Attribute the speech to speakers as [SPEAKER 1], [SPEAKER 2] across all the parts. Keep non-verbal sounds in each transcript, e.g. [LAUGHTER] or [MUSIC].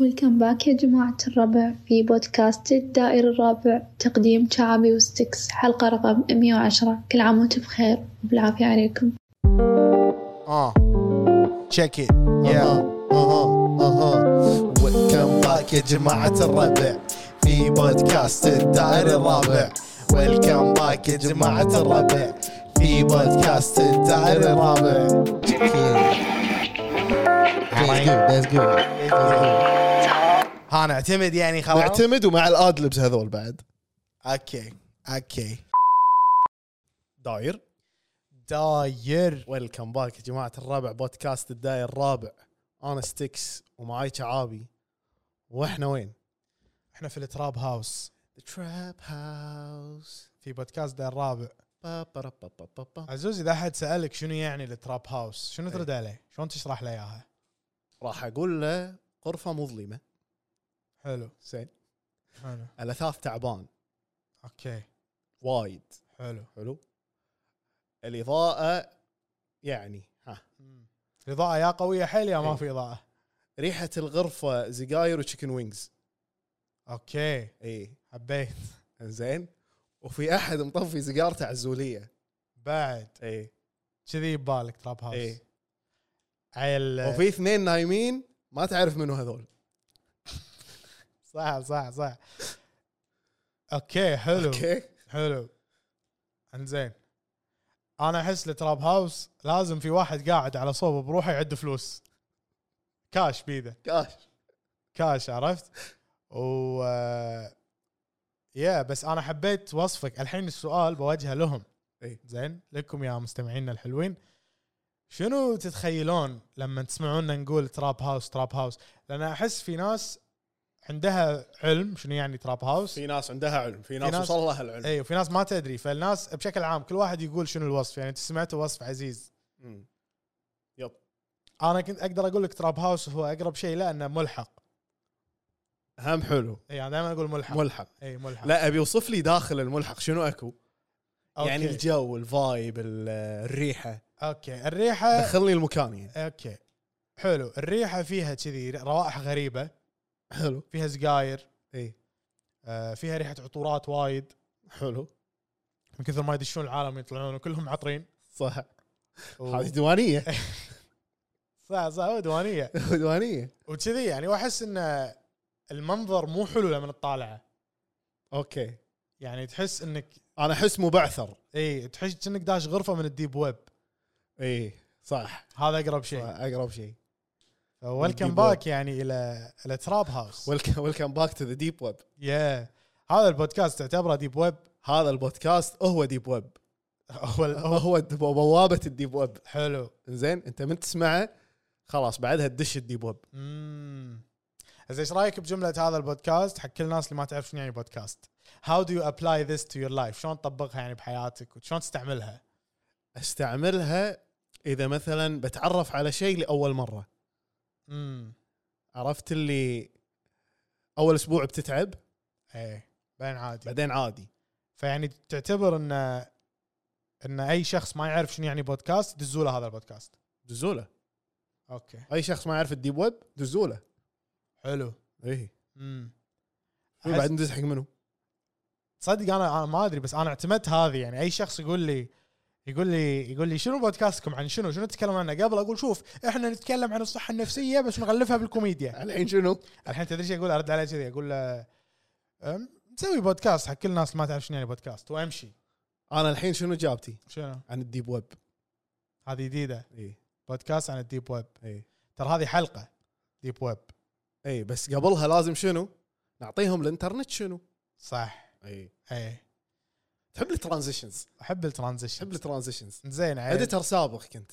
[SPEAKER 1] ويلكم باك يا جماعة الربع في بودكاست الدائري الرابع تقديم شعبي وستكس حلقة رقم 110 كل عام وانتم بخير وبالعافية عليكم
[SPEAKER 2] Uh, check it.
[SPEAKER 3] Uh-huh.
[SPEAKER 2] Yeah.
[SPEAKER 3] اها اها ويلكم باك يا جماعة الربع في بودكاست الدائري الرابع ويلكم باك يا جماعة الربع في بودكاست الدائري الرابع That's good.
[SPEAKER 2] ها نعتمد يعني خلاص.
[SPEAKER 3] معتمد ومع الادلبس هذول بعد
[SPEAKER 2] اوكي اوكي. داير داير ويلكم باك يا جماعة الربع بودكاست الداير الرابع. انا ستيكس ومعاي شعابي. واحنا وين؟
[SPEAKER 4] احنا في التراب هاوس
[SPEAKER 2] تراب هاوس.
[SPEAKER 4] في بودكاست ده الرابع عزوز اذا احد سالك شنو يعني التراب هاوس شنو ترد عليه شلون تشرح له اياها
[SPEAKER 2] راح اقول له غرفة مظلمة.
[SPEAKER 4] حلو
[SPEAKER 2] زين.
[SPEAKER 4] حلو
[SPEAKER 2] الاثاث تعبان
[SPEAKER 4] اوكي
[SPEAKER 2] وايد.
[SPEAKER 4] حلو
[SPEAKER 2] حلو. الاضاءة يعني ها
[SPEAKER 4] مم. الاضاءه يا قويه حيل يا ما في اضاءه
[SPEAKER 2] ريحة الغرفة زقاير وتشيكن وينجز.
[SPEAKER 4] اوكي
[SPEAKER 2] اي
[SPEAKER 4] حبيت
[SPEAKER 2] زين. وفي احد مطفي سيجاره تعزوليه
[SPEAKER 4] بعد
[SPEAKER 2] اي
[SPEAKER 4] كذي ببالك تراب هاوس
[SPEAKER 2] اي
[SPEAKER 4] عيل
[SPEAKER 2] وفي اثنين نايمين ما تعرف منو هذول
[SPEAKER 4] صح صح صح اوكي حلو
[SPEAKER 2] اوكي
[SPEAKER 4] حلو انزين انا احس التراب هاوس لازم في واحد قاعد على صوب بروحه يعد فلوس كاش بيده
[SPEAKER 2] كاش
[SPEAKER 4] كاش عرفت و يا بس انا حبيت وصفك الحين السؤال بوجهه لهم
[SPEAKER 2] إي.
[SPEAKER 4] زين لكم يا مستمعينا الحلوين شنو تتخيلون لما تسمعونا نقول تراب هاوس تراب هاوس لان احس في ناس عندها علم شنو يعني تراب هاوس
[SPEAKER 2] في ناس عندها علم في ناس,
[SPEAKER 4] ناس- إيه.
[SPEAKER 2] وصل لها العلم
[SPEAKER 4] اي وفي ناس ما تدري فالناس بشكل عام كل واحد يقول شنو الوصف يعني انت سمعت وصف عزيز
[SPEAKER 2] مم. يب
[SPEAKER 4] انا كنت اقدر اقول لك تراب هاوس هو اقرب شيء لانه ملحق
[SPEAKER 2] هم حلو
[SPEAKER 4] اي انا دائما اقول ملحق
[SPEAKER 2] ملحق
[SPEAKER 4] اي ملحق
[SPEAKER 2] لا ابي يوصف لي داخل الملحق شنو اكو
[SPEAKER 4] أوكي.
[SPEAKER 2] يعني الجو الفايب ال- الريحه
[SPEAKER 4] اوكي الريحه
[SPEAKER 2] دخلني المكان يعني
[SPEAKER 4] اوكي حلو الريحه فيها كذي روائح غريبه
[SPEAKER 2] حلو
[SPEAKER 4] فيها سجاير
[SPEAKER 2] اي
[SPEAKER 4] آه، فيها ريحه عطورات وايد
[SPEAKER 2] حلو
[SPEAKER 4] من كثر ما يدشون العالم يطلعون وكلهم عطرين
[SPEAKER 2] صح
[SPEAKER 4] و-
[SPEAKER 2] هذه [LAUGHS] ديوانيه
[SPEAKER 4] صح صح
[SPEAKER 2] [LAUGHS]
[SPEAKER 4] ودوانيه
[SPEAKER 2] ديوانيه
[SPEAKER 4] وكذي يعني واحس ان المنظر مو حلو لما تطالعه
[SPEAKER 2] اوكي
[SPEAKER 4] يعني تحس انك
[SPEAKER 2] انا احس مبعثر
[SPEAKER 4] اي تحس انك داش غرفه من الديب ويب
[SPEAKER 2] اي إيه، صح
[SPEAKER 4] هذا اقرب
[SPEAKER 2] صح،
[SPEAKER 4] شيء
[SPEAKER 2] اقرب شيء
[SPEAKER 4] ويلكم
[SPEAKER 2] الديب ويب.
[SPEAKER 4] باك يعني الى الى تراب هاوس
[SPEAKER 2] ويلكم باك تو ذا ديب ويب
[SPEAKER 4] يا هذا البودكاست تعتبره ديب ويب
[SPEAKER 2] هذا البودكاست هو ديب ويب
[SPEAKER 4] هو ال-
[SPEAKER 2] هو هو الدب- بوابه الديب ويب
[SPEAKER 4] حلو
[SPEAKER 2] زين انت من تسمعه خلاص بعدها تدش الديب ويب
[SPEAKER 4] امم زين ايش رايك بجمله هذا البودكاست حق كل الناس اللي ما تعرف شنو يعني بودكاست؟ How do you apply this to your life؟ شلون تطبقها يعني بحياتك وشلون تستعملها؟
[SPEAKER 2] استعملها اذا مثلا بتعرف على شيء لاول مره
[SPEAKER 4] امم
[SPEAKER 2] عرفت اللي اول اسبوع بتتعب
[SPEAKER 4] ايه بعدين عادي
[SPEAKER 2] بعدين عادي
[SPEAKER 4] فيعني تعتبر ان ان اي شخص ما يعرف شنو يعني بودكاست دزوا له هذا البودكاست.
[SPEAKER 2] دزوله
[SPEAKER 4] اوكي
[SPEAKER 2] اي شخص ما يعرف الديب ويب دزوله
[SPEAKER 4] حلو
[SPEAKER 2] اي
[SPEAKER 4] امم
[SPEAKER 2] بعد ندز حق منو
[SPEAKER 4] تصدق انا انا ما ادري بس انا اعتمدت هذه يعني اي شخص يقول لي يقول لي يقول لي شنو بودكاستكم عن شنو شنو تتكلم عنه قبل اقول شوف احنا نتكلم عن الصحه النفسيه بس نغلفها بالكوميديا
[SPEAKER 2] الحين شنو
[SPEAKER 4] الحين تدري شو اقول ارد عليه كذي اقول له أم، نسوي بودكاست حق كل الناس اللي ما تعرف شنو يعني بودكاست وامشي
[SPEAKER 2] انا الحين شنو اجابتي
[SPEAKER 4] شنو
[SPEAKER 2] عن الديب ويب
[SPEAKER 4] هذه جديده
[SPEAKER 2] اي
[SPEAKER 4] بودكاست عن الديب ويب
[SPEAKER 2] اي
[SPEAKER 4] ترى هذه حلقه ديب ويب
[SPEAKER 2] اي إيه، بس قبلها لازم شنو نعطيهم الانترنت شنو
[SPEAKER 4] صح
[SPEAKER 2] اي
[SPEAKER 4] اي
[SPEAKER 2] تحب الترانزيشنز
[SPEAKER 4] احب
[SPEAKER 2] تحب
[SPEAKER 4] الترانزيشن
[SPEAKER 2] الترانزيشنز
[SPEAKER 4] زين
[SPEAKER 5] إيه.
[SPEAKER 4] عيل.
[SPEAKER 2] اديتر سابق كنت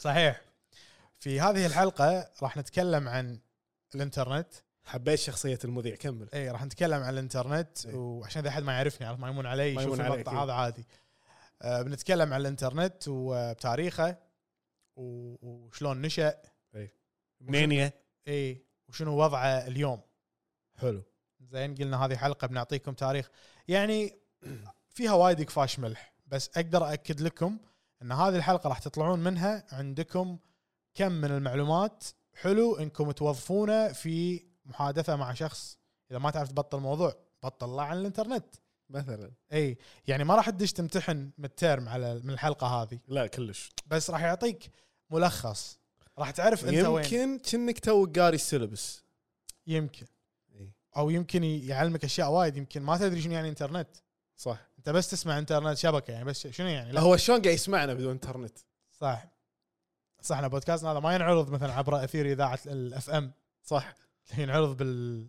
[SPEAKER 4] صحيح في هذه الحلقه راح نتكلم عن الانترنت
[SPEAKER 2] حبيت شخصيه المذيع كمل
[SPEAKER 4] اي إيه، راح نتكلم عن الانترنت
[SPEAKER 2] إي.
[SPEAKER 4] وعشان اذا احد ما يعرفني عرفت ما يمون علي
[SPEAKER 2] ما
[SPEAKER 4] يشوف
[SPEAKER 2] يمون عليك،
[SPEAKER 4] المقطع
[SPEAKER 2] إي.
[SPEAKER 4] هذا عادي آه بنتكلم عن الانترنت وبتاريخه و- وشلون نشأ
[SPEAKER 2] منينيا
[SPEAKER 4] اي وشنو وضعه اليوم
[SPEAKER 2] حلو
[SPEAKER 4] زين قلنا هذه حلقه بنعطيكم تاريخ يعني [CLEARS THROAT] فيها وايد كفاش ملح بس اقدر اكد لكم ان هذه الحلقه راح تطلعون منها عندكم كم من المعلومات حلو انكم توظفونه في محادثه مع شخص اذا ما تعرف تبطل موضوع بطلها عن الانترنت
[SPEAKER 5] مثلا
[SPEAKER 4] اي يعني ما راح تدش تمتحن من الترم على من الحلقه هذه
[SPEAKER 5] لا كلش
[SPEAKER 4] بس راح يعطيك ملخص راح تعرف انت وين
[SPEAKER 5] يمكن كأنك تو قاري السيلبس
[SPEAKER 4] يمكن
[SPEAKER 5] إي.
[SPEAKER 4] او يمكن يعلمك اشياء وايد يمكن ما تدري شنو يعني انترنت
[SPEAKER 5] صح
[SPEAKER 4] انت بس تسمع انترنت شبكه يعني بس شنو يعني
[SPEAKER 5] لا
[SPEAKER 4] لا
[SPEAKER 5] هو شلون قاعد يسمعنا بدون انترنت
[SPEAKER 4] صح صح احنا بودكاستنا هذا ما ينعرض مثلا عبر اثير اذاعه الاف ام
[SPEAKER 5] صح
[SPEAKER 4] ينعرض بال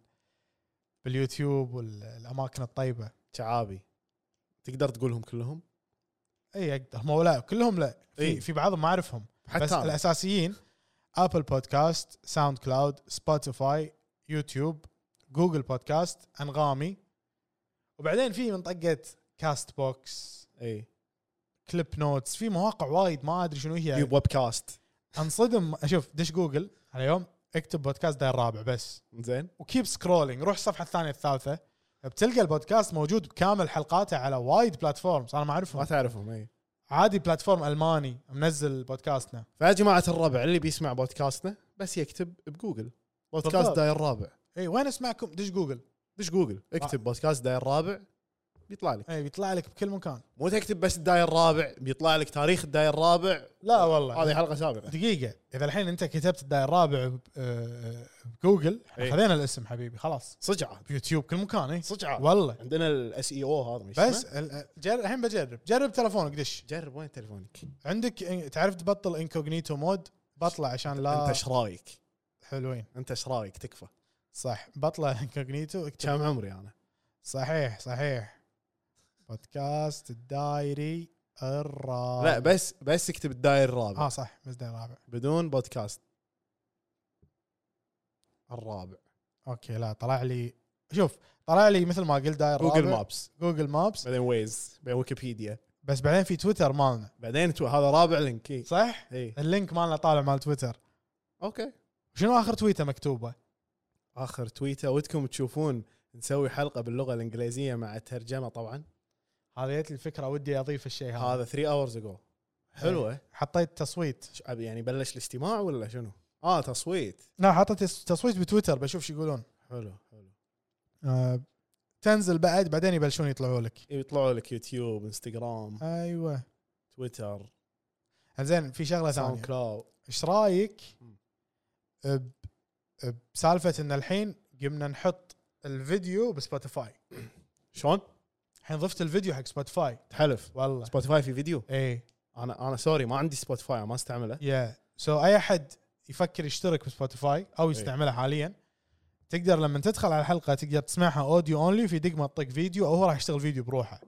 [SPEAKER 4] باليوتيوب والاماكن الطيبه
[SPEAKER 5] شعابي تقدر تقولهم كلهم
[SPEAKER 4] اي اقدر إيه، هم لا كلهم لا
[SPEAKER 5] إي.
[SPEAKER 4] في, في بعضهم ما اعرفهم
[SPEAKER 5] إيه. حتى
[SPEAKER 4] بس
[SPEAKER 5] أنا.
[SPEAKER 4] الاساسيين ابل بودكاست ساوند كلاود سبوتيفاي يوتيوب جوجل بودكاست انغامي وبعدين في من طقه كاست بوكس
[SPEAKER 5] اي
[SPEAKER 4] كليب نوتس في مواقع وايد ما ادري شنو هي
[SPEAKER 5] يوب ويب كاست
[SPEAKER 4] انصدم اشوف دش جوجل على يوم اكتب بودكاست داير الرابع بس
[SPEAKER 5] زين
[SPEAKER 4] وكيب سكرولينج روح الصفحه الثانيه الثالثه بتلقى البودكاست موجود بكامل حلقاته على وايد بلاتفورمز انا ما
[SPEAKER 5] ما
[SPEAKER 4] اعرفهم
[SPEAKER 5] تعرفهم اي
[SPEAKER 4] عادي بلاتفورم الماني منزل بودكاستنا
[SPEAKER 5] فيا جماعه الربع اللي بيسمع بودكاستنا بس يكتب بجوجل بودكاست
[SPEAKER 4] بالضبط.
[SPEAKER 5] داير الرابع
[SPEAKER 4] اي إيه، وين اسمعكم دش جوجل
[SPEAKER 5] دش جوجل
[SPEAKER 4] آه.
[SPEAKER 5] اكتب بودكاست داير الرابع بيطلع لك
[SPEAKER 4] اي إيه، بيطلع لك بكل مكان
[SPEAKER 5] مو تكتب بس الداير الرابع بيطلع لك تاريخ الداير الرابع
[SPEAKER 4] لا والله
[SPEAKER 5] هذه حلقه سابقه
[SPEAKER 4] دقيقه اذا الحين انت كتبت الداير الرابع ب- آه، بجوجل إحنا
[SPEAKER 5] إي.
[SPEAKER 4] خذينا الاسم حبيبي خلاص
[SPEAKER 5] صجعه
[SPEAKER 4] بيوتيوب كل مكان اي
[SPEAKER 5] صجعه
[SPEAKER 4] والله
[SPEAKER 5] عندنا الاس اي او هذا ما يسمع.
[SPEAKER 4] بس ال- جر- الحين بجرب جرب تلفونك دش
[SPEAKER 5] جرب وين تلفونك
[SPEAKER 4] عندك إن- تعرف تبطل انكوجنيتو مود بطلع عشان
[SPEAKER 5] انت
[SPEAKER 4] لا
[SPEAKER 5] ايش رايك
[SPEAKER 4] حلوين
[SPEAKER 5] انت ايش رايك تكفى
[SPEAKER 4] صح بطلع [LAUGHS] انكوجنيتو اكتب
[SPEAKER 5] كم عمري انا
[SPEAKER 4] صحيح صحيح بودكاست الدايري الرابع
[SPEAKER 5] لا بس بس اكتب الداير الرابع
[SPEAKER 4] اه صح بس دايري الرابع
[SPEAKER 5] بدون بودكاست الرابع
[SPEAKER 4] اوكي لا طلع لي شوف طلع لي مثل ما قلت داير
[SPEAKER 5] جوجل
[SPEAKER 4] رابع.
[SPEAKER 5] مابس
[SPEAKER 4] جوجل مابس
[SPEAKER 5] بعدين ويز بعدين ويكيبيديا
[SPEAKER 4] بس بعدين في تويتر مالنا
[SPEAKER 5] بعدين تو... هذا رابع لينك اي
[SPEAKER 4] صح
[SPEAKER 5] اي
[SPEAKER 4] اللينك مالنا طالع مال تويتر
[SPEAKER 5] اوكي
[SPEAKER 4] شنو اخر تويته مكتوبه
[SPEAKER 5] اخر تويته ودكم تشوفون نسوي حلقه باللغه الانجليزيه مع الترجمه طبعا
[SPEAKER 4] هذه جت الفكره ودي اضيف الشيء هذا
[SPEAKER 5] هذا 3 اورز اجو حلوه
[SPEAKER 4] حطيت تصويت
[SPEAKER 5] ش- أبي يعني بلش الاستماع ولا شنو؟ اه تصويت
[SPEAKER 4] لا حطيت تصويت بتويتر بشوف شو يقولون
[SPEAKER 5] حلو حلو
[SPEAKER 4] آه تنزل بعد بعدين يبلشون يطلعوا لك
[SPEAKER 5] يطلعوا لك يوتيوب انستغرام
[SPEAKER 4] ايوه
[SPEAKER 5] تويتر
[SPEAKER 4] زين في شغله ثانيه
[SPEAKER 5] ساوند كلاود
[SPEAKER 4] ايش رايك
[SPEAKER 5] مم.
[SPEAKER 4] ب- بسالفه ان الحين قمنا نحط الفيديو بسبوتيفاي
[SPEAKER 5] شلون؟
[SPEAKER 4] الحين ضفت الفيديو حق سبوتيفاي
[SPEAKER 5] تحلف
[SPEAKER 4] والله
[SPEAKER 5] سبوتيفاي في فيديو
[SPEAKER 4] ايه
[SPEAKER 5] انا انا سوري ما عندي سبوتيفاي ما استعمله
[SPEAKER 4] يا سو اي احد يفكر يشترك بسبوتيفاي او يستعملها حاليا تقدر لما تدخل على الحلقه تقدر تسمعها اوديو اونلي في دقمه تطق فيديو او هو راح يشتغل فيديو بروحه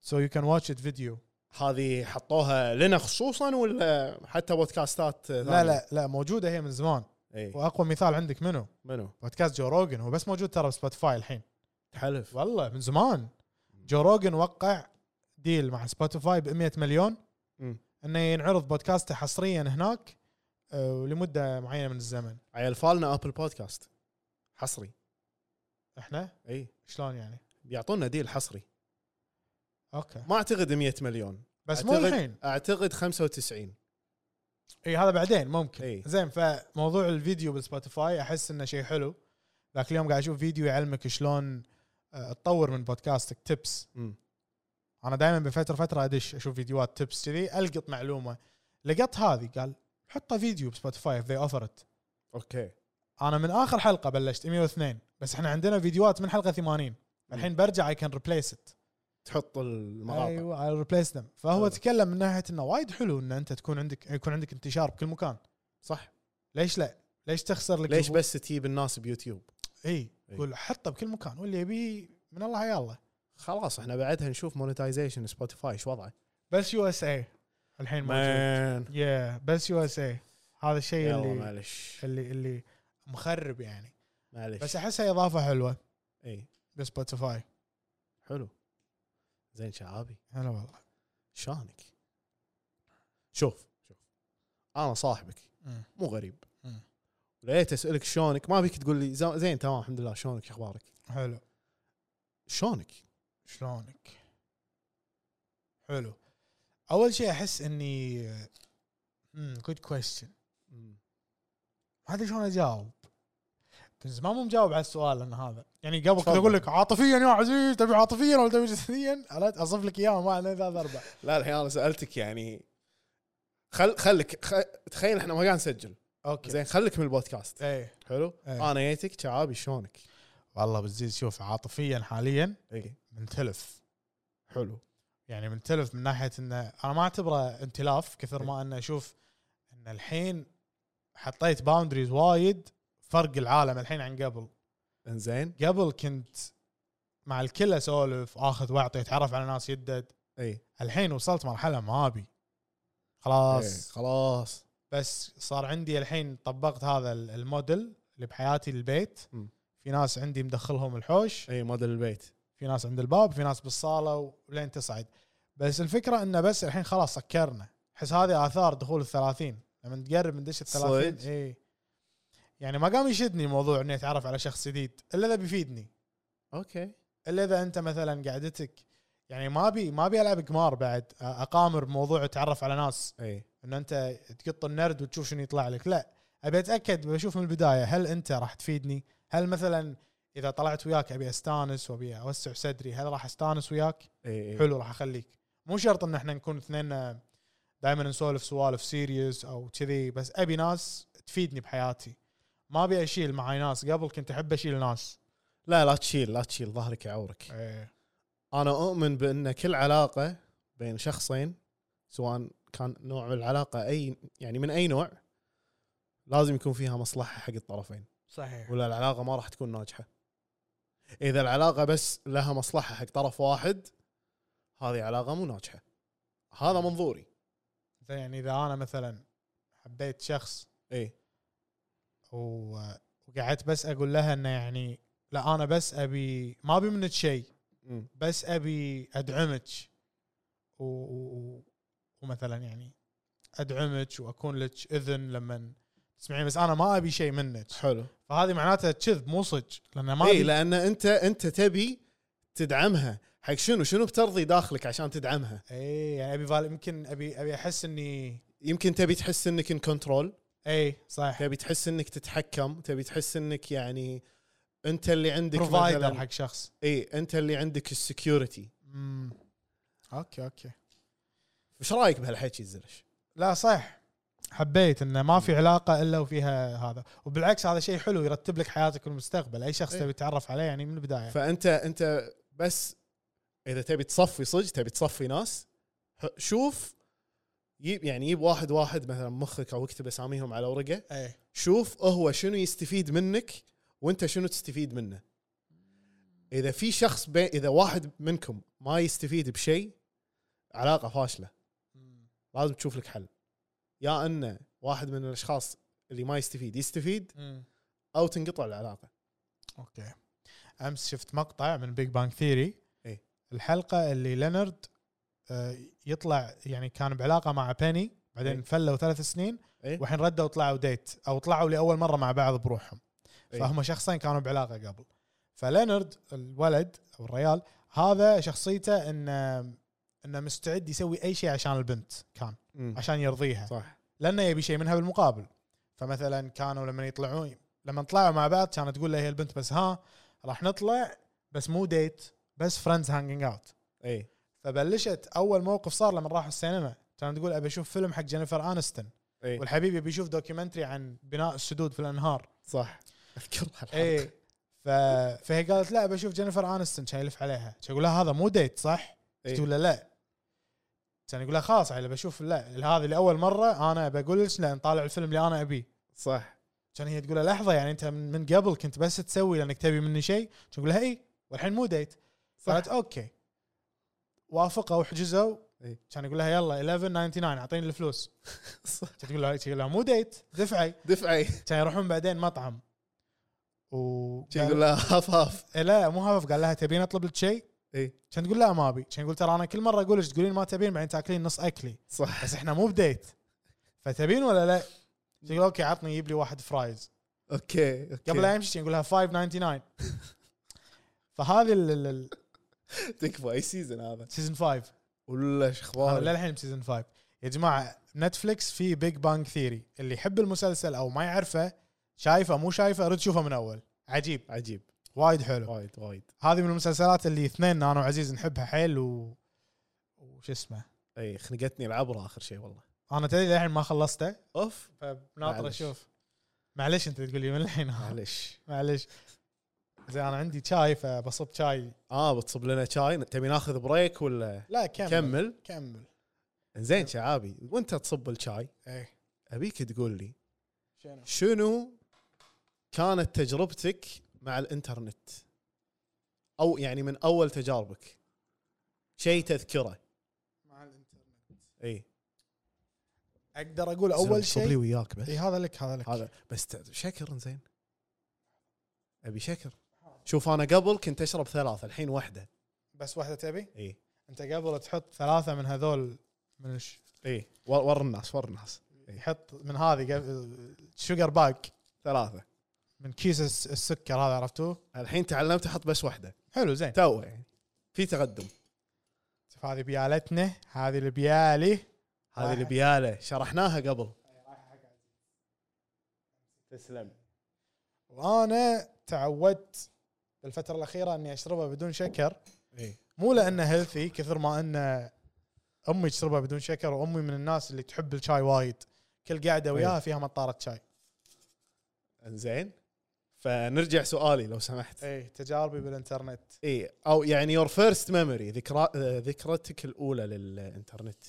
[SPEAKER 4] سو يو كان واتش ات فيديو
[SPEAKER 5] هذه حطوها لنا خصوصا ولا حتى بودكاستات
[SPEAKER 4] لا لا لا موجوده هي من زمان
[SPEAKER 5] اي
[SPEAKER 4] واقوى مثال عندك منو
[SPEAKER 5] منو؟
[SPEAKER 4] بودكاست جو روجن هو بس موجود ترى بسبوتيفاي الحين
[SPEAKER 5] تحلف
[SPEAKER 4] والله من زمان جو روجن وقع ديل مع سبوتيفاي ب 100 مليون
[SPEAKER 5] مم.
[SPEAKER 4] انه ينعرض بودكاسته حصريا هناك آه، ولمده معينه من الزمن
[SPEAKER 5] عيال فالنا ابل بودكاست حصري
[SPEAKER 4] احنا
[SPEAKER 5] اي
[SPEAKER 4] شلون يعني؟
[SPEAKER 5] بيعطونا ديل حصري
[SPEAKER 4] اوكي
[SPEAKER 5] ما اعتقد 100 مليون
[SPEAKER 4] بس مو
[SPEAKER 5] أعتقد-
[SPEAKER 4] الحين
[SPEAKER 5] اعتقد 95
[SPEAKER 4] اي هذا بعدين ممكن
[SPEAKER 5] إي.
[SPEAKER 4] زين فموضوع الفيديو بالسبوتيفاي احس انه شيء حلو ذاك اليوم قاعد اشوف فيديو يعلمك شلون آه، تطور من بودكاستك تبس
[SPEAKER 5] مم.
[SPEAKER 4] انا دائما بفتره فتره ادش اشوف فيديوهات تبس كذي القط معلومه لقط هذه قال حطها فيديو بسبوتيفاي اف ذي اوفرت
[SPEAKER 5] اوكي
[SPEAKER 4] انا من اخر حلقه بلشت 102 بس احنا عندنا فيديوهات من حلقه 80 الحين برجع اي كان ريبليس ات
[SPEAKER 5] تحط المقاطع أيوة.
[SPEAKER 4] ايوه ريبليس ذم فهو
[SPEAKER 5] حلو.
[SPEAKER 4] تكلم من ناحيه انه وايد حلو ان انت تكون عندك يكون عندك انتشار بكل مكان
[SPEAKER 5] صح
[SPEAKER 4] ليش لا؟ ليش تخسر لك
[SPEAKER 5] ليش
[SPEAKER 4] البو-
[SPEAKER 5] بس إيه. تجيب الناس بيوتيوب
[SPEAKER 4] اي
[SPEAKER 5] إي.
[SPEAKER 4] قول حطه بكل مكان واللي يبيه من الله يلا
[SPEAKER 5] خلاص احنا بعدها نشوف مونتايزيشن سبوتيفاي ايش وضعه
[SPEAKER 4] بس يو اس اي الحين موجود يا بس يو اس اي هذا الشيء
[SPEAKER 5] يلا
[SPEAKER 4] اللي
[SPEAKER 5] معلش
[SPEAKER 4] اللي اللي مخرب يعني
[SPEAKER 5] معلش
[SPEAKER 4] بس
[SPEAKER 5] بس
[SPEAKER 4] احسها اضافه حلوه
[SPEAKER 5] اي
[SPEAKER 4] بسبوتيفاي
[SPEAKER 5] حلو زين شعابي
[SPEAKER 4] هلا والله
[SPEAKER 5] شانك شوف شوف انا صاحبك
[SPEAKER 4] مم.
[SPEAKER 5] مو غريب
[SPEAKER 4] مم.
[SPEAKER 5] لقيت اسالك شلونك ما بيك تقول لي زو- زين تمام الحمد لله شلونك شو اخبارك
[SPEAKER 4] حلو
[SPEAKER 5] شلونك
[SPEAKER 4] شلونك؟ حلو اول شيء hmm، احس اني جود كويستشن ما ادري شلون اجاوب كنز ما مو مجاوب على السؤال انا هذا يعني قبل كنت اقول لك عاطفيا يا عزيز تبي عاطفيا ولا تبي جسديا عرفت اصف لك اياهم واحد اثنين ثلاثة اربعة
[SPEAKER 5] لا الحين انا سالتك يعني خل خلك خ... تخيل احنا ما قاعد نسجل
[SPEAKER 4] اوكي
[SPEAKER 5] زين خلك من البودكاست
[SPEAKER 4] ايه
[SPEAKER 5] حلو
[SPEAKER 4] إيه.
[SPEAKER 5] انا جيتك شعابي شلونك
[SPEAKER 4] والله بزيز شوف عاطفيا حاليا
[SPEAKER 5] اي
[SPEAKER 4] من تلف
[SPEAKER 5] حلو
[SPEAKER 4] يعني من تلف من ناحيه انه انا ما اعتبره انتلاف كثر ما انه اشوف ان الحين حطيت باوندريز وايد فرق العالم الحين عن قبل
[SPEAKER 5] انزين
[SPEAKER 4] قبل كنت مع الكل اسولف اخذ واعطي اتعرف على ناس يدد
[SPEAKER 5] اي
[SPEAKER 4] الحين وصلت مرحله ما ابي
[SPEAKER 5] إيه،
[SPEAKER 4] خلاص
[SPEAKER 5] خلاص
[SPEAKER 4] بس صار عندي الحين طبقت هذا ال- الموديل اللي بحياتي البيت
[SPEAKER 5] مم.
[SPEAKER 4] في ناس عندي مدخلهم الحوش
[SPEAKER 5] اي إيه، موديل البيت
[SPEAKER 4] في ناس عند الباب في ناس بالصاله ولين تصعد بس الفكره انه بس الحين خلاص سكرنا احس هذه اثار دخول الثلاثين لما تقرب من دش الثلاثين
[SPEAKER 5] صدق؟
[SPEAKER 4] اي يعني ما قام يشدني موضوع اني اتعرف على شخص جديد الا اذا بيفيدني
[SPEAKER 5] اوكي
[SPEAKER 4] الا اذا انت مثلا قعدتك يعني ما ابي ما ابي العب قمار بعد أ- اقامر بموضوع اتعرف على ناس
[SPEAKER 5] اي
[SPEAKER 4] ان انت تقط النرد وتشوف شنو يطلع لك لا ابي اتاكد بشوف من البدايه هل انت راح تفيدني هل مثلا اذا طلعت وياك ابي استانس وابي اوسع صدري هل راح استانس وياك
[SPEAKER 5] اي إي.
[SPEAKER 4] حلو راح اخليك مو شرط ان احنا نكون اثنين دائما نسولف سوالف سيريس او كذي بس ابي ناس تفيدني بحياتي ما ابي اشيل معاي ناس قبل كنت احب اشيل ناس
[SPEAKER 5] لا لا تشيل لا تشيل ظهرك يعورك
[SPEAKER 4] ايه
[SPEAKER 5] انا اؤمن بان كل علاقه بين شخصين سواء كان نوع العلاقه اي يعني من اي نوع لازم يكون فيها مصلحه حق الطرفين
[SPEAKER 4] صحيح
[SPEAKER 5] ولا العلاقه ما راح تكون ناجحه اذا العلاقه بس لها مصلحه حق طرف واحد هذه علاقه مو ناجحه هذا منظوري
[SPEAKER 4] يعني اذا انا مثلا حبيت شخص
[SPEAKER 5] اي
[SPEAKER 4] و- وقعدت بس اقول لها انه يعني لا انا بس ابي ما ابي منك شيء
[SPEAKER 5] مم.
[SPEAKER 4] بس ابي ادعمك و... و... ومثلا يعني ادعمك واكون لك اذن لما تسمعين بس انا ما ابي شيء منك
[SPEAKER 5] حلو
[SPEAKER 4] فهذه معناتها كذب مو صج لان ما
[SPEAKER 5] اي
[SPEAKER 4] ابي
[SPEAKER 5] لان انت انت تبي تدعمها حق شنو شنو بترضي داخلك عشان تدعمها
[SPEAKER 4] اي يعني ابي فال... يمكن ابي ابي احس اني
[SPEAKER 5] يمكن تبي تحس انك ان كنترول
[SPEAKER 4] اي إيه، صح
[SPEAKER 5] تبي تحس انك تتحكم تبي تحس انك يعني انت اللي عندك
[SPEAKER 4] بروفايدر حق شخص
[SPEAKER 5] اي انت اللي عندك السكيورتي
[SPEAKER 4] مم. اوكي اوكي
[SPEAKER 5] ايش رايك بهالحكي الزرش
[SPEAKER 4] لا صح حبيت انه ما في علاقه الا وفيها هذا وبالعكس هذا شيء حلو يرتب لك حياتك المستقبل اي شخص
[SPEAKER 5] إيه.
[SPEAKER 4] تبي تتعرف عليه يعني من البدايه
[SPEAKER 5] فانت انت بس اذا تبي تصفي صج تبي تصفي ناس ح- شوف يجيب يعني يجيب واحد واحد مثلا مخك او اكتب اساميهم على ورقه
[SPEAKER 4] اي
[SPEAKER 5] شوف هو شنو يستفيد منك وانت شنو تستفيد منه اذا في شخص بي اذا واحد منكم ما يستفيد بشيء علاقه فاشله لازم تشوف لك حل يا ان واحد من الاشخاص اللي ما يستفيد يستفيد او تنقطع العلاقه
[SPEAKER 4] اوكي امس شفت مقطع من بيج بانك ثيري
[SPEAKER 5] إيه.
[SPEAKER 4] الحلقه اللي لينارد آه، يطلع يعني كان بعلاقه مع بيني بعدين
[SPEAKER 5] إيه.
[SPEAKER 4] فلوا ثلاث سنين
[SPEAKER 5] إيه.
[SPEAKER 4] والحين ردوا طلعوا ديت او طلعوا لاول مره مع بعض بروحهم
[SPEAKER 5] إيه.
[SPEAKER 4] فهم شخصين كانوا بعلاقه قبل فلينارد الولد او الريال هذا شخصيته انه انه مستعد يسوي اي شيء عشان البنت كان عشان يرضيها
[SPEAKER 5] صح
[SPEAKER 4] لانه يبي شيء منها بالمقابل فمثلا كانوا لما يطلعون لما طلعوا مع بعض كانت تقول له هي البنت بس ها راح نطلع بس مو ديت بس فريندز هانجينج اوت
[SPEAKER 5] اي
[SPEAKER 4] فبلشت اول موقف صار لما راحوا السينما كانت تقول ابي اشوف فيلم حق جينيفر انستون
[SPEAKER 5] اي
[SPEAKER 4] والحبيب يبي يشوف دوكيومنتري عن بناء السدود في الانهار
[SPEAKER 5] صح اذكرها الحلقه
[SPEAKER 4] اي إيه، ف... فهي قالت لا بشوف جينيفر انستون كان يلف عليها كان يقول لها هذا مو ديت صح؟
[SPEAKER 5] إيه.
[SPEAKER 4] قلت ولا لا كان يقول لها خلاص عيل بشوف لا هذه لاول مره انا بقول لك لا نطالع الفيلم اللي انا ابيه
[SPEAKER 5] صح
[SPEAKER 4] كان هي تقول له لحظه يعني انت من من قبل كنت بس تسوي لانك تبي مني شيء كان يقول لها اي والحين مو ديت قالت اوكي وافقوا وحجزوا
[SPEAKER 5] إي.
[SPEAKER 4] كان يقول لها يلا 11.99 اعطيني الفلوس
[SPEAKER 5] [LAUGHS] صح
[SPEAKER 4] كانت تقول له تقول لها مو ديت دفعي
[SPEAKER 5] دفعي
[SPEAKER 4] كان يروحون بعدين مطعم و
[SPEAKER 5] شي يقول له هاف هاف
[SPEAKER 4] إيه لا مو هاف قال لها تبين اطلب لك شيء؟
[SPEAKER 5] اي
[SPEAKER 4] كان تقول لا ما ابي، كان يقول ترى انا كل مره اقول لك تقولين ما تبين بعدين تاكلين نص اكلي،
[SPEAKER 5] صح
[SPEAKER 4] بس احنا مو بديت فتبين ولا لا؟ كان يقول اوكي عطني جيب لي واحد فرايز،
[SPEAKER 5] اوكي اوكي
[SPEAKER 4] قبل لا يمشي كان يقول لها 5.99 [LAUGHS] فهذه
[SPEAKER 5] تكفى اي سيزون هذا
[SPEAKER 4] السيزون 5
[SPEAKER 5] ولا
[SPEAKER 4] لا
[SPEAKER 5] اخبار
[SPEAKER 4] الحين بسيزون 5 يا جماعه نتفلكس في بيج بانج ثيري اللي يحب المسلسل او ما يعرفه شايفه مو شايفه رد شوفه من اول عجيب
[SPEAKER 5] عجيب
[SPEAKER 4] وايد حلو
[SPEAKER 5] وايد وايد
[SPEAKER 4] هذه من المسلسلات اللي اثنيننا انا وعزيز نحبها حيل و وش اسمه
[SPEAKER 5] اي خنقتني العبره اخر شيء والله
[SPEAKER 4] انا تدري للحين ما خلصته
[SPEAKER 5] اوف
[SPEAKER 4] فناطر
[SPEAKER 5] معلش.
[SPEAKER 4] اشوف معلش انت تقول لي من الحين [LAUGHS]
[SPEAKER 5] معلش
[SPEAKER 4] معلش زين انا عندي شاي فبصب شاي
[SPEAKER 5] اه بتصب لنا شاي تبي ناخذ بريك ولا
[SPEAKER 4] لا كمل
[SPEAKER 5] كمل
[SPEAKER 4] كمل
[SPEAKER 5] زين شعابي وانت تصب الشاي
[SPEAKER 4] ايه
[SPEAKER 5] ابيك تقول لي
[SPEAKER 4] شنو
[SPEAKER 5] شنو كانت تجربتك مع الانترنت او يعني من اول تجاربك شيء تذكره
[SPEAKER 4] مع الانترنت
[SPEAKER 5] اي
[SPEAKER 4] اقدر اقول اول
[SPEAKER 5] صب لي
[SPEAKER 4] شيء
[SPEAKER 5] وياك بس
[SPEAKER 4] اي هذا لك هذا لك
[SPEAKER 5] هذا بس ت- شكر زين ابي شكر شوف انا قبل كنت اشرب ثلاثه الحين واحده
[SPEAKER 4] بس واحده تبي
[SPEAKER 5] اي
[SPEAKER 4] انت قبل تحط ثلاثه من هذول من الش...
[SPEAKER 5] اي ور ور إيه، الناس ور الناس
[SPEAKER 4] يحط من هذه قبل شوجر باك
[SPEAKER 5] ثلاثه
[SPEAKER 4] من كيس الس- السكر هذا عرفتوه
[SPEAKER 5] الحين تعلمت احط بس واحده
[SPEAKER 4] حلو زين
[SPEAKER 5] تو يعني في تقدم
[SPEAKER 4] شوف هذه بيالتنا هذه اللي بيالي
[SPEAKER 5] هذه اللي بياله شرحناها قبل تسلم
[SPEAKER 4] وانا تعودت بالفتره الاخيره اني اشربها بدون شكر
[SPEAKER 5] اي
[SPEAKER 4] مو لانه هيلثي كثر ما انه امي تشربها بدون شكر وامي من الناس اللي تحب الشاي وايد كل قاعده وياها فيها مطاره شاي
[SPEAKER 5] انزين فنرجع سؤالي لو سمحت
[SPEAKER 4] اي تجاربي بالانترنت
[SPEAKER 5] اي او يعني يور فيرست ميموري ذكرى آه، ذكرتك الاولى للانترنت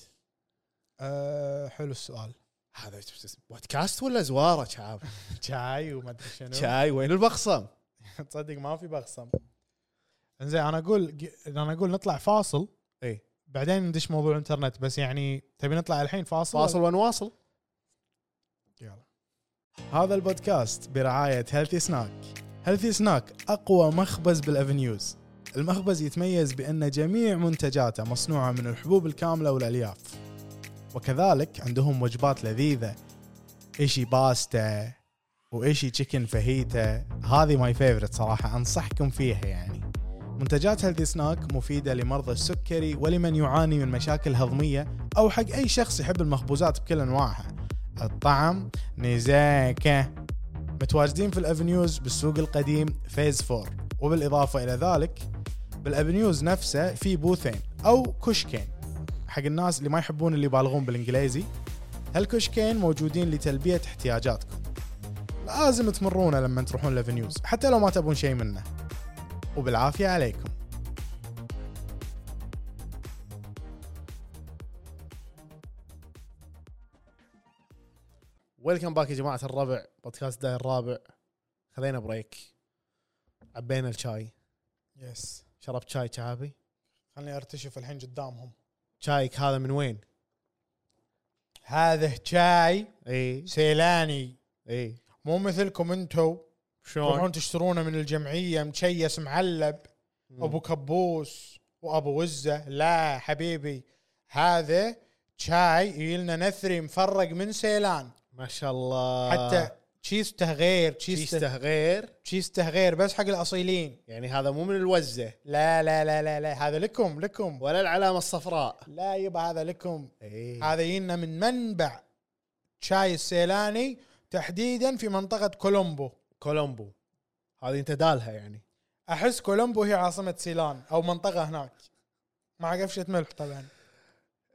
[SPEAKER 4] أه حلو السؤال
[SPEAKER 5] هذا شو اسمه؟ بودكاست ولا زواره شعاب
[SPEAKER 4] [LAUGHS] شاي وما ادري شنو
[SPEAKER 5] شاي وين البخصم
[SPEAKER 4] [LAUGHS] تصدق ما في بخصم انزين انا اقول انا اقول نطلع فاصل
[SPEAKER 5] اي
[SPEAKER 4] بعدين ندش موضوع الانترنت بس يعني تبي نطلع الحين فاصل
[SPEAKER 5] فاصل ونواصل
[SPEAKER 4] يلا هذا البودكاست برعاية هيلثي سناك هيلثي سناك أقوى مخبز بالأفنيوز المخبز يتميز بأن جميع منتجاته مصنوعة من الحبوب الكاملة والألياف وكذلك عندهم وجبات لذيذة إيشي باستا وإيشي تشيكن فاهيتا هذه ماي فيفرت صراحة أنصحكم فيها يعني منتجات هيلثي سناك مفيدة لمرضى السكري ولمن يعاني من مشاكل هضمية أو حق أي شخص يحب المخبوزات بكل أنواعها الطعم نزاكة متواجدين في الأفنيوز بالسوق القديم فيز 4 وبالإضافة إلى ذلك بالأفنيوز نفسه في بوثين أو كشكين حق الناس اللي ما يحبون اللي يبالغون بالإنجليزي هالكشكين موجودين لتلبية احتياجاتكم لازم تمرونه لما تروحون الأفنيوز حتى لو ما تبون شيء منه وبالعافية عليكم
[SPEAKER 5] ويلكم باك يا جماعه الربع بودكاست داير الرابع خذينا بريك عبينا الشاي
[SPEAKER 4] يس
[SPEAKER 5] شربت شاي شعابي
[SPEAKER 4] خليني ارتشف الحين قدامهم
[SPEAKER 5] شايك هذا من وين؟
[SPEAKER 4] هذا شاي
[SPEAKER 5] اي
[SPEAKER 4] سيلاني
[SPEAKER 5] اي
[SPEAKER 4] مو مثلكم انتو
[SPEAKER 5] شلون؟
[SPEAKER 4] تروحون تشترونه من الجمعيه مشيس معلب ابو كبوس وابو وزه لا حبيبي هذا شاي يجيلنا نثري مفرق من سيلان
[SPEAKER 5] ما شاء الله
[SPEAKER 4] حتى تشيسته غير تشيسته
[SPEAKER 5] شيسته آه. غير
[SPEAKER 4] تشيسته غير بس حق الاصيلين
[SPEAKER 5] يعني هذا مو من الوزه
[SPEAKER 4] لا لا لا لا لا هذا لكم لكم
[SPEAKER 5] ولا العلامه الصفراء
[SPEAKER 4] لا يبا هذا لكم
[SPEAKER 5] اي
[SPEAKER 4] هذا يجينا من منبع شاي السيلاني تحديدا في منطقه كولومبو
[SPEAKER 5] كولومبو هذه انت دالها يعني
[SPEAKER 4] احس كولومبو هي عاصمه سيلان او منطقه هناك مع قفشه ملح طبعا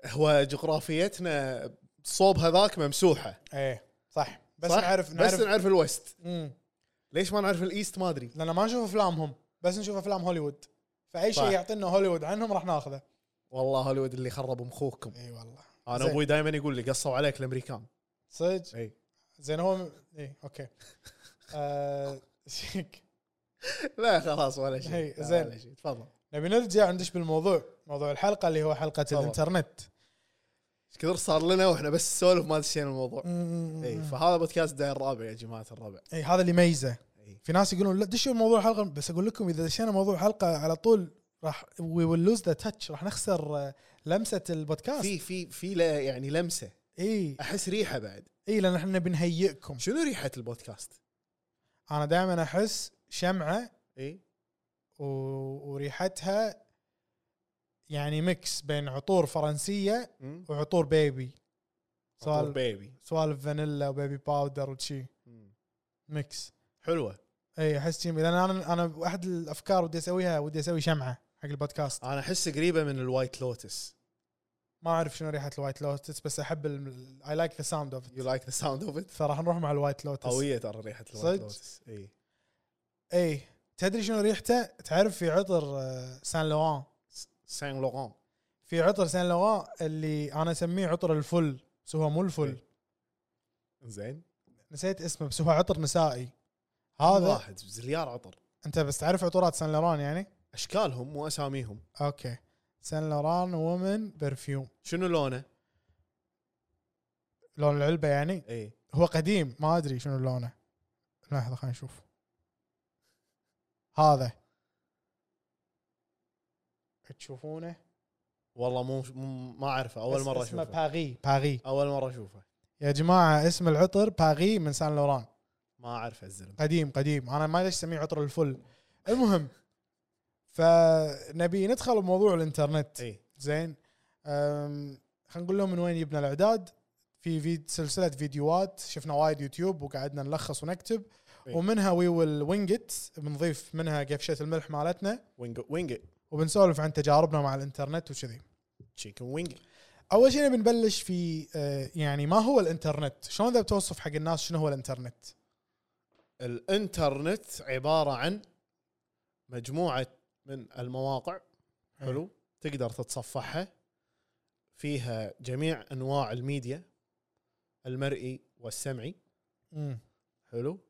[SPEAKER 5] هو جغرافيتنا صوب هذاك ممسوحه
[SPEAKER 4] ايه صح بس
[SPEAKER 5] إيه. صح؟
[SPEAKER 4] نعرف
[SPEAKER 5] بس
[SPEAKER 4] نعرف
[SPEAKER 5] نعرف الوست
[SPEAKER 4] امم
[SPEAKER 5] ليش ما نعرف الايست ما ادري
[SPEAKER 4] لان ما نشوف افلامهم بس نشوف افلام هوليوود فاي
[SPEAKER 5] صح.
[SPEAKER 4] شيء يعطينا هوليوود عنهم راح ناخذه
[SPEAKER 5] والله هوليوود اللي خرب مخوكم
[SPEAKER 4] اي والله
[SPEAKER 5] انا
[SPEAKER 4] زين.
[SPEAKER 5] ابوي دائما يقول لي قصوا عليك الامريكان
[SPEAKER 4] صدق
[SPEAKER 5] اي
[SPEAKER 4] زين هو اي اوكي [LAUGHS] آه، شيك
[SPEAKER 5] لا خلاص ولا
[SPEAKER 4] إي،
[SPEAKER 5] شيء لا،
[SPEAKER 4] زين.
[SPEAKER 5] ولا شيء. تفضل
[SPEAKER 4] نبي نرجع ندش بالموضوع موضوع الحلقه اللي هو حلقه
[SPEAKER 5] تفضل.
[SPEAKER 4] الانترنت
[SPEAKER 5] ايش كثر صار لنا واحنا بس نسولف ما دشينا الموضوع اي
[SPEAKER 4] اي
[SPEAKER 5] فهذا بودكاست داير الرابع يا جماعه الربع
[SPEAKER 4] اي إيه، هذا اللي يميزه
[SPEAKER 5] إي.
[SPEAKER 4] في ناس يقولون لا دشوا موضوع حلقه بس اقول لكم اذا دشينا موضوع حلقه على طول راح وي ويل لوز ذا تاتش راح نخسر آه، لمسه البودكاست إيه،
[SPEAKER 5] في في في لا- يعني لمسه
[SPEAKER 4] اي
[SPEAKER 5] احس ريحه بعد
[SPEAKER 4] اي لان احنا إيه، بنهيئكم
[SPEAKER 5] شنو ريحه البودكاست؟
[SPEAKER 4] انا دائما احس شمعه
[SPEAKER 5] اي
[SPEAKER 4] و... وريحتها يعني ميكس بين عطور فرنسيه
[SPEAKER 5] مم.
[SPEAKER 4] وعطور بيبي
[SPEAKER 5] عطور
[SPEAKER 4] سوالف
[SPEAKER 5] بيبي
[SPEAKER 4] سوالف فانيلا وبيبي باودر وشي
[SPEAKER 5] مم.
[SPEAKER 4] ميكس
[SPEAKER 5] حلوه
[SPEAKER 4] اي احس كذي لان انا انا احد الافكار ودي اسويها ودي اسوي شمعه حق البودكاست
[SPEAKER 5] انا احس قريبه من الوايت لوتس
[SPEAKER 4] ما اعرف شنو ريحه الوايت لوتس بس احب اي لايك ذا ساوند اوف
[SPEAKER 5] يو لايك ذا ساوند [LAUGHS] اوف ات
[SPEAKER 4] فراح نروح مع الوايت لوتس
[SPEAKER 5] قويه ترى ريحه
[SPEAKER 4] صدق؟
[SPEAKER 5] الوايت لوتس إيه. اي
[SPEAKER 4] اي تدري شنو ريحته؟ تعرف في عطر آه، سان لوان
[SPEAKER 5] سان لوران
[SPEAKER 4] في عطر سان لوان اللي انا اسميه عطر الفل بس هو مو الفل
[SPEAKER 5] إي. زين
[SPEAKER 4] نسيت اسمه بس هو عطر نسائي
[SPEAKER 5] هذا
[SPEAKER 4] هذا
[SPEAKER 5] واحد زليار عطر
[SPEAKER 4] انت بس تعرف عطورات سان لوران يعني؟
[SPEAKER 5] اشكالهم مو اساميهم
[SPEAKER 4] اوكي سان لوران وومن برفيوم
[SPEAKER 5] شنو لونه؟
[SPEAKER 4] لون العلبه يعني
[SPEAKER 5] اي
[SPEAKER 4] هو قديم ما ادري شنو لونه لحظه خلينا نشوف هذا تشوفونه
[SPEAKER 5] والله مو مو- ما اعرفه اول
[SPEAKER 4] بس
[SPEAKER 5] مره
[SPEAKER 4] اسمه
[SPEAKER 5] اشوفه
[SPEAKER 4] باغي باغي
[SPEAKER 5] اول مره اشوفه
[SPEAKER 4] يا جماعه اسم العطر باغي من سان لوران
[SPEAKER 5] ما اعرفه الزلمه
[SPEAKER 4] قديم قديم انا ما ليش اسميه عطر الفل المهم فنبي ندخل بموضوع الانترنت
[SPEAKER 5] اي
[SPEAKER 4] زين أم، خلينا نقول لهم من وين جبنا الاعداد في فيد سلسله فيديوهات شفنا وايد يوتيوب وقعدنا نلخص ونكتب
[SPEAKER 5] إي.
[SPEAKER 4] ومنها وي ويل وينجت بنضيف منها قفشه الملح مالتنا
[SPEAKER 5] وينج وينج
[SPEAKER 4] وبنسولف عن تجاربنا مع الانترنت وكذي
[SPEAKER 5] تشيكن وينج
[SPEAKER 4] اول شيء بنبلش في آه، يعني ما هو الانترنت شلون ذا بتوصف حق الناس شنو هو الانترنت
[SPEAKER 5] الانترنت عباره عن مجموعه من المواقع حلو تقدر تتصفحها فيها جميع انواع الميديا المرئي والسمعي
[SPEAKER 4] مم.
[SPEAKER 5] حلو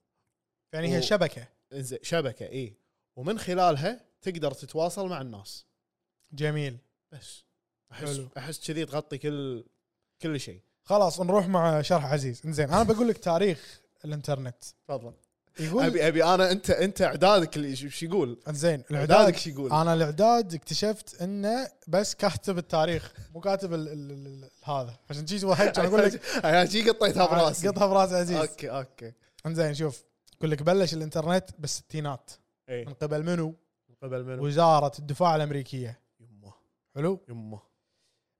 [SPEAKER 4] يعني هي
[SPEAKER 5] و-
[SPEAKER 4] شبكه
[SPEAKER 5] إنزين، شبكه اي ومن خلالها تقدر تتواصل مع الناس
[SPEAKER 4] جميل
[SPEAKER 5] بس احس
[SPEAKER 4] حلو.
[SPEAKER 5] احس كذي تغطي كل كل شيء
[SPEAKER 4] خلاص نروح مع شرح عزيز انزين انا بقول لك تاريخ الانترنت
[SPEAKER 5] تفضل
[SPEAKER 4] يقول
[SPEAKER 5] ابي ابي انا انت انت اعدادك اللي شو شو يقول؟
[SPEAKER 4] انزين الاعداد
[SPEAKER 5] اعدادك شو يقول؟
[SPEAKER 4] انا الاعداد اكتشفت انه بس كاتب التاريخ مو كاتب ال ال ال ال هذا عشان جيت واحد كان اقول
[SPEAKER 5] [LAUGHS]
[SPEAKER 4] لك
[SPEAKER 5] انا شي قطيتها براسي
[SPEAKER 4] قطها براس عزيز
[SPEAKER 5] اوكي اوكي
[SPEAKER 4] انزين شوف يقول لك بلش الانترنت بالستينات
[SPEAKER 5] اي
[SPEAKER 4] من قبل منو؟
[SPEAKER 5] قبل منو؟
[SPEAKER 4] وزاره الدفاع الامريكيه
[SPEAKER 5] يمه
[SPEAKER 4] حلو
[SPEAKER 5] يمه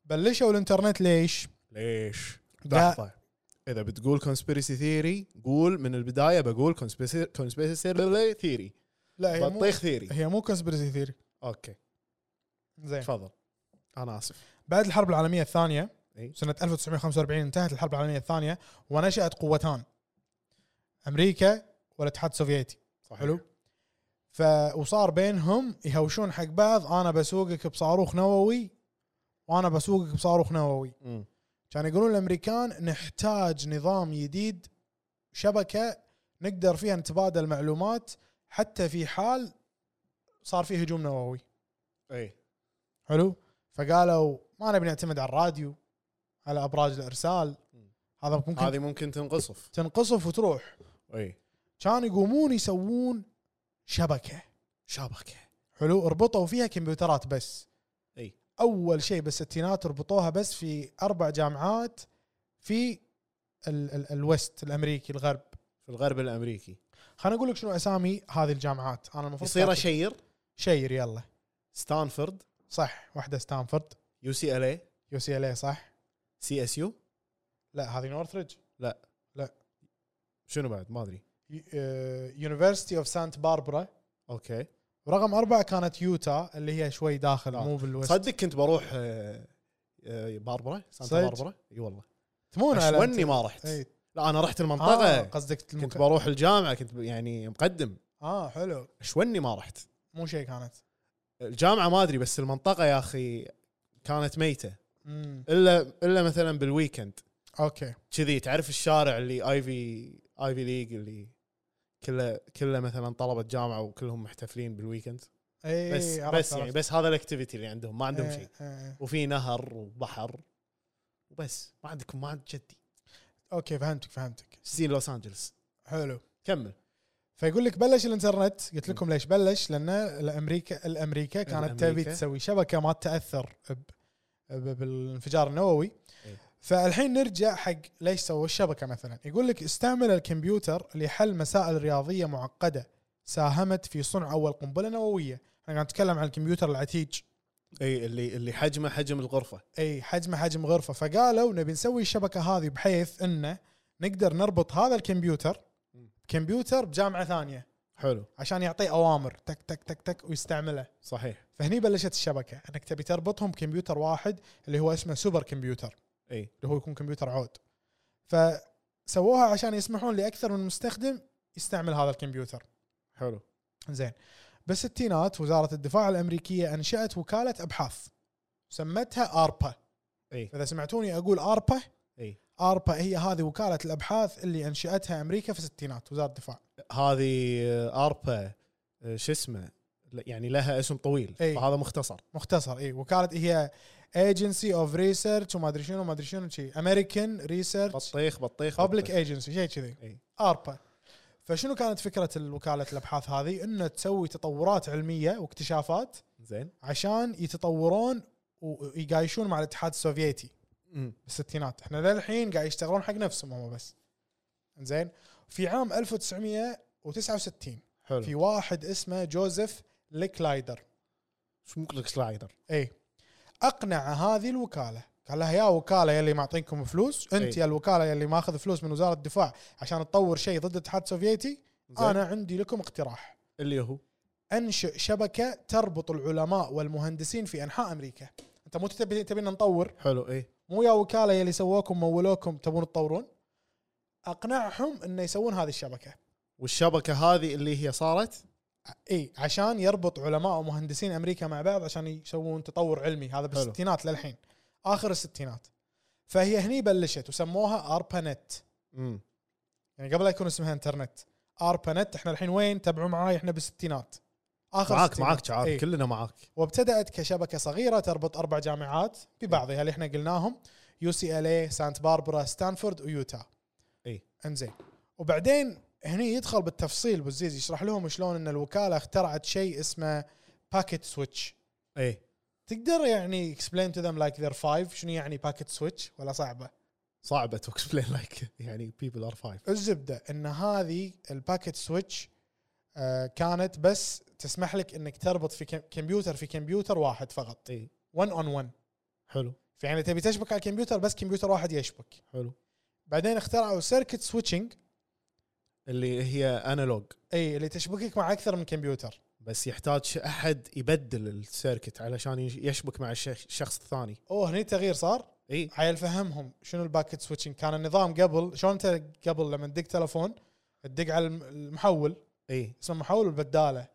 [SPEAKER 4] بلشوا الانترنت ليش؟
[SPEAKER 5] ليش؟
[SPEAKER 4] لا.
[SPEAKER 5] لحظه اذا بتقول كونسبيرسي ثيري قول من البدايه بقول كونسبيرسي ثيري
[SPEAKER 4] لا هي أيوة، مو
[SPEAKER 5] بطيخ ثيري
[SPEAKER 4] هي مو كونسبيرسي ثيري
[SPEAKER 5] اوكي
[SPEAKER 4] زين
[SPEAKER 5] تفضل انا اسف
[SPEAKER 4] بعد الحرب العالميه الثانيه
[SPEAKER 5] إي.
[SPEAKER 4] سنه 1945 انتهت الحرب العالميه الثانيه ونشات قوتان امريكا والاتحاد السوفيتي
[SPEAKER 5] صحيح
[SPEAKER 4] حلو ف وصار بينهم يهوشون حق بعض انا بسوقك بصاروخ نووي وانا بسوقك بصاروخ نووي
[SPEAKER 5] مم.
[SPEAKER 4] كانوا يقولون الامريكان نحتاج نظام جديد شبكه نقدر فيها نتبادل معلومات حتى في حال صار في هجوم نووي
[SPEAKER 5] اي
[SPEAKER 4] حلو فقالوا ما نبي نعتمد على الراديو على ابراج الارسال هذا ممكن
[SPEAKER 5] هذه ممكن تنقصف
[SPEAKER 4] تنقصف وتروح
[SPEAKER 5] اي
[SPEAKER 4] كانوا يقومون يسوون شبكه
[SPEAKER 5] شابك
[SPEAKER 4] حلو ربطوا فيها كمبيوترات بس
[SPEAKER 5] اي.
[SPEAKER 4] اول شيء بالستينات ربطوها بس في اربع جامعات في ال ال الوست الامريكي الغرب
[SPEAKER 5] في الغرب الامريكي
[SPEAKER 4] خليني اقول لك شنو اسامي هذه الجامعات انا المفروض
[SPEAKER 5] يصير
[SPEAKER 4] كاتب-
[SPEAKER 5] اشير
[SPEAKER 4] شير يلا
[SPEAKER 5] ستانفورد
[SPEAKER 4] صح واحده ستانفورد
[SPEAKER 5] يو سي ال اي
[SPEAKER 4] يو سي ال اي صح
[SPEAKER 5] سي اس يو
[SPEAKER 4] لا هذه نورثريدج
[SPEAKER 5] شنو بعد ما ادري
[SPEAKER 4] آه، يونيفرستي اوف سانت باربرا
[SPEAKER 5] اوكي
[SPEAKER 4] ورقم أربعة كانت يوتا اللي هي شوي داخل
[SPEAKER 5] آه.
[SPEAKER 4] مو بالوست
[SPEAKER 5] تصدق كنت بروح آه، آه، باربرا سانتا
[SPEAKER 4] صدق؟
[SPEAKER 5] باربرا اي والله
[SPEAKER 4] تمون على
[SPEAKER 5] اشوني ما رحت
[SPEAKER 4] إي.
[SPEAKER 5] لا انا رحت
[SPEAKER 4] آه
[SPEAKER 5] المنطقه
[SPEAKER 4] قصدك
[SPEAKER 5] كنت
[SPEAKER 4] المك...
[SPEAKER 5] بروح الجامعه كنت ب- يعني مقدم
[SPEAKER 4] اه حلو
[SPEAKER 5] اشوني ما رحت
[SPEAKER 4] مو شيء كانت
[SPEAKER 5] الجامعه ما ادري بس المنطقه يا اخي كانت ميته
[SPEAKER 4] مم.
[SPEAKER 5] الا الا مثلا بالويكند
[SPEAKER 4] اوكي
[SPEAKER 5] كذي تعرف الشارع اللي ايفي ايفي ليج اللي كله كله مثلا طلبه جامعه وكلهم محتفلين بالويكند
[SPEAKER 4] اي
[SPEAKER 5] بس
[SPEAKER 4] إيه، عرفت
[SPEAKER 5] بس يعني
[SPEAKER 4] عرفت.
[SPEAKER 5] بس هذا الاكتيفيتي اللي عندهم ما عندهم
[SPEAKER 4] إيه،
[SPEAKER 5] شيء
[SPEAKER 4] إيه.
[SPEAKER 5] وفي نهر وبحر وبس ما عندك ما عندك جدي
[SPEAKER 4] اوكي فهمتك فهمتك
[SPEAKER 5] سين لوس انجلس
[SPEAKER 4] حلو
[SPEAKER 5] كمل
[SPEAKER 4] فيقول لك بلش الانترنت قلت لكم ليش بلش لان الامريكا الامريكا كانت
[SPEAKER 5] الأمريكا.
[SPEAKER 4] تبي تسوي شبكه ما تتاثر ب- ب- بالانفجار النووي
[SPEAKER 5] إيه.
[SPEAKER 4] فالحين نرجع حق ليش سووا الشبكه مثلا يقول لك استعمل الكمبيوتر لحل مسائل رياضيه معقده ساهمت في صنع اول قنبله نوويه احنا قاعد نتكلم عن الكمبيوتر العتيج
[SPEAKER 5] اي اللي اللي حجمه حجم الغرفه
[SPEAKER 4] اي حجمه حجم غرفه فقالوا نبي نسوي الشبكه هذه بحيث انه نقدر نربط هذا الكمبيوتر كمبيوتر بجامعه ثانيه
[SPEAKER 5] حلو
[SPEAKER 4] عشان يعطيه اوامر تك تك تك تك ويستعمله
[SPEAKER 5] صحيح
[SPEAKER 4] فهني بلشت الشبكه انك تبي تربطهم كمبيوتر واحد اللي هو اسمه سوبر كمبيوتر
[SPEAKER 5] اي
[SPEAKER 4] اللي هو يكون كمبيوتر عود فسووها عشان يسمحون لاكثر من مستخدم يستعمل هذا الكمبيوتر
[SPEAKER 5] حلو
[SPEAKER 4] زين بالستينات وزاره الدفاع الامريكيه انشات وكاله ابحاث سمتها اربا
[SPEAKER 5] إي.
[SPEAKER 4] فاذا سمعتوني اقول اربا
[SPEAKER 5] إي.
[SPEAKER 4] اربا هي هذه وكاله الابحاث اللي انشاتها امريكا في الستينات وزاره الدفاع
[SPEAKER 5] هذه آه، اربا آه، شو اسمه ل- يعني لها اسم طويل
[SPEAKER 4] إي.
[SPEAKER 5] فهذا مختصر
[SPEAKER 4] مختصر اي وكاله هي ايجنسي اوف ريسيرش وما ادري شنو وما ادري شنو شي امريكان ريسيرش
[SPEAKER 5] بطيخ بطيخ
[SPEAKER 4] بابليك
[SPEAKER 5] بطيخ.
[SPEAKER 4] ايجنسي شيء كذي
[SPEAKER 5] إي.
[SPEAKER 4] اربا فشنو كانت فكره الوكاله الابحاث هذه؟ انه تسوي تطورات علميه واكتشافات
[SPEAKER 5] زين
[SPEAKER 4] عشان يتطورون ويقايشون مع الاتحاد السوفيتي
[SPEAKER 5] مم.
[SPEAKER 4] بالستينات احنا للحين قاعد يشتغلون حق نفسهم هم بس زين في عام 1969
[SPEAKER 5] حلو
[SPEAKER 4] في واحد اسمه جوزيف ليكلايدر
[SPEAKER 5] شو ممكن سلايدر
[SPEAKER 4] اي اقنع إيه. هذه الوكاله قال لها يا وكاله يلي معطينكم فلوس انت
[SPEAKER 5] إي.
[SPEAKER 4] يا الوكاله يلي ماخذ فلوس من وزاره الدفاع عشان تطور شيء ضد الاتحاد السوفيتي
[SPEAKER 5] زين.
[SPEAKER 4] انا عندي لكم اقتراح
[SPEAKER 5] اللي هو
[SPEAKER 4] انشئ شبكه تربط العلماء والمهندسين في انحاء امريكا انت مو تبي تبينا نطور
[SPEAKER 5] حلو إيه. اي
[SPEAKER 4] مو يا وكاله يلي سووكم مولوكم تبون تطورون اقنعهم انه يسوون هذه الشبكه
[SPEAKER 5] والشبكه هذه اللي هي صارت
[SPEAKER 4] اي عشان يربط علماء ومهندسين امريكا مع بعض عشان يسوون تطور علمي هذا
[SPEAKER 5] حلو.
[SPEAKER 4] بالستينات للحين اخر الستينات فهي هني بلشت وسموها اربانت
[SPEAKER 5] امم
[SPEAKER 4] يعني قبل لا يكون اسمها انترنت اربانت احنا الحين وين تابعوا معاي احنا بالستينات اخر
[SPEAKER 5] معاك
[SPEAKER 4] الستينات.
[SPEAKER 5] معاك شعار
[SPEAKER 4] إي.
[SPEAKER 5] كلنا معاك
[SPEAKER 4] وابتدات كشبكه صغيره تربط اربع جامعات ببعضها اللي احنا قلناهم يو سي ال اي سانت باربرا ستانفورد ويوتا
[SPEAKER 5] إي.
[SPEAKER 4] انزين وبعدين هني يدخل بالتفصيل بوزيز يشرح لهم شلون ان الوكاله اخترعت شيء اسمه باكيت سويتش
[SPEAKER 5] اي
[SPEAKER 4] تقدر يعني اكسبلين تو ذم لايك ذير فايف شنو يعني باكيت سويتش ولا صعبه
[SPEAKER 5] صعبه تو اكسبلين لايك [LAUGHS] يعني بيبل ار فايف
[SPEAKER 4] الزبده ان هذه الباكيت سويتش آه، كانت بس تسمح لك انك تربط في كم- كمبيوتر في كمبيوتر واحد فقط
[SPEAKER 5] اي
[SPEAKER 4] 1 اون 1
[SPEAKER 5] حلو
[SPEAKER 4] فيعني تبي تشبك على الكمبيوتر بس كمبيوتر واحد يشبك
[SPEAKER 5] حلو
[SPEAKER 4] بعدين اخترعوا سيركت سويتشنج
[SPEAKER 5] اللي هي انالوج
[SPEAKER 4] اي اللي تشبكك مع اكثر من كمبيوتر
[SPEAKER 5] بس يحتاج ش- احد يبدل السيركت علشان يش- يشبك مع الشخ- الشخص الثاني
[SPEAKER 4] اوه هني تغيير صار
[SPEAKER 5] اي
[SPEAKER 4] عيل فهمهم شنو الباكت سويتشنج كان النظام قبل شلون انت قبل لما تدق تلفون تدق على الم- المحول
[SPEAKER 5] اي
[SPEAKER 4] اسمه محول البداله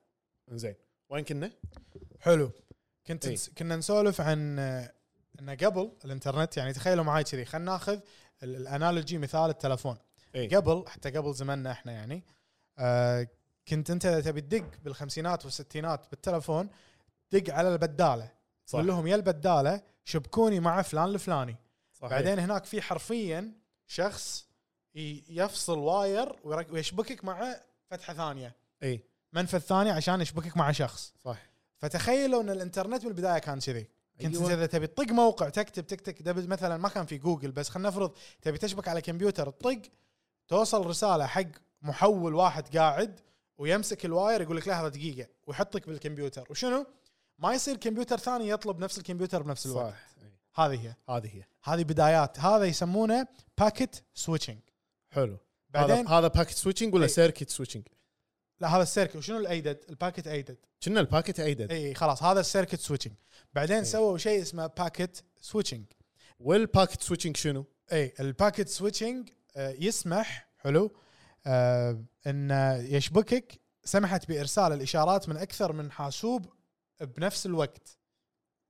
[SPEAKER 5] زين وين كنا؟
[SPEAKER 4] حلو كنت
[SPEAKER 5] إي.
[SPEAKER 4] نس- كنا نسولف عن آه، انه قبل الانترنت يعني تخيلوا معي كذي خلينا ناخذ ال- الانالوجي مثال التلفون
[SPEAKER 5] اي
[SPEAKER 4] قبل حتى قبل زماننا احنا يعني آه كنت انت إذا تبي تدق بالخمسينات والستينات بالتلفون دق على البداله
[SPEAKER 5] صح.
[SPEAKER 4] قول لهم يا البداله شبكوني مع فلان الفلاني
[SPEAKER 5] صحيح.
[SPEAKER 4] بعدين هناك في حرفيا شخص ي- يفصل واير ويرك- ويشبكك مع فتحه ثانيه
[SPEAKER 5] اي
[SPEAKER 4] منفذ ثاني عشان يشبكك مع شخص
[SPEAKER 5] صح
[SPEAKER 4] فتخيلوا ان الانترنت بالبدايه كان كذي كنت
[SPEAKER 5] أيوة.
[SPEAKER 4] أيوة. اذا تبي تطق موقع تكتب تكتك دبل مثلا ما كان في جوجل بس خلينا نفرض تبي تشبك على كمبيوتر تطق توصل رساله حق محول واحد قاعد ويمسك الواير يقول لك لحظه دقيقه ويحطك بالكمبيوتر وشنو؟ ما يصير كمبيوتر ثاني يطلب نفس الكمبيوتر بنفس الوقت
[SPEAKER 5] صح إي.
[SPEAKER 4] هذه هي
[SPEAKER 5] هذه هي
[SPEAKER 4] هذه بدايات هذا يسمونه باكيت سويتشنج
[SPEAKER 5] حلو
[SPEAKER 4] بعدين
[SPEAKER 5] هذا هذا باكت سويتشنج ولا
[SPEAKER 4] إي.
[SPEAKER 5] سيركت سويتشنج؟
[SPEAKER 4] لا هذا السيركت وشنو الايدد؟ الباكيت ايدد
[SPEAKER 5] كنا الباكت ايدد
[SPEAKER 4] اي خلاص هذا السيركت سويتشنج بعدين سووا شيء اسمه باكيت سويتشنج
[SPEAKER 5] والباكت سويتشنج شنو؟
[SPEAKER 4] اي الباكيت سويتشنج آه، يسمح حلو آه، ان يشبكك سمحت بارسال الاشارات من اكثر من حاسوب بنفس الوقت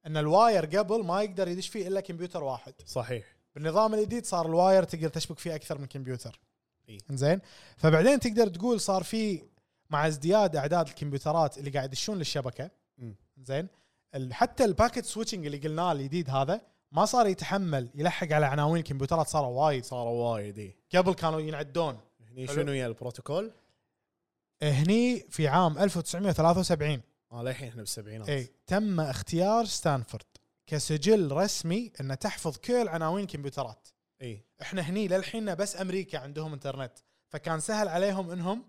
[SPEAKER 4] ان الواير قبل ما يقدر يدش فيه الا كمبيوتر واحد
[SPEAKER 5] صحيح
[SPEAKER 4] بالنظام الجديد صار الواير تقدر تشبك فيه اكثر من كمبيوتر
[SPEAKER 5] إي.
[SPEAKER 4] زين فبعدين تقدر تقول صار في مع ازدياد اعداد الكمبيوترات اللي قاعد يدشون للشبكه
[SPEAKER 5] مم.
[SPEAKER 4] زين ال- حتى الباكت سويتشنج اللي قلناه الجديد هذا ما صار يتحمل يلحق على عناوين الكمبيوترات صاروا وايد
[SPEAKER 5] صاروا وايد اي
[SPEAKER 4] قبل كانوا ينعدون
[SPEAKER 5] هني
[SPEAKER 4] حلو.
[SPEAKER 5] شنو هي البروتوكول؟
[SPEAKER 4] هني في عام 1973
[SPEAKER 5] اه للحين احنا بالسبعينات
[SPEAKER 4] اي إيه، تم اختيار ستانفورد كسجل رسمي انه تحفظ كل عناوين الكمبيوترات
[SPEAKER 5] اي
[SPEAKER 4] احنا هني للحين بس امريكا عندهم انترنت فكان سهل عليهم انهم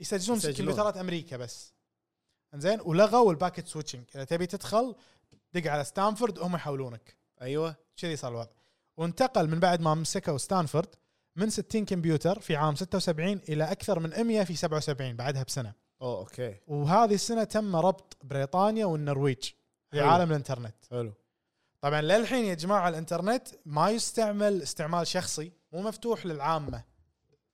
[SPEAKER 4] يسجلون
[SPEAKER 5] يسجلون.
[SPEAKER 4] كمبيوترات امريكا بس انزين ولغوا الباكت سويتشنج اذا تبي تدخل دق على ستانفورد هم يحولونك
[SPEAKER 5] ايوه
[SPEAKER 4] كذي صار الوضع وانتقل من بعد ما مسكوا ستانفورد من 60 كمبيوتر في عام 76 الى اكثر من 100 في 77 بعدها بسنه
[SPEAKER 5] اوه اوكي
[SPEAKER 4] وهذه السنه تم ربط بريطانيا والنرويج في
[SPEAKER 5] حلو.
[SPEAKER 4] عالم الانترنت
[SPEAKER 5] حلو
[SPEAKER 4] طبعا للحين يا جماعه الانترنت ما يستعمل استعمال شخصي مو مفتوح للعامه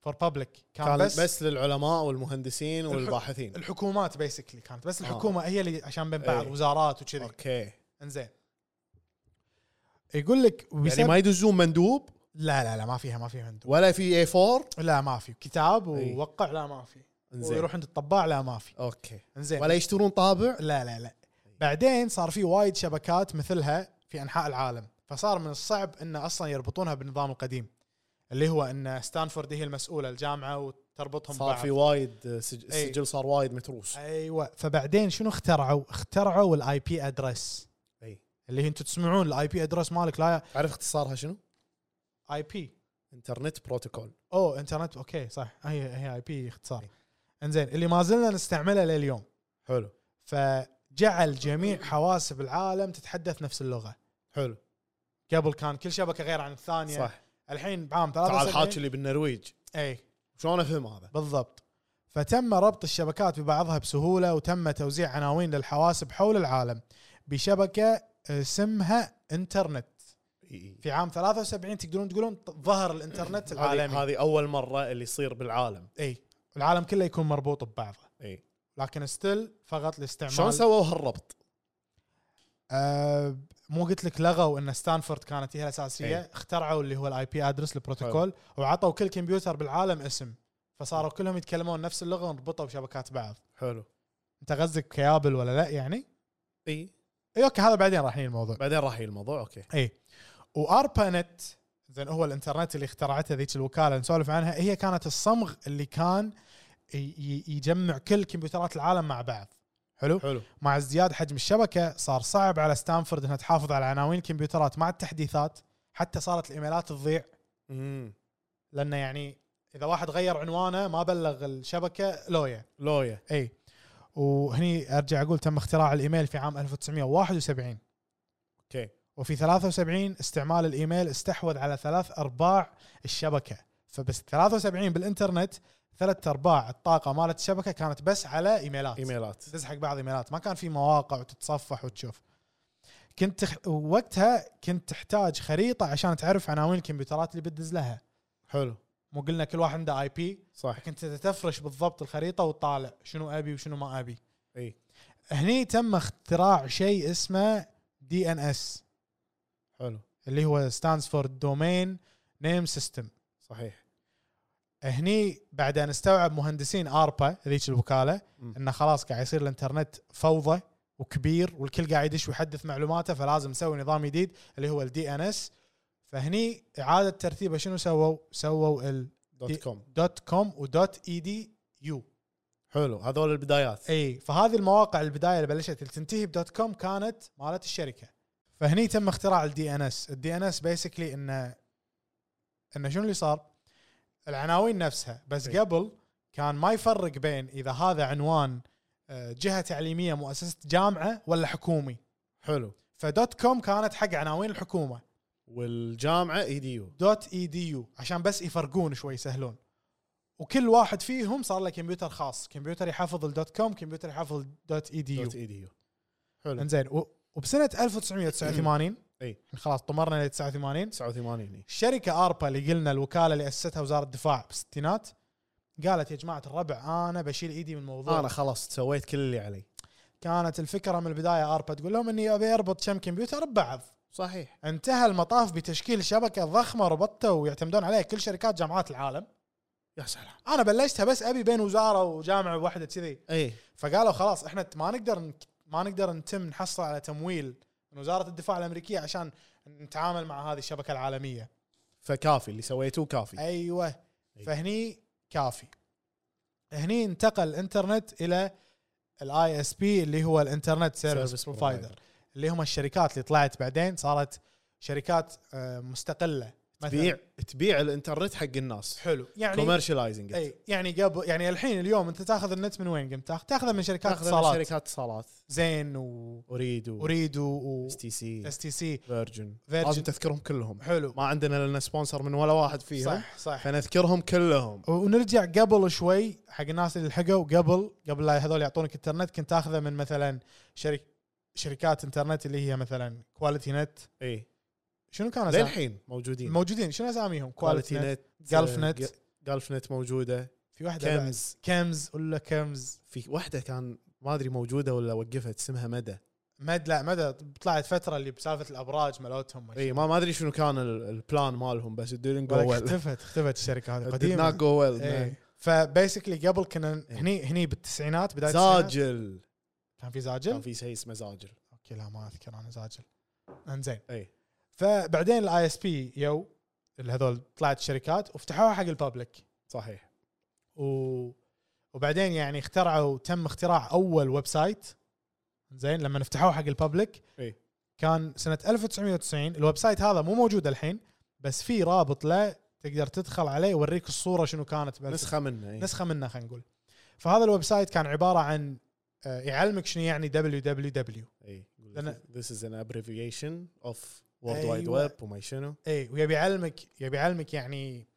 [SPEAKER 4] فور بابليك
[SPEAKER 5] كان
[SPEAKER 4] كان
[SPEAKER 5] بس,
[SPEAKER 4] بس
[SPEAKER 5] بس للعلماء والمهندسين
[SPEAKER 4] الحك-
[SPEAKER 5] والباحثين
[SPEAKER 4] الحكومات بيسكلي كانت بس
[SPEAKER 5] آه.
[SPEAKER 4] الحكومه هي اللي عشان بين بعض
[SPEAKER 5] إيه.
[SPEAKER 4] وزارات وكذي
[SPEAKER 5] اوكي
[SPEAKER 4] انزين يقول لك
[SPEAKER 5] يعني
[SPEAKER 4] ويسب-
[SPEAKER 5] ما يدزون مندوب
[SPEAKER 4] لا لا لا ما فيها ما فيها مندوب
[SPEAKER 5] ولا في اي 4
[SPEAKER 4] لا ما في كتاب
[SPEAKER 5] إيه.
[SPEAKER 4] ووقع لا ما في
[SPEAKER 5] انزين
[SPEAKER 4] ويروح عند الطباع لا ما في
[SPEAKER 5] اوكي
[SPEAKER 4] انزين
[SPEAKER 5] ولا يشترون طابع
[SPEAKER 4] لا لا لا بعدين صار في وايد شبكات مثلها في انحاء العالم فصار من الصعب ان اصلا يربطونها بالنظام القديم اللي هو ان ستانفورد هي المسؤوله الجامعه وتربطهم
[SPEAKER 5] صار
[SPEAKER 4] ببعض
[SPEAKER 5] في وايد آه، سج-
[SPEAKER 4] إي.
[SPEAKER 5] السجل صار وايد متروس
[SPEAKER 4] ايوه فبعدين شنو اخترعوا؟ اخترعوا الاي بي ادرس
[SPEAKER 5] اي
[SPEAKER 4] اللي هي انتم تسمعون الاي بي ادرس مالك لا
[SPEAKER 5] تعرف اختصارها شنو؟
[SPEAKER 4] اي بي
[SPEAKER 5] انترنت بروتوكول
[SPEAKER 4] اوه انترنت اوكي صح هي هي اي بي اختصار انزين اللي ما زلنا نستعمله لليوم
[SPEAKER 5] حلو
[SPEAKER 4] فجعل جميع حواسب العالم تتحدث نفس اللغه
[SPEAKER 5] حلو
[SPEAKER 4] قبل كان كل شبكه غير عن الثانيه
[SPEAKER 5] صح
[SPEAKER 4] الحين بعام
[SPEAKER 5] تعال
[SPEAKER 4] 73
[SPEAKER 5] حاكي اللي بالنرويج
[SPEAKER 4] اي
[SPEAKER 5] شلون افهم هذا؟
[SPEAKER 4] بالضبط فتم ربط الشبكات ببعضها بسهوله وتم توزيع عناوين للحواسب حول العالم بشبكه اسمها انترنت
[SPEAKER 5] إي.
[SPEAKER 4] في عام 73 تقدرون تقولون ط- ظهر الانترنت
[SPEAKER 5] [CLEARS THROAT] هذه
[SPEAKER 4] العالمي
[SPEAKER 5] هذه اول مره اللي يصير بالعالم
[SPEAKER 4] اي العالم كله يكون مربوط ببعضه
[SPEAKER 5] اي
[SPEAKER 4] لكن ستيل فقط لاستعمال
[SPEAKER 5] شلون سووا هالربط؟
[SPEAKER 4] آه مو قلت لك لغوا ان ستانفورد كانت هي الاساسيه
[SPEAKER 5] إي.
[SPEAKER 4] اخترعوا اللي هو الاي بي ادرس البروتوكول وعطوا كل كمبيوتر بالعالم اسم فصاروا كلهم يتكلمون نفس اللغه ونربطوا بشبكات بعض
[SPEAKER 5] حلو
[SPEAKER 4] انت غزك كيابل ولا لا يعني
[SPEAKER 5] اي
[SPEAKER 4] اي اوكي هذا بعدين راح نجي الموضوع
[SPEAKER 5] بعدين راح يجي الموضوع اوكي
[SPEAKER 4] اي واربانت زين هو الانترنت اللي اخترعته ذيك الوكاله نسولف عنها هي كانت الصمغ اللي كان ي- ي- يجمع كل كمبيوترات العالم مع بعض حلو
[SPEAKER 5] حلو
[SPEAKER 4] مع ازدياد حجم الشبكه صار صعب على ستانفورد انها تحافظ على عناوين الكمبيوترات مع التحديثات حتى صارت الايميلات تضيع
[SPEAKER 5] امم
[SPEAKER 4] لانه يعني اذا واحد غير عنوانه ما بلغ الشبكه لويا
[SPEAKER 5] لويا
[SPEAKER 4] اي وهني ارجع اقول تم اختراع الايميل في عام 1971
[SPEAKER 5] اوكي
[SPEAKER 4] وفي 73 استعمال الايميل استحوذ على ثلاث ارباع الشبكه فبس 73 بالانترنت ثلاث ارباع الطاقه مالت الشبكه كانت بس على ايميلات
[SPEAKER 5] ايميلات
[SPEAKER 4] تدز حق بعض ايميلات ما كان في مواقع وتتصفح وتشوف كنت تخ... وقتها كنت تحتاج خريطه عشان تعرف عناوين الكمبيوترات اللي بتدز لها
[SPEAKER 5] حلو
[SPEAKER 4] مو قلنا كل واحد عنده اي بي
[SPEAKER 5] صح
[SPEAKER 4] كنت تفرش بالضبط الخريطه وتطالع شنو ابي وشنو ما ابي
[SPEAKER 5] اي
[SPEAKER 4] هني تم اختراع شيء اسمه دي ان اس
[SPEAKER 5] حلو
[SPEAKER 4] اللي هو ستاندز فور دومين نيم سيستم
[SPEAKER 5] صحيح
[SPEAKER 4] هني بعد ان استوعب مهندسين اربا ذيك الوكاله
[SPEAKER 5] مم.
[SPEAKER 4] انه خلاص قاعد يصير الانترنت فوضى وكبير والكل قاعد يدش ويحدث معلوماته فلازم نسوي نظام جديد اللي هو الدي ان اس فهني اعاده ترتيبه شنو سووا؟ سووا
[SPEAKER 5] دوت كوم
[SPEAKER 4] الدوت كوم E ودوت اي دي يو
[SPEAKER 5] حلو هذول البدايات
[SPEAKER 4] اي فهذه المواقع البدايه اللي بلشت اللي تنتهي بدوت كوم كانت مالت الشركه فهني تم اختراع الدي ان اس الدي ان اس بيسكلي انه انه شنو اللي صار العناوين نفسها بس
[SPEAKER 5] إي.
[SPEAKER 4] قبل كان ما يفرق بين اذا هذا عنوان آه، جهه تعليميه مؤسسه جامعه ولا حكومي
[SPEAKER 5] حلو
[SPEAKER 4] فدوت كوم كانت حق عناوين الحكومه
[SPEAKER 5] والجامعه اي دي يو
[SPEAKER 4] دوت اي دي يو عشان بس يفرقون شوي يسهلون وكل واحد فيهم صار له كمبيوتر خاص كمبيوتر يحافظ الدوت كوم كمبيوتر يحافظ الدوت اي دي يو
[SPEAKER 5] دوت اي دي يو حلو
[SPEAKER 4] انزين و- وبسنه 1989
[SPEAKER 5] اي.
[SPEAKER 4] يعني خلاص طمرنا ل 89
[SPEAKER 5] 89 إي.
[SPEAKER 4] الشركه اربا اللي قلنا الوكاله اللي اسستها وزاره الدفاع بالستينات قالت يا جماعه الربع انا بشيل ايدي من الموضوع
[SPEAKER 5] انا خلاص سويت كل اللي علي
[SPEAKER 4] كانت الفكره من البدايه اربا تقول لهم اني ابي اربط كم كمبيوتر ببعض
[SPEAKER 5] صحيح
[SPEAKER 4] انتهى المطاف بتشكيل شبكه ضخمه ربطته ويعتمدون عليها كل شركات جامعات العالم
[SPEAKER 5] يا سلام
[SPEAKER 4] انا بلشتها بس ابي بين وزاره وجامعه واحده كذي
[SPEAKER 5] اي
[SPEAKER 4] فقالوا خلاص احنا ما نقدر نك- ما نقدر نتم نحصل على تمويل من وزاره الدفاع الامريكيه عشان نتعامل مع هذه الشبكه العالميه
[SPEAKER 5] فكافي اللي سويتوه كافي
[SPEAKER 4] ايوه
[SPEAKER 5] أي.
[SPEAKER 4] فهني كافي هني انتقل الانترنت الى الاي اس بي اللي هو الانترنت سيرفيس
[SPEAKER 5] Service provider.
[SPEAKER 4] بروفايدر اللي هم الشركات اللي طلعت بعدين صارت شركات آه، مستقله
[SPEAKER 5] تبيع تبيع الانترنت حق الناس
[SPEAKER 4] حلو يعني
[SPEAKER 5] كوميرشلايزنج
[SPEAKER 4] اي يعني قبل يعني الحين اليوم انت تاخذ النت من وين قمت تاخذ؟ تاخذه من شركات
[SPEAKER 5] تاخذ من
[SPEAKER 4] اتصالات
[SPEAKER 5] شركات اتصالات
[SPEAKER 4] زين و
[SPEAKER 5] اريد اريد
[SPEAKER 4] اريد و
[SPEAKER 5] اس تي سي
[SPEAKER 4] اس تي سي
[SPEAKER 5] فيرجن
[SPEAKER 4] Virgin.
[SPEAKER 5] لازم تذكرهم كلهم
[SPEAKER 4] حلو
[SPEAKER 5] ما عندنا لنا سبونسر من ولا واحد فيهم
[SPEAKER 4] صح صح
[SPEAKER 5] فنذكرهم كلهم
[SPEAKER 4] ونرجع قبل شوي حق الناس اللي لحقوا قبل قبل لا هذول يعطونك انترنت كنت تاخذه من مثلا شرك شركات انترنت اللي هي مثلا كواليتي نت
[SPEAKER 5] اي
[SPEAKER 4] شنو كان اسامي؟
[SPEAKER 5] للحين موجودين
[SPEAKER 4] موجودين شنو اساميهم؟
[SPEAKER 5] كواليتي
[SPEAKER 4] كواليتي نت
[SPEAKER 5] نت
[SPEAKER 4] جلف نت.
[SPEAKER 5] جلف نت موجوده
[SPEAKER 4] في واحده بعد.
[SPEAKER 5] كمز
[SPEAKER 4] كمز ولا كمز
[SPEAKER 5] في واحده كان ما ادري موجوده ولا وقفت اسمها مدى
[SPEAKER 4] مد لا مدى طلعت فتره اللي بسالفه الابراج مالتهم
[SPEAKER 5] اي ما ما ادري شنو كان ال- البلان مالهم بس ديدنت جو
[SPEAKER 4] ولكن
[SPEAKER 5] ويل
[SPEAKER 4] اختفت اختفت الشركه هذه
[SPEAKER 5] ديدنت
[SPEAKER 4] قديمه
[SPEAKER 5] جو ويل
[SPEAKER 4] إيه. فبيسكلي قبل كنا
[SPEAKER 5] إيه.
[SPEAKER 4] هني هني بالتسعينات بدايه التسعينات
[SPEAKER 5] زاجل
[SPEAKER 4] كان في
[SPEAKER 5] كان
[SPEAKER 4] زاجل
[SPEAKER 5] في شيء اسمه زاجل
[SPEAKER 4] اوكي لا ما اذكر انا زاجل انزين
[SPEAKER 5] اي
[SPEAKER 4] فبعدين الاي اس بي يو اللي هذول طلعت شركات وفتحوها حق الببليك
[SPEAKER 5] صحيح
[SPEAKER 4] و... وبعدين يعني اخترعوا تم اختراع اول ويب سايت زين لما نفتحوه حق الببليك
[SPEAKER 5] إي.
[SPEAKER 4] كان سنه 1990 الويب سايت هذا مو موجود الحين بس في رابط له تقدر تدخل عليه يوريك الصوره شنو كانت بألف-
[SPEAKER 5] نسخه منه اي
[SPEAKER 4] نسخه منه خلينا نقول فهذا الويب سايت كان عباره عن آه، يعلمك شنو يعني www
[SPEAKER 5] اي يقول
[SPEAKER 4] لأن-
[SPEAKER 5] لك this is an abbreviation of world wide
[SPEAKER 4] أيوة.
[SPEAKER 5] web وما شنو
[SPEAKER 4] اي ويبي يعلمك يبي يعلمك يعني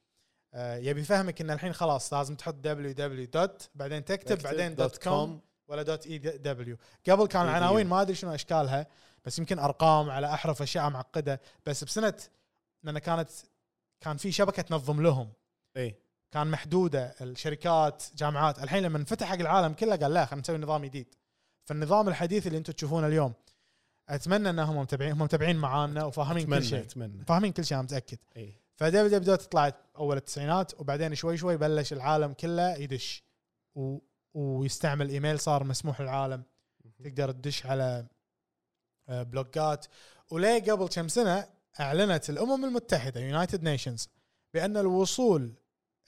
[SPEAKER 4] آه، يبي يفهمك ان الحين خلاص لازم تحط www دوت بعدين تكتب بعدين دوت كوم ولا دوت اي دبليو قبل كان
[SPEAKER 5] EDU.
[SPEAKER 4] العناوين ما ادري شنو اشكالها بس يمكن ارقام على احرف اشياء معقده بس بسنه لان كانت كان في شبكه تنظم لهم
[SPEAKER 5] اي
[SPEAKER 4] كان محدوده الشركات جامعات الحين لما انفتح حق العالم كله قال لا خلينا نسوي نظام جديد فالنظام الحديث اللي انتم تشوفونه اليوم اتمنى انهم متابعين هم متابعين معانا وفاهمين كل
[SPEAKER 5] اتمنى
[SPEAKER 4] شيء
[SPEAKER 5] اتمنى
[SPEAKER 4] فاهمين كل شيء انا متاكد
[SPEAKER 5] اي
[SPEAKER 4] فدبليو دبليو دوت طلعت اول التسعينات وبعدين شوي شوي بلش العالم كله يدش و... ويستعمل ايميل صار مسموح للعالم تقدر تدش على آه، بلوجات وليه قبل كم سنه اعلنت الامم المتحده يونايتد نيشنز بان الوصول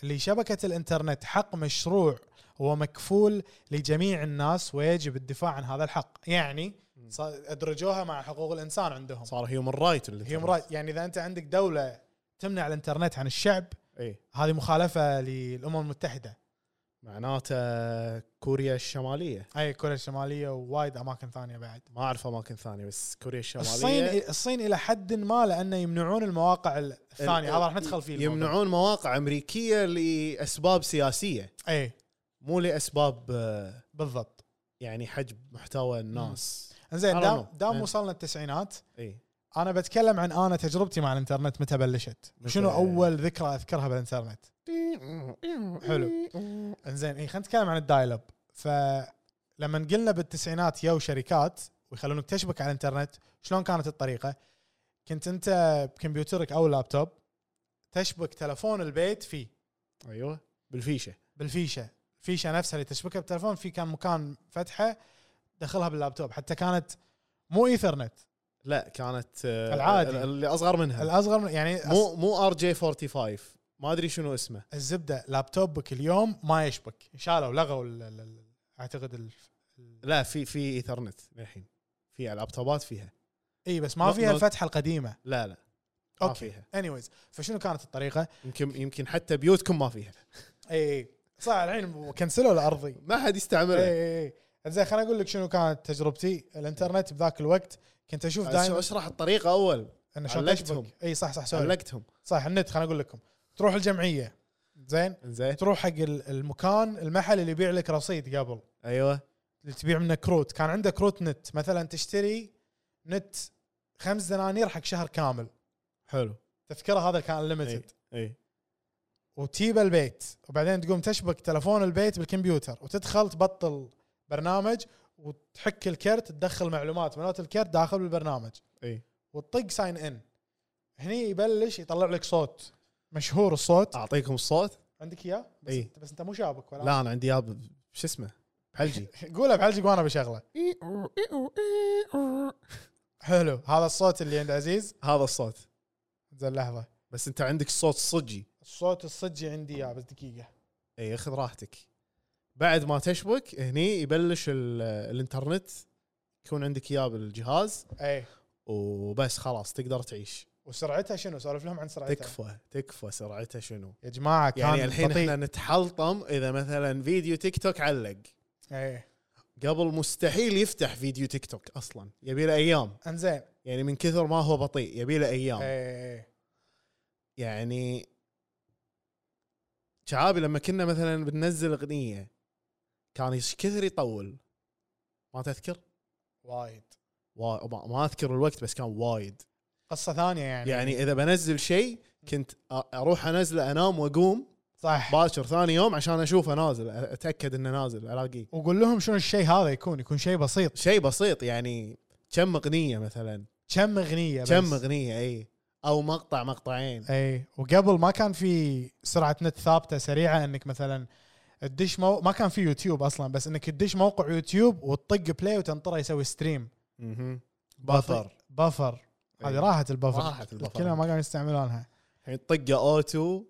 [SPEAKER 4] لشبكه الانترنت حق مشروع هو مكفول لجميع الناس ويجب الدفاع عن هذا الحق يعني صا- ادرجوها مع حقوق الانسان عندهم
[SPEAKER 5] صار هيومن رايت
[SPEAKER 4] هي مراد يعني اذا انت عندك دوله تمنع الانترنت عن الشعب
[SPEAKER 5] اي
[SPEAKER 4] هذه مخالفه للامم المتحده
[SPEAKER 5] معناته كوريا الشماليه
[SPEAKER 4] اي كوريا الشماليه ووايد اماكن ثانيه بعد
[SPEAKER 5] ما اعرف اماكن ثانيه بس كوريا الشماليه
[SPEAKER 4] الصين الصين الى حد ما لانه يمنعون المواقع الثانيه
[SPEAKER 5] ال-
[SPEAKER 4] هذا راح ندخل فيه الموضوع.
[SPEAKER 5] يمنعون مواقع امريكيه لاسباب سياسيه
[SPEAKER 4] اي
[SPEAKER 5] مو لاسباب آه،
[SPEAKER 4] بالضبط
[SPEAKER 5] يعني حجب محتوى الناس
[SPEAKER 4] زين
[SPEAKER 5] I don't
[SPEAKER 4] دام
[SPEAKER 5] know.
[SPEAKER 4] دام
[SPEAKER 5] إيه.
[SPEAKER 4] وصلنا التسعينات
[SPEAKER 5] اي
[SPEAKER 4] انا بتكلم عن انا تجربتي مع الانترنت متى بلشت
[SPEAKER 5] متى-
[SPEAKER 4] شنو اول ذكرى اذكرها بالانترنت حلو انزين اي خلينا نتكلم عن الدايل اب فلما قلنا بالتسعينات يو شركات ويخلونك تشبك على الانترنت شلون كانت الطريقه؟ كنت انت بكمبيوترك او لابتوب تشبك تلفون البيت فيه
[SPEAKER 5] ايوه بالفيشه
[SPEAKER 4] بالفيشه الفيشه نفسها اللي تشبكها بالتلفون في كان مكان فتحه دخلها باللابتوب حتى كانت مو ايثرنت
[SPEAKER 5] لا كانت آه،
[SPEAKER 4] العادي.
[SPEAKER 5] ال- اللي اصغر منها
[SPEAKER 4] الاصغر من- يعني
[SPEAKER 5] مو مو ار جي 45 ما ادري شنو اسمه
[SPEAKER 4] الزبده لابتوبك اليوم ما يشبك شالوا لغوا ال- ال- ال- اعتقد ال...
[SPEAKER 5] لا في في ايثرنت الحين في لابتوبات فيها
[SPEAKER 4] اي بس ما
[SPEAKER 5] نوت-
[SPEAKER 4] فيها
[SPEAKER 5] نوت.
[SPEAKER 4] الفتحه القديمه
[SPEAKER 5] لا لا ما
[SPEAKER 4] اوكي
[SPEAKER 5] فيها.
[SPEAKER 4] انيويز فشنو كانت الطريقه؟
[SPEAKER 5] يمكن يمكن حتى بيوتكم ما فيها
[SPEAKER 4] اي اي صح الحين كنسلوا الارضي
[SPEAKER 5] ما حد
[SPEAKER 4] اي
[SPEAKER 5] يستعملها
[SPEAKER 4] اي اي زين خليني اقول لك شنو كانت تجربتي الانترنت بذاك الوقت كنت اشوف
[SPEAKER 5] أش-
[SPEAKER 4] دائما
[SPEAKER 5] اشرح الطريقه اول
[SPEAKER 4] انه شلون
[SPEAKER 5] آه، علقتهم.
[SPEAKER 4] تشبك اي صح صح سوري
[SPEAKER 5] علقتهم
[SPEAKER 4] صح النت خليني اقول لكم تروح الجمعيه زين
[SPEAKER 5] زين
[SPEAKER 4] تروح حق ال- المكان المحل اللي يبيع لك رصيد قبل
[SPEAKER 5] ايوه
[SPEAKER 4] اللي تبيع منه كروت كان عنده كروت نت مثلا تشتري نت خمس دنانير حق شهر كامل
[SPEAKER 5] حلو
[SPEAKER 4] تذكره هذا كان ليمتد
[SPEAKER 5] اي اي
[SPEAKER 4] وتجيب البيت وبعدين تقوم تشبك تلفون البيت بالكمبيوتر وتدخل تبطل برنامج وتحك الكرت تدخل معلومات مالت الكرت داخل بالبرنامج
[SPEAKER 5] اي
[SPEAKER 4] وتطق ساين ان هني يبلش يطلع لك صوت مشهور الصوت
[SPEAKER 5] اعطيكم الصوت
[SPEAKER 4] عندك اياه بس,
[SPEAKER 5] آه. إي.
[SPEAKER 4] انت بس انت مو شابك ولا
[SPEAKER 5] لا انا عندي ياب شو اسمه بحلجي
[SPEAKER 4] قولها بعالجك وانا بشغله حلو هذا الصوت اللي عند عزيز
[SPEAKER 5] هذا الصوت
[SPEAKER 4] زين لحظه
[SPEAKER 5] بس انت عندك الصوت صجي
[SPEAKER 4] الصوت الصجي عندي اياه بس دقيقه
[SPEAKER 5] اي إيه، خذ راحتك بعد ما تشبك هني يبلش ال- الانترنت يكون عندك اياه بالجهاز
[SPEAKER 4] اي
[SPEAKER 5] وبس خلاص تقدر تعيش
[SPEAKER 4] وسرعتها شنو سولف لهم عن سرعتها
[SPEAKER 5] تكفى تكفى سرعتها شنو
[SPEAKER 4] يا جماعه كان
[SPEAKER 5] يعني الحين
[SPEAKER 4] بطيء.
[SPEAKER 5] احنا نتحلطم اذا مثلا فيديو تيك توك علق
[SPEAKER 4] ايه
[SPEAKER 5] قبل مستحيل يفتح فيديو تيك توك اصلا يبي له ايام
[SPEAKER 4] انزين
[SPEAKER 5] يعني من كثر ما هو بطيء يبي له ايام
[SPEAKER 4] ايه
[SPEAKER 5] يعني شعابي لما كنا مثلا بننزل اغنيه كان ايش كثر يطول ما تذكر
[SPEAKER 4] وايد
[SPEAKER 5] وا- ما- ما اذكر الوقت بس كان وايد
[SPEAKER 4] قصه ثانيه يعني
[SPEAKER 5] يعني اذا بنزل شيء كنت أ- اروح انزله انام واقوم
[SPEAKER 4] صح
[SPEAKER 5] باكر ثاني يوم عشان اشوفه نازل أ- اتاكد انه نازل الاقيه
[SPEAKER 4] وقول لهم شنو الشيء هذا يكون يكون شيء بسيط
[SPEAKER 5] شيء بسيط يعني كم اغنيه مثلا
[SPEAKER 4] كم اغنيه بس
[SPEAKER 5] كم اغنيه اي او مقطع مقطعين
[SPEAKER 4] اي وقبل ما كان في سرعه نت ثابته سريعه انك مثلا تدش مو... ما كان في يوتيوب اصلا بس انك تدش موقع يوتيوب وتطق بلاي وتنطره يسوي ستريم
[SPEAKER 5] مهم. بفر
[SPEAKER 4] بفر هذه
[SPEAKER 5] إي.
[SPEAKER 4] راحت البفر
[SPEAKER 5] راحت البفر.
[SPEAKER 4] كلها ما كانوا يستعملونها
[SPEAKER 5] الحين يعني طقه اوتو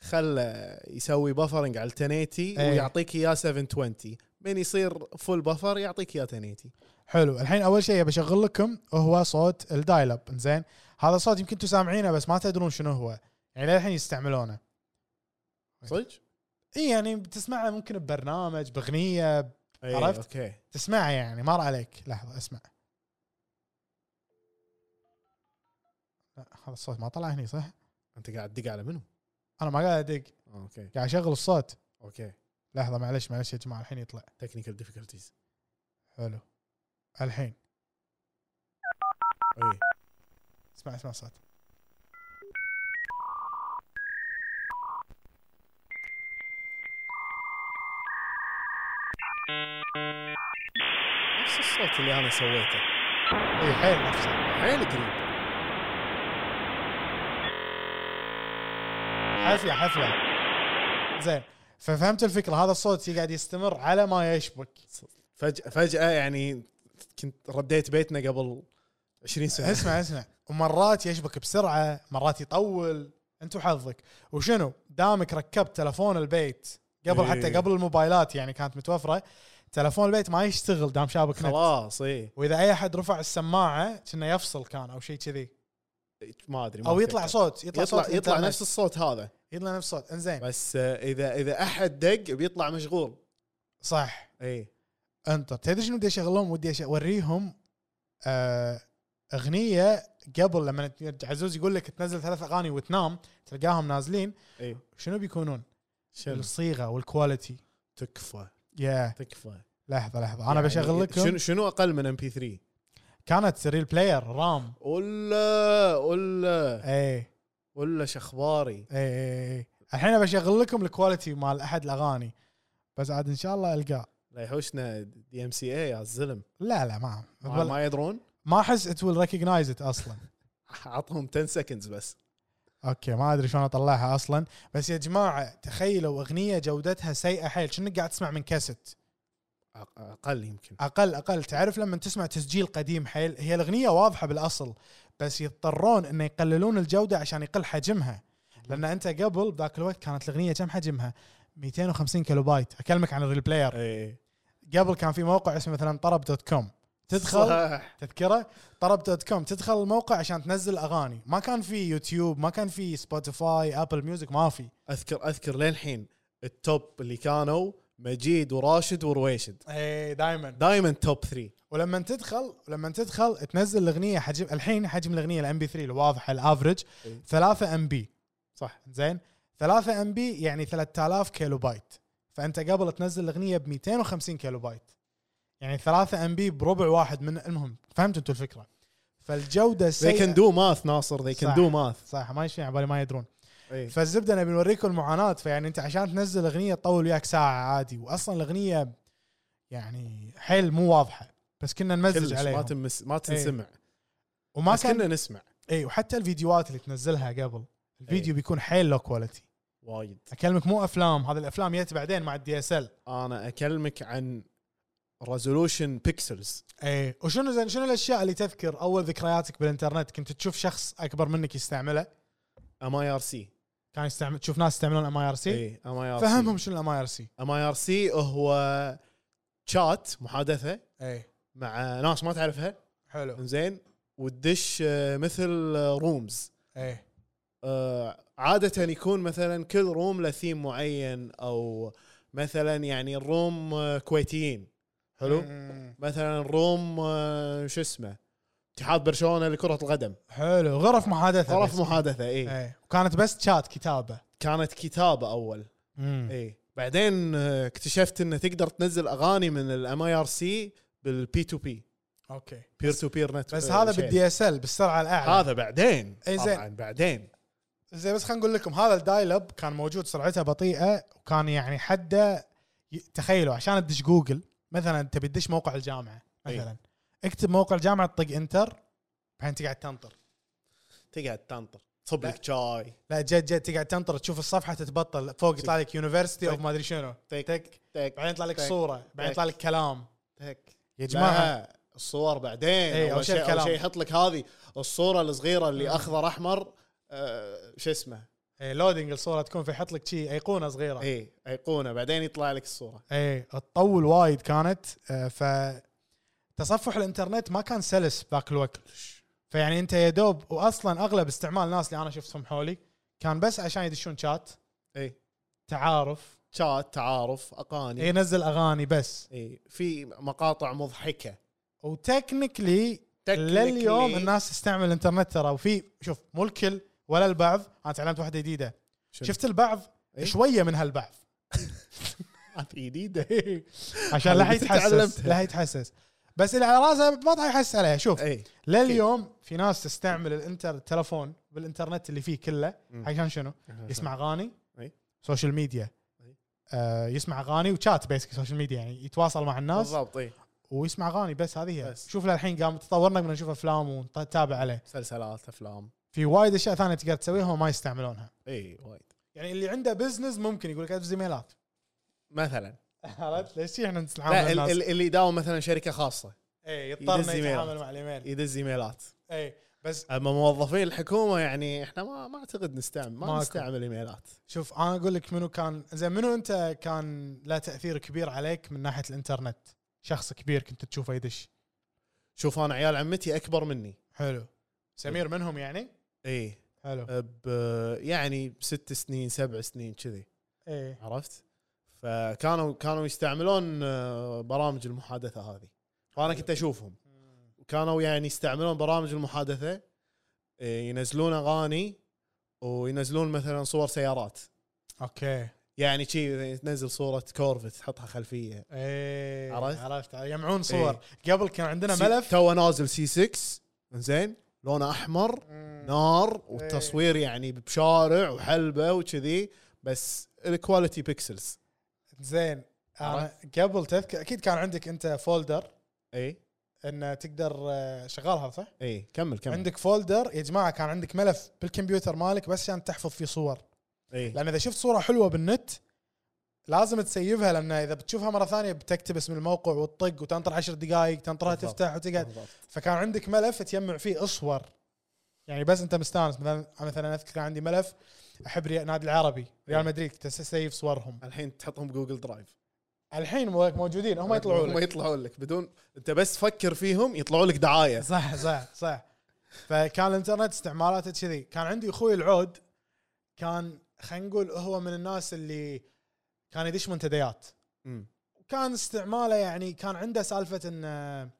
[SPEAKER 5] خله يسوي بفرنج على 1080
[SPEAKER 4] إيه.
[SPEAKER 5] ويعطيك اياه 720 من يصير فول بفر يعطيك اياه 1080
[SPEAKER 4] حلو الحين اول شيء بشغل لكم هو صوت الدايل اب زين هذا صوت يمكن انتم سامعينه بس ما تدرون شنو هو يعني للحين يستعملونه
[SPEAKER 5] صدق؟
[SPEAKER 4] اي يعني بتسمعه ممكن ببرنامج باغنيه
[SPEAKER 5] إيه،
[SPEAKER 4] عرفت؟
[SPEAKER 5] اوكي
[SPEAKER 4] تسمعه يعني مر عليك لحظه اسمع لا هذا الصوت ما طلع هني صح؟
[SPEAKER 5] انت قاعد تدق على منو؟
[SPEAKER 4] انا ما قاعد ادق
[SPEAKER 5] آه، اوكي
[SPEAKER 4] قاعد اشغل الصوت
[SPEAKER 5] اوكي
[SPEAKER 4] لحظه معلش معلش يا جماعه الحين يطلع
[SPEAKER 5] تكنيكال ديفيكولتيز
[SPEAKER 4] حلو الحين
[SPEAKER 5] اي
[SPEAKER 4] اسمع اسمع الصوت
[SPEAKER 5] نفس الصوت اللي انا سويته إيه،
[SPEAKER 4] اي حيل نفسه
[SPEAKER 5] حيل قريب
[SPEAKER 4] حفله حفله زين ففهمت الفكره هذا الصوت قاعد يستمر على ما يشبك
[SPEAKER 5] فجاه فجاه يعني كنت رديت بيتنا قبل 20 [LAUGHS] سنه
[SPEAKER 4] اسمع اسمع ومرات يشبك بسرعه مرات يطول انت وحظك وشنو دامك ركبت تلفون البيت قبل حتى
[SPEAKER 5] إيه.
[SPEAKER 4] قبل الموبايلات يعني كانت متوفره تلفون البيت ما يشتغل دام شابك نت
[SPEAKER 5] خلاص إيه. اي
[SPEAKER 4] واذا اي احد رفع السماعه كنا يفصل كان او شيء كذي
[SPEAKER 5] ما ادري ما
[SPEAKER 4] او يطلع
[SPEAKER 5] أتذكر.
[SPEAKER 4] صوت يطلع,
[SPEAKER 5] يطلع
[SPEAKER 4] صوت
[SPEAKER 5] يطلع
[SPEAKER 4] الإنترنت.
[SPEAKER 5] نفس الصوت هذا
[SPEAKER 4] يطلع نفس صوت انزين
[SPEAKER 5] بس آه، اذا اذا احد دق بيطلع مشغول إيه.
[SPEAKER 4] صح
[SPEAKER 5] اي
[SPEAKER 4] انطر تدري شنو بدي اشغلهم ودي أش- اوريهم آه اغنيه قبل لما ت- عزوز يقول لك تنزل ثلاث اغاني وتنام تلقاهم نازلين
[SPEAKER 5] اي
[SPEAKER 4] شنو بيكونون؟
[SPEAKER 5] شنو
[SPEAKER 4] الصيغه والكواليتي
[SPEAKER 5] تكفى
[SPEAKER 4] يا
[SPEAKER 5] تكفى
[SPEAKER 4] لحظه لحظه انا بشغل
[SPEAKER 5] يعني شنو
[SPEAKER 4] لكم
[SPEAKER 5] شنو اقل من ام بي 3
[SPEAKER 4] كانت سريل بلاير رام إيه،
[SPEAKER 5] ولا ولا
[SPEAKER 4] اي اي
[SPEAKER 5] ولا شخباري
[SPEAKER 4] اي اي إيه، الحين بشغل لكم الكواليتي مال احد الاغاني بس عاد ان شاء الله القاه
[SPEAKER 5] لا يحوشنا دي ام سي اي يا الزلم
[SPEAKER 4] لا لا ما
[SPEAKER 5] ما,
[SPEAKER 4] ولا-
[SPEAKER 5] ما يدرون
[SPEAKER 4] ما احس ات ويل ريكوجنايز ات اصلا
[SPEAKER 5] عطهم 10 سكندز بس
[SPEAKER 4] اوكي ما ادري شلون اطلعها اصلا بس يا جماعه تخيلوا اغنيه جودتها سيئه حيل كأنك قاعد تسمع من كاسيت
[SPEAKER 5] أق- اقل يمكن
[SPEAKER 4] اقل اقل تعرف لما تسمع تسجيل قديم حيل هي الاغنيه واضحه بالاصل بس يضطرون انه يقللون الجوده عشان يقل حجمها لان انت قبل بذاك الوقت كانت الاغنيه كم حجمها 250 كيلو بايت اكلمك عن الريل بلاير
[SPEAKER 5] اي
[SPEAKER 4] قبل كان في موقع اسمه مثلا طرب دوت كوم تدخل
[SPEAKER 5] [LAUGHS] صح.
[SPEAKER 4] تذكره طرب دوت كوم تدخل الموقع عشان تنزل اغاني ما كان في يوتيوب ما كان في سبوتيفاي ابل ميوزك ما في
[SPEAKER 5] اذكر اذكر للحين التوب اللي كانوا مجيد وراشد ورويشد
[SPEAKER 4] اي دائما
[SPEAKER 5] دائما توب 3
[SPEAKER 4] ولما تدخل لما تدخل تنزل الاغنيه حجم الحين حجم الاغنيه الام بي 3 الواضحه الافرج
[SPEAKER 5] إيه.
[SPEAKER 4] 3 ام بي
[SPEAKER 5] صح
[SPEAKER 4] زين 3 ام بي يعني 3000 كيلو بايت فانت قبل تنزل الاغنيه ب 250 كيلو بايت يعني 3 ام بي بربع واحد من المهم فهمتوا انتم الفكره فالجوده
[SPEAKER 5] they can
[SPEAKER 4] سيئه
[SPEAKER 5] do math ناصر they can
[SPEAKER 4] صح.
[SPEAKER 5] do math
[SPEAKER 4] صح ما يشفي على بالي ما يدرون
[SPEAKER 5] إيه.
[SPEAKER 4] فالزبده نبي نوريكم المعاناه فيعني انت عشان تنزل اغنيه تطول وياك ساعه عادي واصلا الاغنيه يعني حيل مو واضحه بس كنا نمزج
[SPEAKER 5] كلش ما
[SPEAKER 4] عليها
[SPEAKER 5] تمس ما تنسمع
[SPEAKER 4] وما
[SPEAKER 5] بس كنا
[SPEAKER 4] كان
[SPEAKER 5] نسمع
[SPEAKER 4] اي وحتى الفيديوهات اللي تنزلها قبل الفيديو
[SPEAKER 5] إيه.
[SPEAKER 4] بيكون حيل لو كواليتي
[SPEAKER 5] وايد
[SPEAKER 4] اكلمك مو افلام هذه الافلام جت بعدين مع الدي اس ال
[SPEAKER 5] انا اكلمك عن ريزولوشن بيكسلز
[SPEAKER 4] اي وشنو زين شنو الاشياء اللي تذكر اول ذكرياتك بالانترنت كنت تشوف شخص اكبر منك يستعمله
[SPEAKER 5] ام اي ار سي
[SPEAKER 4] كان يستعمل تشوف ناس يستعملون ام اي ار سي
[SPEAKER 5] اي ام اي ار سي
[SPEAKER 4] فهمهم شنو الام اي ار سي
[SPEAKER 5] ام اي ار سي هو شات محادثه
[SPEAKER 4] اي
[SPEAKER 5] إيه. مع ناس ما تعرفها
[SPEAKER 4] حلو
[SPEAKER 5] زين وتدش آه، مثل آه، رومز إيه.
[SPEAKER 4] ايه
[SPEAKER 5] آه، عادة يكون مثلا كل روم له ثيم معين او مثلا يعني الروم آه، كويتيين حلو
[SPEAKER 4] مم.
[SPEAKER 5] مثلا الروم آه، شو اسمه اتحاد برشلونه لكرة القدم
[SPEAKER 4] حلو غرف محادثه
[SPEAKER 5] طرف
[SPEAKER 4] بس.
[SPEAKER 5] محادثة اي
[SPEAKER 4] ايه وكانت بس شات كتابه
[SPEAKER 5] كانت كتابة اول
[SPEAKER 4] امم
[SPEAKER 5] اي بعدين آه، اكتشفت انه تقدر تنزل اغاني من الام اي ار سي بالبي تو بي
[SPEAKER 4] اوكي
[SPEAKER 5] بير تو بير نت
[SPEAKER 4] بس هذا بالدي اس ال بالسرعه الاعلى
[SPEAKER 5] هذا بعدين
[SPEAKER 4] إي زين.
[SPEAKER 5] طبعا بعدين
[SPEAKER 4] زين بس خلينا نقول لكم هذا الدايل اب كان موجود سرعته بطيئه وكان يعني حده ي- تخيلوا عشان تدش جوجل مثلا تبي تدش موقع الجامعه مثلا اكتب موقع الجامعه طق انتر بعدين تقعد تنطر
[SPEAKER 5] تقعد تنطر تصب
[SPEAKER 4] لا.
[SPEAKER 5] لك شاي
[SPEAKER 4] لا جد جد تقعد تنطر تشوف الصفحه تتبطل فوق يطلع لك يونيفرستي اوف
[SPEAKER 5] تك.
[SPEAKER 4] ما ادري شنو
[SPEAKER 5] تك.
[SPEAKER 4] تك
[SPEAKER 5] تك
[SPEAKER 4] بعدين يطلع لك
[SPEAKER 5] تك.
[SPEAKER 4] صوره بعدين يطلع لك كلام
[SPEAKER 5] تك
[SPEAKER 4] يا جماعه
[SPEAKER 5] جماعه الصور بعدين
[SPEAKER 4] إي،
[SPEAKER 5] اول
[SPEAKER 4] إيه، أول شي
[SPEAKER 5] شيء اول
[SPEAKER 4] الكلام.
[SPEAKER 5] شيء يحط لك هذه الصوره الصغيره اللي
[SPEAKER 4] مم.
[SPEAKER 5] اخضر احمر آه، شو اسمه
[SPEAKER 4] إيه لودنج الصوره تكون فيحط لك شي ايقونه صغيره
[SPEAKER 5] اي ايقونه إيه، بعدين يطلع لك الصوره
[SPEAKER 4] ايه تطول وايد كانت آه، ف تصفح الانترنت ما كان سلس ذاك الوقت فيعني انت يا دوب واصلا اغلب استعمال الناس اللي انا شفتهم حولي كان بس عشان يدشون شات
[SPEAKER 5] اي
[SPEAKER 4] تعارف إيه،
[SPEAKER 5] شات تعارف اغاني اي
[SPEAKER 4] ينزل اغاني بس
[SPEAKER 5] في مقاطع [LAUGHS] مضحكه
[SPEAKER 4] وتكنيكلي لليوم الناس تستعمل الانترنت ترى وفي شوف مو الكل ولا البعض انا تعلمت واحده جديده
[SPEAKER 5] شنو؟
[SPEAKER 4] شفت البعض
[SPEAKER 5] إيه؟
[SPEAKER 4] شويه من هالبعض
[SPEAKER 5] جديده
[SPEAKER 4] عشان لا
[SPEAKER 5] حبيبتي
[SPEAKER 4] يتحسس
[SPEAKER 5] تعلمتها.
[SPEAKER 4] لا يتحسس بس اللي على راسه ما يحس عليها شوف
[SPEAKER 5] اي
[SPEAKER 4] لليوم في ناس تستعمل الانتر التلفون بالانترنت اللي فيه كله
[SPEAKER 5] مم.
[SPEAKER 4] عشان
[SPEAKER 5] [LAUGHS]
[SPEAKER 4] شنو؟ يسمع اغاني
[SPEAKER 5] أي.
[SPEAKER 4] سوشيال ميديا
[SPEAKER 5] أي.
[SPEAKER 4] آه يسمع اغاني وشات بيسك سوشيال ميديا يعني يتواصل مع الناس
[SPEAKER 5] بالضبط إيه. اي
[SPEAKER 4] ويسمع اغاني بس هذه هي
[SPEAKER 5] بس.
[SPEAKER 4] شوف للحين قام تطورنا قمنا نشوف افلام ونتابع عليه
[SPEAKER 5] مسلسلات افلام
[SPEAKER 4] في وايد اشياء ثانيه تقدر تسويها وما يستعملونها
[SPEAKER 5] اي إيه، وايد
[SPEAKER 4] يعني اللي عنده بزنس ممكن يقول لك ادز
[SPEAKER 5] [LAUGHS]
[SPEAKER 4] ايميلات
[SPEAKER 5] مثلا
[SPEAKER 4] عرفت ليش شي احنا
[SPEAKER 5] لا
[SPEAKER 4] نتعامل
[SPEAKER 5] ال-
[SPEAKER 4] مع الناس
[SPEAKER 5] ال- اللي يداوم مثلا شركه خاصه
[SPEAKER 4] اي يضطرنا
[SPEAKER 5] يدز إيميلات.
[SPEAKER 4] يتعامل مع الايميل
[SPEAKER 5] يدز ايميلات
[SPEAKER 4] اي بس
[SPEAKER 5] اما موظفين الحكومه يعني احنا ما ما اعتقد نستعمل ما
[SPEAKER 4] ماكو.
[SPEAKER 5] نستعمل ايميلات
[SPEAKER 4] شوف انا اقول لك منو كان زين منو انت كان له تاثير كبير عليك من ناحيه الانترنت شخص كبير كنت تشوفه يدش
[SPEAKER 5] شوف انا عيال عمتي اكبر مني إيه.
[SPEAKER 4] حلو سمير منهم يعني
[SPEAKER 5] اي
[SPEAKER 4] حلو
[SPEAKER 5] ب يعني بست سنين سبع سنين كذي
[SPEAKER 4] ايه
[SPEAKER 5] عرفت فكانوا كانوا يستعملون آه، برامج المحادثه هذه فانا كنت اشوفهم وكانوا يعني يستعملون برامج المحادثه إيه، ينزلون اغاني وينزلون مثلا صور سيارات
[SPEAKER 4] اوكي
[SPEAKER 5] يعني شي تنزل صوره كورفت تحطها خلفيه
[SPEAKER 4] ايه
[SPEAKER 5] عرفت؟
[SPEAKER 4] عرفت إيه. عرفت يجمعون صور قبل كان عندنا ملف
[SPEAKER 5] تو نازل سي 6 زين لونه احمر نار والتصوير يعني بشارع وحلبه وكذي بس الكواليتي بيكسلز
[SPEAKER 4] زين انا قبل تذكر اكيد كان عندك انت فولدر
[SPEAKER 5] اي
[SPEAKER 4] ان تقدر آه، شغالها صح؟
[SPEAKER 5] اي إيه، كمل كمل
[SPEAKER 4] عندك فولدر يا جماعه كان عندك ملف بالكمبيوتر مالك بس عشان تحفظ فيه صور
[SPEAKER 5] اي
[SPEAKER 4] لان اذا شفت صوره حلوه بالنت لازم تسيفها لان اذا بتشوفها مره ثانيه بتكتب اسم الموقع وتطق وتنطر عشر دقائق تنطرها
[SPEAKER 5] بالضبط.
[SPEAKER 4] تفتح وتقعد
[SPEAKER 5] بالضبط.
[SPEAKER 4] فكان عندك ملف تجمع فيه اصور يعني بس انت مستانس مثلا مثلا اذكر كان عندي ملف احب ري- النادي العربي
[SPEAKER 5] إيه.
[SPEAKER 4] ريال مدريد كنت اسيف صورهم
[SPEAKER 5] الحين تحطهم جوجل درايف
[SPEAKER 4] الحين مو- موجودين هم يطلعوا
[SPEAKER 5] هم
[SPEAKER 4] لك
[SPEAKER 5] يطلعوا لك بدون انت بس فكر فيهم يطلعوا لك دعايه
[SPEAKER 4] صح صح صح فكان الانترنت استعماراته كذي كان عندي اخوي العود كان خلينا نقول هو من الناس اللي كان يدش منتديات
[SPEAKER 5] مم.
[SPEAKER 4] كان استعماله يعني كان عنده سالفه انه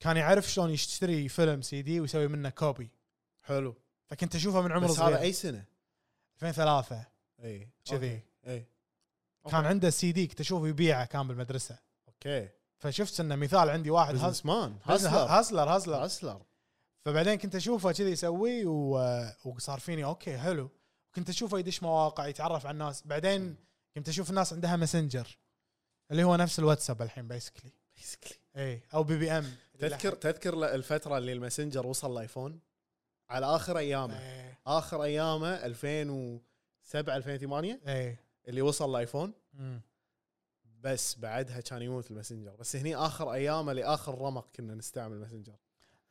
[SPEAKER 4] كان يعرف شلون يشتري فيلم سي دي ويسوي منه كوبي
[SPEAKER 5] حلو
[SPEAKER 4] فكنت اشوفه من عمر
[SPEAKER 5] بس هذا إيه؟
[SPEAKER 4] صغير
[SPEAKER 5] اي سنه
[SPEAKER 4] 2003
[SPEAKER 5] اي
[SPEAKER 4] كذي
[SPEAKER 5] اي
[SPEAKER 4] كان عنده سي دي كنت اشوفه يبيعه كان بالمدرسه
[SPEAKER 5] اوكي
[SPEAKER 4] فشفت انه مثال عندي واحد هز-
[SPEAKER 5] بزنس مان هاسلر
[SPEAKER 4] هاسلر هاسلر
[SPEAKER 5] هاسلر
[SPEAKER 4] فبعدين كنت اشوفه كذي يسوي و- وصار فيني اوكي حلو كنت اشوفه يدش مواقع يتعرف على الناس بعدين كنت اشوف الناس عندها ماسنجر اللي هو نفس الواتساب الحين إيه، بيسكلي اي او بي بي ام
[SPEAKER 5] [LAUGHS] تذكر تذكر الفتره اللي الماسنجر وصل لايفون على اخر ايامه
[SPEAKER 4] ايه
[SPEAKER 5] اخر ايامه 2007 2008
[SPEAKER 4] ايه
[SPEAKER 5] اللي وصل لايفون
[SPEAKER 4] مم.
[SPEAKER 5] بس بعدها كان يموت الماسنجر بس هني اخر ايامه لاخر رمق كنا نستعمل ماسنجر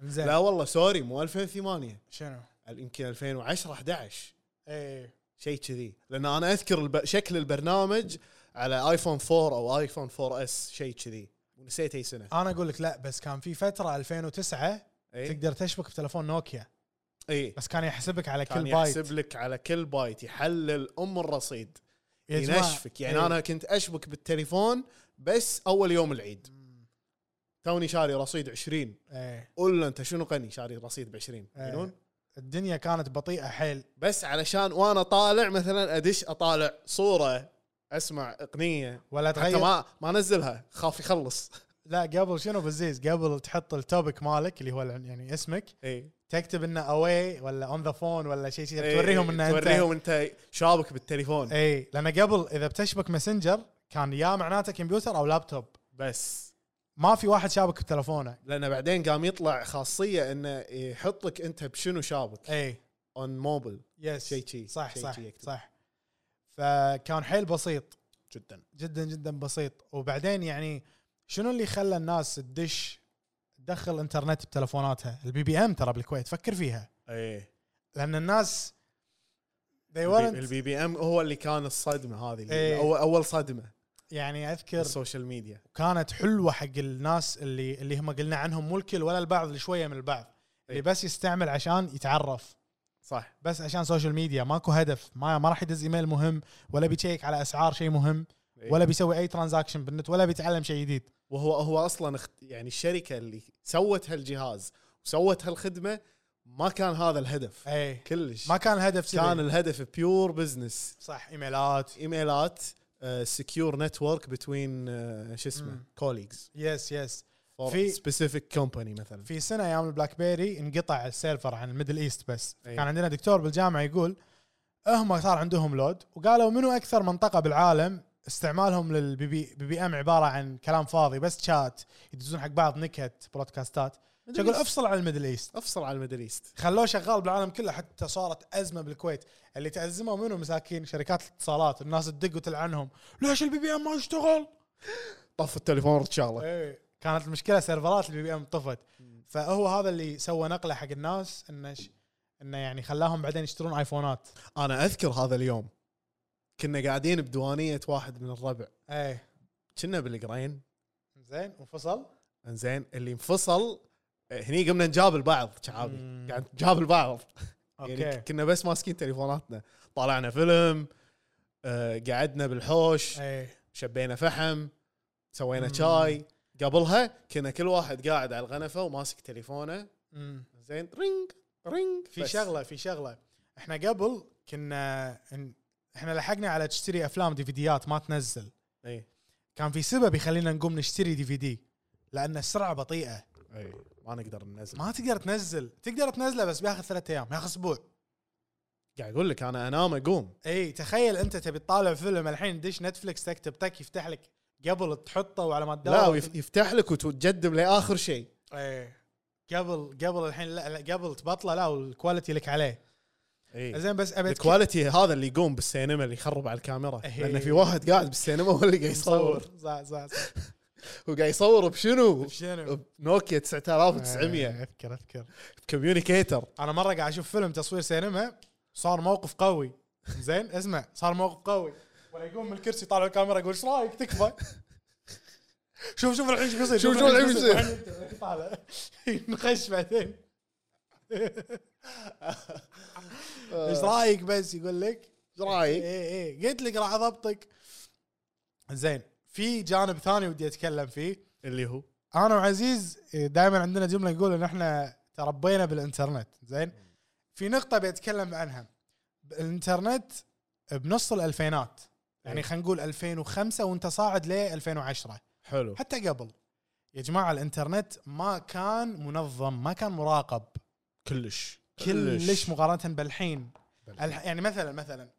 [SPEAKER 4] زين
[SPEAKER 5] لا والله سوري مو 2008
[SPEAKER 4] شنو؟
[SPEAKER 5] يمكن 2010 11
[SPEAKER 4] ايه
[SPEAKER 5] شيء كذي لان انا اذكر الب... شكل البرنامج على ايفون 4 او ايفون 4 اس شيء كذي ونسيت اي سنه
[SPEAKER 4] انا اقول لك لا بس كان في فتره 2009
[SPEAKER 5] اي
[SPEAKER 4] تقدر تشبك بتلفون نوكيا
[SPEAKER 5] اي
[SPEAKER 4] بس كان يحسبك على
[SPEAKER 5] إيه. كان
[SPEAKER 4] كل بايت
[SPEAKER 5] يحسب لك على كل بايت يحلل ام الرصيد
[SPEAKER 4] يا جماعة،
[SPEAKER 5] ينشفك يعني
[SPEAKER 4] إيه.
[SPEAKER 5] انا كنت اشبك بالتليفون بس اول يوم العيد توني شاري رصيد 20
[SPEAKER 4] إيه.
[SPEAKER 5] قول له انت شنو قني شاري رصيد ب 20
[SPEAKER 4] إيه.
[SPEAKER 5] يقولون
[SPEAKER 4] الدنيا كانت بطيئه حيل
[SPEAKER 5] بس علشان وانا طالع مثلا ادش اطالع صوره اسمع اغنيه
[SPEAKER 4] ولا
[SPEAKER 5] حتى
[SPEAKER 4] تغير
[SPEAKER 5] ما ما انزلها خاف يخلص
[SPEAKER 4] لا قبل شنو بالزيز قبل تحط التوبك مالك اللي هو الع- يعني اسمك
[SPEAKER 5] اي
[SPEAKER 4] تكتب انه اواي ولا اون ذا فون ولا شيء شيء
[SPEAKER 5] إي،
[SPEAKER 4] توريهم انه انت
[SPEAKER 5] إيه، توريهم انت شابك بالتليفون
[SPEAKER 4] اي لان قبل اذا بتشبك ماسنجر كان يا معناته كمبيوتر او لابتوب
[SPEAKER 5] بس
[SPEAKER 4] ما في واحد شابك بتلفونه
[SPEAKER 5] لان بعدين قام يطلع خاصيه انه يحط لك انت بشنو شابك
[SPEAKER 4] اي
[SPEAKER 5] اون موبل
[SPEAKER 4] يس
[SPEAKER 5] شيء شي.
[SPEAKER 4] إيه، صح
[SPEAKER 5] شيء
[SPEAKER 4] صح
[SPEAKER 5] شي يكتب.
[SPEAKER 4] صح فكان حيل بسيط
[SPEAKER 5] جدا
[SPEAKER 4] جدا جدا بسيط وبعدين يعني شنو اللي خلى الناس تدش تدخل انترنت بتلفوناتها البي بي ام ترى بالكويت فكر فيها
[SPEAKER 5] اي
[SPEAKER 4] لان الناس they
[SPEAKER 5] البي
[SPEAKER 4] weren't
[SPEAKER 5] البي بي ام هو اللي كان الصدمه هذه
[SPEAKER 4] إيه.
[SPEAKER 5] اللي اول اول صدمه
[SPEAKER 4] يعني اذكر
[SPEAKER 5] السوشيال ميديا
[SPEAKER 4] كانت حلوه حق الناس اللي اللي هم قلنا عنهم مو الكل ولا البعض اللي شويه من البعض اللي
[SPEAKER 5] إيه.
[SPEAKER 4] بس يستعمل عشان يتعرف
[SPEAKER 5] صح
[SPEAKER 4] بس عشان سوشيال ميديا ماكو هدف ما ما راح يدز ايميل مهم ولا بيشيك على اسعار شيء مهم
[SPEAKER 5] إيه.
[SPEAKER 4] ولا بيسوي اي ترانزاكشن بالنت ولا بيتعلم شيء جديد
[SPEAKER 5] وهو هو اصلا اخت- يعني الشركه اللي سوت هالجهاز وسوت هالخدمه ما كان هذا الهدف
[SPEAKER 4] اي
[SPEAKER 5] كلش
[SPEAKER 4] ما كان هدف كذا.
[SPEAKER 5] إيه. كان الهدف بيور بزنس
[SPEAKER 4] صح ايميلات
[SPEAKER 5] ايميلات آه، سكيور نتورك بتوين آه، شو اسمه
[SPEAKER 4] مم.
[SPEAKER 5] كوليجز
[SPEAKER 4] يس يس
[SPEAKER 5] فور
[SPEAKER 4] في-
[SPEAKER 5] سبيسيفيك كومباني مثلا
[SPEAKER 4] في سنه ايام البلاك بيري انقطع السيرفر عن الميدل ايست بس
[SPEAKER 5] أي.
[SPEAKER 4] كان عندنا دكتور بالجامعه يقول هم صار عندهم لود وقالوا منو اكثر منطقه بالعالم استعمالهم للبي بي, بي, بي ام عباره عن كلام فاضي بس شات يدزون حق بعض نكت برودكاستات
[SPEAKER 5] Middle
[SPEAKER 4] يقول
[SPEAKER 5] East.
[SPEAKER 4] افصل عن الميدل ايست
[SPEAKER 5] افصل على الميدل ايست
[SPEAKER 4] خلوه شغال بالعالم كله حتى صارت ازمه بالكويت اللي تازمه منو مساكين شركات الاتصالات الناس تدق وتلعنهم ليش البي بي ام ما يشتغل
[SPEAKER 5] طف التليفون ورد شغله
[SPEAKER 4] ايه كانت المشكله سيرفرات البي بي ام طفت فهو هذا اللي سوى نقله حق الناس انه ش... انه يعني خلاهم بعدين يشترون ايفونات
[SPEAKER 5] انا اذكر هذا اليوم كنا قاعدين بديوانيه واحد من الربع
[SPEAKER 4] ايه
[SPEAKER 5] كنا بالقرين
[SPEAKER 4] زين وفصل
[SPEAKER 5] انزين اللي انفصل آه، هني قمنا نجاب البعض شعابي
[SPEAKER 4] مم.
[SPEAKER 5] قاعد نجاب البعض [LAUGHS] يعني
[SPEAKER 4] اوكي
[SPEAKER 5] كنا بس ماسكين تليفوناتنا طالعنا فيلم آه، قعدنا بالحوش
[SPEAKER 4] ايه
[SPEAKER 5] شبينا فحم سوينا
[SPEAKER 4] مم.
[SPEAKER 5] شاي قبلها كنا كل واحد قاعد على الغنفه وماسك تليفونه
[SPEAKER 4] مم.
[SPEAKER 5] زين رينج رينج
[SPEAKER 4] في
[SPEAKER 5] بس.
[SPEAKER 4] شغله في شغله احنا قبل كنا إن- احنا لحقنا على تشتري افلام ديفيديات ما تنزل إيه.
[SPEAKER 5] اي
[SPEAKER 4] كان في سبب يخلينا نقوم نشتري دي في دي لان السرعه بطيئه
[SPEAKER 5] اي ما نقدر ننزل
[SPEAKER 4] ما تقدر تنزل تقدر تنزله بس بياخذ ثلاثة ايام بياخذ اسبوع
[SPEAKER 5] قاعد اقول لك انا انام اقوم
[SPEAKER 4] اي إيه، تخيل انت تبي تطالع فيلم الحين دش نتفلكس تكتب تك يفتح لك قبل تحطه وعلى ما
[SPEAKER 5] لا
[SPEAKER 4] تدور
[SPEAKER 5] ويف- يفتح لك وتقدم لاخر شيء
[SPEAKER 4] اي قبل قبل الحين لا, لا قبل تبطله لا والكواليتي لك عليه
[SPEAKER 5] اي
[SPEAKER 4] زين بس ابي أتك-
[SPEAKER 5] الكواليتي هذا اللي يقوم بالسينما اللي يخرب على الكاميرا
[SPEAKER 4] إي.
[SPEAKER 5] لان في واحد قاعد بالسينما هو اللي قاعد يصور
[SPEAKER 4] صح صح صح
[SPEAKER 5] وقاعد يصور بشنو؟
[SPEAKER 4] شنو؟
[SPEAKER 5] نوكيا 9900
[SPEAKER 4] آه، اذكر اذكر
[SPEAKER 5] كوميونيكيتر
[SPEAKER 4] انا مره قاعد اشوف فيلم تصوير سينما صار موقف قوي زين اسمع صار موقف قوي ولا يقوم من الكرسي طالع الكاميرا يقول ايش رايك تكفى شوف شوف الحين ايش بيصير
[SPEAKER 5] شوف شوف الحين بيصير.
[SPEAKER 4] الحين طالع [LAUGHS] نخش بعدين
[SPEAKER 5] آه.
[SPEAKER 4] ايش رايك بس يقول لك
[SPEAKER 5] ايش رايك؟
[SPEAKER 4] اي اي إيه، قلت لك راح اضبطك زين في جانب ثاني ودي اتكلم فيه
[SPEAKER 5] اللي هو
[SPEAKER 4] انا وعزيز دائما عندنا جمله نقول ان احنا تربينا بالانترنت زين في نقطه بيتكلم عنها الانترنت بنص الالفينات يعني
[SPEAKER 5] إيه.
[SPEAKER 4] خلينا نقول 2005 وانت صاعد ل 2010
[SPEAKER 5] حلو
[SPEAKER 4] حتى قبل يا جماعه الانترنت ما كان منظم ما كان مراقب
[SPEAKER 5] كلش
[SPEAKER 4] كلش مقارنه بالحين
[SPEAKER 5] بالحين.
[SPEAKER 4] الح... يعني مثلا مثلا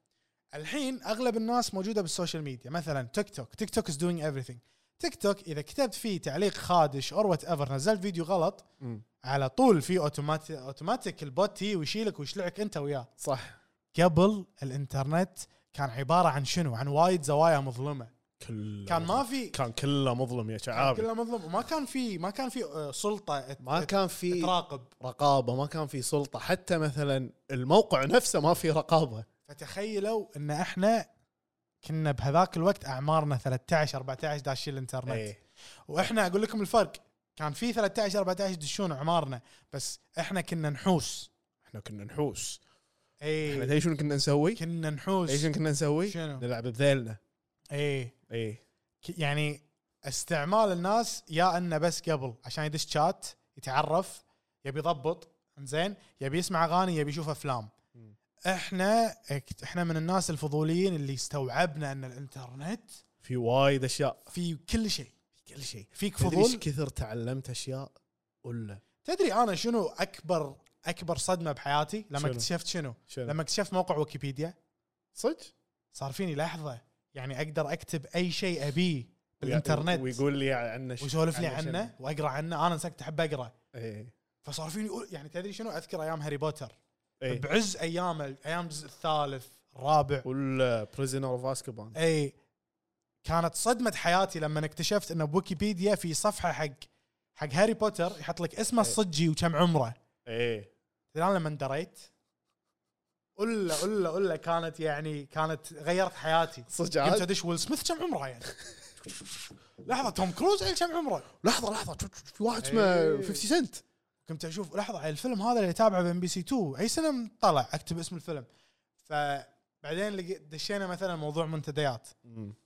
[SPEAKER 4] الحين اغلب الناس موجوده بالسوشيال ميديا مثلا تيك توك تيك توك از دوينج everything تيك توك اذا كتبت فيه تعليق خادش اور وات ايفر نزلت فيديو غلط
[SPEAKER 5] مم.
[SPEAKER 4] على طول في اوتوماتيك اوتوماتيك البوت يجي ويشيلك ويشلعك انت وياه
[SPEAKER 5] صح
[SPEAKER 4] قبل الانترنت كان عباره عن شنو عن وايد زوايا مظلمه
[SPEAKER 5] كله
[SPEAKER 4] كان ما في
[SPEAKER 5] كان كله مظلم يا
[SPEAKER 4] كان
[SPEAKER 5] شعابي
[SPEAKER 4] كله مظلم وما كان في ما كان في آه، سلطه ت-
[SPEAKER 5] ما كان في
[SPEAKER 4] تراقب
[SPEAKER 5] رقابه ما كان في سلطه حتى مثلا الموقع نفسه ما في رقابه
[SPEAKER 4] فتخيلوا ان احنا كنا بهذاك الوقت اعمارنا 13 14 داشين الانترنت
[SPEAKER 5] اي
[SPEAKER 4] واحنا اقول لكم الفرق كان في 13 14 يدشون اعمارنا بس احنا كنا نحوس
[SPEAKER 5] احنا كنا نحوس احنا
[SPEAKER 4] اي
[SPEAKER 5] تدري شنو كنا نسوي؟
[SPEAKER 4] كنا نحوس
[SPEAKER 5] ايش كنا نسوي؟
[SPEAKER 4] شنو؟
[SPEAKER 5] نلعب بذيلنا إيه.
[SPEAKER 4] اي
[SPEAKER 5] اي
[SPEAKER 4] ك- يعني استعمال الناس يا انه بس قبل عشان يدش شات يتعرف يبي يضبط زين يبي يسمع اغاني يبي يشوف افلام
[SPEAKER 5] مم.
[SPEAKER 4] احنا احنا من الناس الفضوليين اللي استوعبنا ان الانترنت
[SPEAKER 5] في وايد اشياء
[SPEAKER 4] في كل شيء
[SPEAKER 5] كل شيء
[SPEAKER 4] فيك
[SPEAKER 5] تدري ايش
[SPEAKER 4] فضول
[SPEAKER 5] كثر تعلمت اشياء ولا
[SPEAKER 4] تدري انا شنو اكبر اكبر صدمه بحياتي لما
[SPEAKER 5] شنو؟
[SPEAKER 4] اكتشفت شنو
[SPEAKER 5] شنو؟
[SPEAKER 4] لما اكتشفت موقع ويكيبيديا
[SPEAKER 5] صدق
[SPEAKER 4] صار فيني لحظه يعني اقدر اكتب اي شيء ابيه بالانترنت
[SPEAKER 5] ويقول لي عنه شيء-
[SPEAKER 4] ويسولف لي
[SPEAKER 5] شنو.
[SPEAKER 4] عنه واقرا عنه انا سكت احب اقرا
[SPEAKER 5] ايه
[SPEAKER 4] فصار فيني أقول- يعني تدري شنو اذكر ايام هاري بوتر
[SPEAKER 5] ايه
[SPEAKER 4] بعز ايام ايام الجزء الثالث الرابع
[SPEAKER 5] ولا بريزنر اوف اسكبان
[SPEAKER 4] اي كانت صدمه حياتي لما اكتشفت انه بويكيبيديا في صفحه حق حق هاري بوتر يحط لك اسمه
[SPEAKER 5] إيه.
[SPEAKER 4] الصجي وكم عمره
[SPEAKER 5] ايه
[SPEAKER 4] تدري انا لما دريت الا الا الا كانت يعني كانت غيرت حياتي
[SPEAKER 5] صدق
[SPEAKER 4] قمت
[SPEAKER 5] عاد
[SPEAKER 4] ادش ويل سميث كم عمره يعني لحظه توم كروز عيل كم عمره
[SPEAKER 5] لحظه لحظه شو- شو- في واحد
[SPEAKER 4] إيه.
[SPEAKER 5] اسمه 50 سنت
[SPEAKER 4] قمت اشوف لحظه عيل الفيلم هذا اللي تابعه بام بي سي 2 اي سنه طلع اكتب اسم الفيلم فبعدين لقيت- دشينا مثلا موضوع منتديات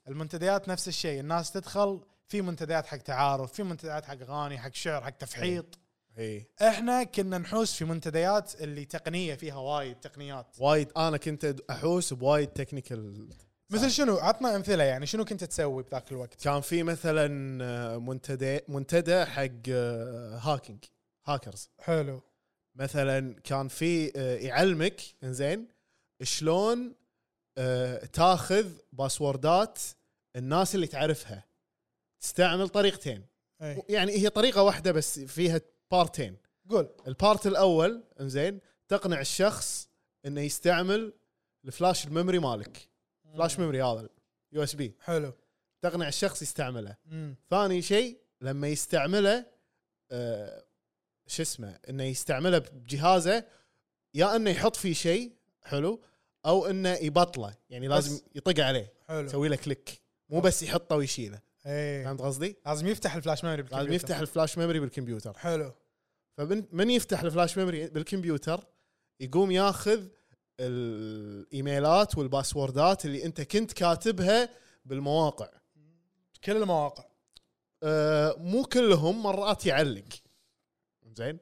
[SPEAKER 4] المنتديات نفس الشيء الناس تدخل في منتديات حق تعارف في منتديات حق اغاني حق شعر حق تفحيط
[SPEAKER 5] ايه
[SPEAKER 4] احنا كنا نحوس في منتديات اللي تقنيه فيها وايد تقنيات
[SPEAKER 5] وايد انا كنت أد- احوس بوايد تكنيكال
[SPEAKER 4] مثل شنو عطنا امثله يعني شنو كنت تسوي بذاك الوقت
[SPEAKER 5] كان في مثلا آه، منتدى منتدى حق آه، هاكينج هاكرز
[SPEAKER 4] حلو
[SPEAKER 5] مثلا كان في آه، يعلمك انزين شلون آه، تاخذ باسوردات الناس اللي تعرفها تستعمل طريقتين
[SPEAKER 4] اي
[SPEAKER 5] يعني هي طريقه واحده بس فيها بارتين
[SPEAKER 4] قول
[SPEAKER 5] البارت الاول انزين تقنع الشخص انه يستعمل الفلاش الميموري مالك فلاش ميموري هذا اليو اس بي
[SPEAKER 4] حلو
[SPEAKER 5] تقنع الشخص يستعمله
[SPEAKER 4] مم.
[SPEAKER 5] ثاني شيء لما يستعمله آه، شو اسمه انه يستعمله بجهازه يا انه يحط فيه شيء حلو او انه يبطله يعني لازم يطق عليه
[SPEAKER 4] حلو
[SPEAKER 5] يسوي له كليك مو بس يحطه ويشيله
[SPEAKER 4] اي
[SPEAKER 5] فهمت قصدي؟
[SPEAKER 4] إيه. لازم يفتح الفلاش ميموري
[SPEAKER 5] لازم
[SPEAKER 4] بالكمبيوتر.
[SPEAKER 5] يفتح الفلاش ميموري بالكمبيوتر
[SPEAKER 4] حلو
[SPEAKER 5] فمن يفتح الفلاش ميموري بالكمبيوتر يقوم ياخذ الايميلات والباسوردات اللي انت كنت كاتبها بالمواقع
[SPEAKER 4] كل المواقع
[SPEAKER 5] آه، مو كلهم مرات يعلق زين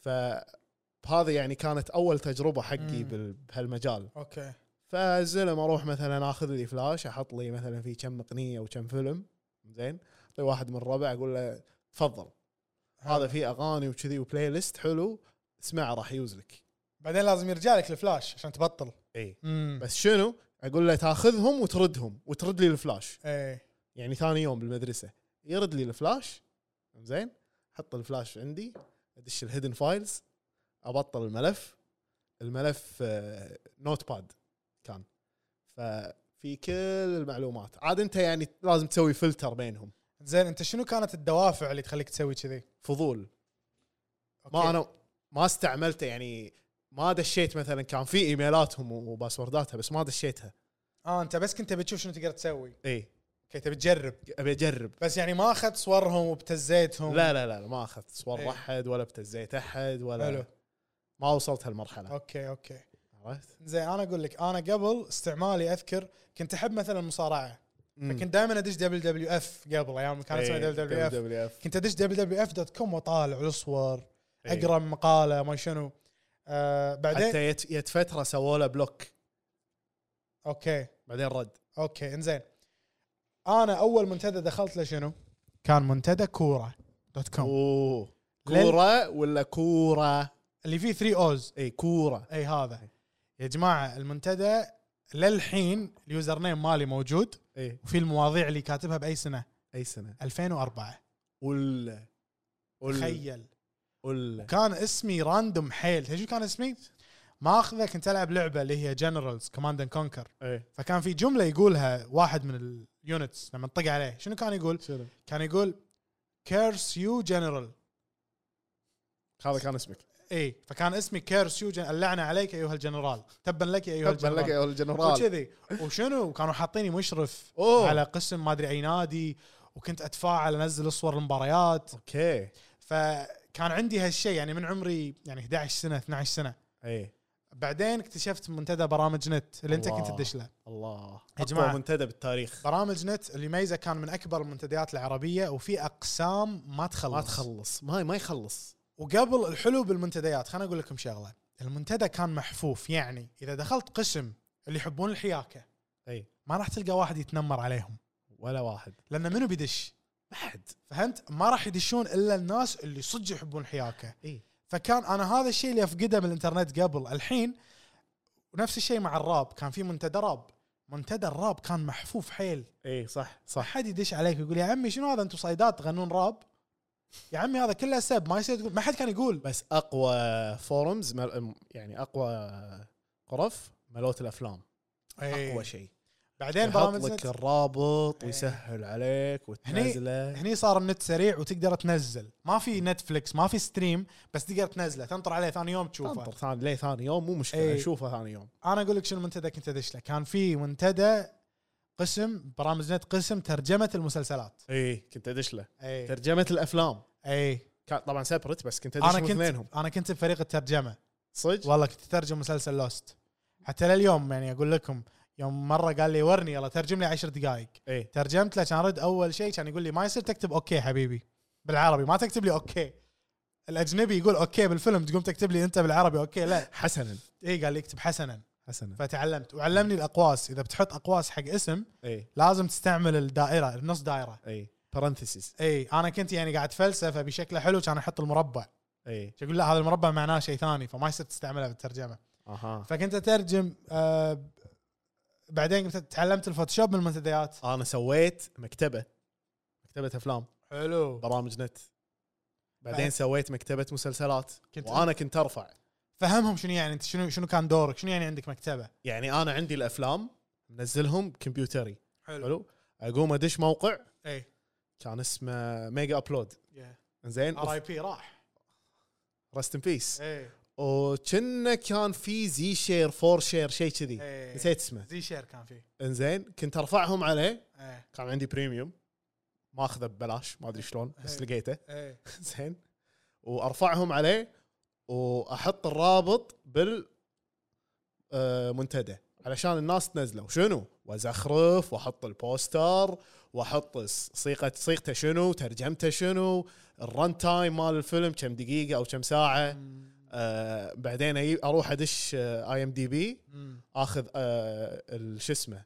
[SPEAKER 5] فهذا يعني كانت اول تجربه حقي
[SPEAKER 4] مم.
[SPEAKER 5] بال- بهالمجال
[SPEAKER 4] اوكي
[SPEAKER 5] فالزلم اروح مثلا اخذ لي فلاش احط لي مثلا في كم اغنيه وكم فيلم زين طيب واحد من الربع اقول له تفضل هذا فيه اغاني وكذي وبلاي ليست حلو اسمعه راح يوز لك
[SPEAKER 4] بعدين لازم يرجع لك الفلاش عشان تبطل
[SPEAKER 5] اي
[SPEAKER 4] امم
[SPEAKER 5] بس شنو اقول له تاخذهم وتردهم وترد لي الفلاش
[SPEAKER 4] اي
[SPEAKER 5] يعني ثاني يوم بالمدرسه يرد لي الفلاش زين حط الفلاش عندي ادش الهيدن فايلز ابطل الملف الملف نوت باد كان ففي كل المعلومات عاد انت يعني لازم تسوي فلتر بينهم
[SPEAKER 4] زين انت شنو كانت الدوافع اللي تخليك تسوي كذي؟
[SPEAKER 5] فضول
[SPEAKER 4] أوكي.
[SPEAKER 5] ما انا ما استعملته يعني ما دشيت مثلا كان في ايميلاتهم وباسورداتها بس ما دشيتها
[SPEAKER 4] اه انت بس كنت بتشوف شنو تقدر تسوي،
[SPEAKER 5] اي
[SPEAKER 4] اوكي تبي تجرب
[SPEAKER 5] ابي اجرب
[SPEAKER 4] بس يعني ما اخذت صورهم وابتزيتهم
[SPEAKER 5] لا لا لا ما اخذت
[SPEAKER 4] إيه.
[SPEAKER 5] صور احد ولا ابتزيت احد ولا
[SPEAKER 4] حلو.
[SPEAKER 5] ما وصلت هالمرحله
[SPEAKER 4] اوكي اوكي
[SPEAKER 5] عرفت؟
[SPEAKER 4] زين انا اقول لك انا قبل استعمالي اذكر كنت احب مثلا المصارعه فكنت دائما ادش دبليو دبليو اف قبل ايام كانت اسمها دبليو إيه، دبليو اف
[SPEAKER 5] إيه، دبليو اف
[SPEAKER 4] كنت ادش دبليو دبليو اف دوت كوم واطالع الصور اقرا مقاله ما شنو آه بعدين
[SPEAKER 5] حتى يت, يت فتره سووا له بلوك
[SPEAKER 4] اوكي
[SPEAKER 5] بعدين رد
[SPEAKER 4] اوكي انزين انا اول منتدى دخلت له شنو؟ كان منتدى كوره دوت كوم
[SPEAKER 5] اوه
[SPEAKER 4] لل-
[SPEAKER 5] كوره ولا كوره؟
[SPEAKER 4] اللي فيه 3 اوز
[SPEAKER 5] اي كوره
[SPEAKER 4] اي هذا يا جماعه المنتدى للحين اليوزر نيم مالي موجود
[SPEAKER 5] اي
[SPEAKER 4] وفي المواضيع اللي كاتبها باي سنه
[SPEAKER 5] اي سنه
[SPEAKER 4] 2004
[SPEAKER 5] ولا ولا
[SPEAKER 4] تخيل
[SPEAKER 5] ولا
[SPEAKER 4] كان اسمي راندوم حيل تدري شو كان اسمي؟ ماخذه كنت العب لعبه اللي هي جنرالز كوماند اند كونكر
[SPEAKER 5] اي
[SPEAKER 4] فكان في جمله يقولها واحد من اليونتس لما نطق عليه شنو كان يقول؟
[SPEAKER 5] شنو؟
[SPEAKER 4] كان يقول كيرس يو جنرال
[SPEAKER 5] هذا كان اسمك
[SPEAKER 4] اي فكان اسمي كيرس يو جن... اللعنه عليك ايها الجنرال تبا لك يا ايها
[SPEAKER 5] تبا لك
[SPEAKER 4] الجنرال
[SPEAKER 5] يا الجنرال
[SPEAKER 4] وكذي وشنو كانوا حاطيني مشرف
[SPEAKER 5] أوه.
[SPEAKER 4] على قسم ما ادري اي نادي وكنت اتفاعل انزل صور المباريات
[SPEAKER 5] اوكي
[SPEAKER 4] فكان عندي هالشيء يعني من عمري يعني 11 سنه 12 سنه
[SPEAKER 5] اي
[SPEAKER 4] بعدين اكتشفت منتدى برامج نت اللي انت
[SPEAKER 5] الله.
[SPEAKER 4] كنت تدش له
[SPEAKER 5] الله
[SPEAKER 4] يا
[SPEAKER 5] يا
[SPEAKER 4] جماعة.
[SPEAKER 5] جماعه منتدى بالتاريخ
[SPEAKER 4] برامج نت اللي يميزه كان من اكبر المنتديات العربيه وفي اقسام ما تخلص
[SPEAKER 5] ما تخلص ما ما يخلص
[SPEAKER 4] وقبل الحلو بالمنتديات خليني اقول لكم شغله المنتدى كان محفوف يعني اذا دخلت قسم اللي يحبون الحياكه
[SPEAKER 5] اي
[SPEAKER 4] ما راح تلقى واحد يتنمر عليهم
[SPEAKER 5] ولا واحد
[SPEAKER 4] لان منو بيدش
[SPEAKER 5] ما حد
[SPEAKER 4] فهمت ما راح يدشون الا الناس اللي صدق يحبون الحياكه
[SPEAKER 5] اي
[SPEAKER 4] فكان انا هذا الشيء اللي افقده من الانترنت قبل الحين ونفس الشيء مع الراب كان في منتدى راب منتدى الراب كان محفوف حيل
[SPEAKER 5] اي صح
[SPEAKER 4] ما
[SPEAKER 5] صح
[SPEAKER 4] حد يدش عليك يقول يا عمي شنو هذا انتم صيدات تغنون راب يا عمي هذا كله سب ما يصير تقول ما حد كان يقول
[SPEAKER 5] بس اقوى فورمز مل- يعني اقوى غرف ملوت الافلام اقوى شيء
[SPEAKER 4] بعدين
[SPEAKER 5] يحط
[SPEAKER 4] برامج
[SPEAKER 5] لك
[SPEAKER 4] نت
[SPEAKER 5] الرابط
[SPEAKER 4] إيه.
[SPEAKER 5] ويسهل عليك وتنزله
[SPEAKER 4] هني صار النت سريع وتقدر تنزل ما في نتفلكس ما في ستريم بس تقدر تنزله تنطر عليه ثاني يوم تشوفه
[SPEAKER 5] انطر ثاني ليه ثاني يوم مو مشكله
[SPEAKER 4] إيه.
[SPEAKER 5] اشوفه ثاني يوم
[SPEAKER 4] انا اقول لك شنو المنتدى كنت ادش له كان في منتدى قسم برامج نت قسم ترجمه المسلسلات إيه،
[SPEAKER 5] اي إيه، كنت ادش له
[SPEAKER 4] اي
[SPEAKER 5] ترجمه الافلام
[SPEAKER 4] اي
[SPEAKER 5] كان طبعا سيبرت بس كنت ادش
[SPEAKER 4] انا
[SPEAKER 5] من اثنينهم
[SPEAKER 4] إيه. كنت انا كنت بفريق الترجمه
[SPEAKER 5] صدق
[SPEAKER 4] والله كنت اترجم مسلسل لوست حتى لليوم يعني اقول لكم يوم مره قال لي ورني يلا ترجم لي عشر دقائق
[SPEAKER 5] اي
[SPEAKER 4] ترجمت له كان رد اول شيء كان يقول لي ما يصير تكتب اوكي حبيبي بالعربي ما تكتب لي اوكي الاجنبي يقول اوكي بالفيلم تقوم تكتب لي انت بالعربي اوكي لا
[SPEAKER 5] حسنا
[SPEAKER 4] اي قال لي اكتب حسنا
[SPEAKER 5] حسنا
[SPEAKER 4] فتعلمت وعلمني الاقواس اذا بتحط اقواس حق اسم
[SPEAKER 5] اي
[SPEAKER 4] لازم تستعمل الدائره النص دائره
[SPEAKER 5] اي بارنثيسز
[SPEAKER 4] اي انا كنت يعني قاعد فلسفه بشكله حلو كان احط المربع
[SPEAKER 5] اي
[SPEAKER 4] يقول لا هذا المربع معناه شيء ثاني فما يصير تستعمله بالترجمه
[SPEAKER 5] اها
[SPEAKER 4] فكنت اترجم آه ب- بعدين قمت تعلمت الفوتوشوب من المنتديات
[SPEAKER 5] انا سويت مكتبه مكتبه افلام
[SPEAKER 4] حلو
[SPEAKER 5] برامج نت
[SPEAKER 4] بعد-
[SPEAKER 5] بعدين سويت مكتبه مسلسلات
[SPEAKER 4] كنت-
[SPEAKER 5] وانا كنت ارفع
[SPEAKER 4] فهمهم شنو يعني انت شنو شنو كان دورك شنو يعني عندك مكتبه
[SPEAKER 5] يعني انا عندي الافلام منزلهم كمبيوتري
[SPEAKER 4] حلو,
[SPEAKER 5] حلو اقوم ادش موقع
[SPEAKER 4] اي
[SPEAKER 5] إيه. كان اسمه ميجا ابلود زين
[SPEAKER 4] ار اي بي راح إيه،
[SPEAKER 5] رست ان بيس
[SPEAKER 4] اي
[SPEAKER 5] وكنا كان في زي شير فور شير شيء كذي
[SPEAKER 4] اي
[SPEAKER 5] نسيت اسمه
[SPEAKER 4] إيه. زي شير كان فيه إيه،
[SPEAKER 5] انزين كنت ارفعهم عليه
[SPEAKER 4] اي
[SPEAKER 5] كان عندي بريميوم ما اخذه ببلاش ما ادري شلون بس
[SPEAKER 4] إيه.
[SPEAKER 5] لقيته [LAUGHS]
[SPEAKER 4] اي
[SPEAKER 5] زين وارفعهم عليه واحط الرابط بال آه، منتدى علشان الناس تنزله وشنو وازخرف واحط البوستر واحط الس- صيغه صيغته شنو ترجمته شنو الرن تايم مال الفيلم كم دقيقه او كم ساعه آه بعدين أي- آه، اروح ادش اي ام دي بي اخذ آه ال- شو اسمه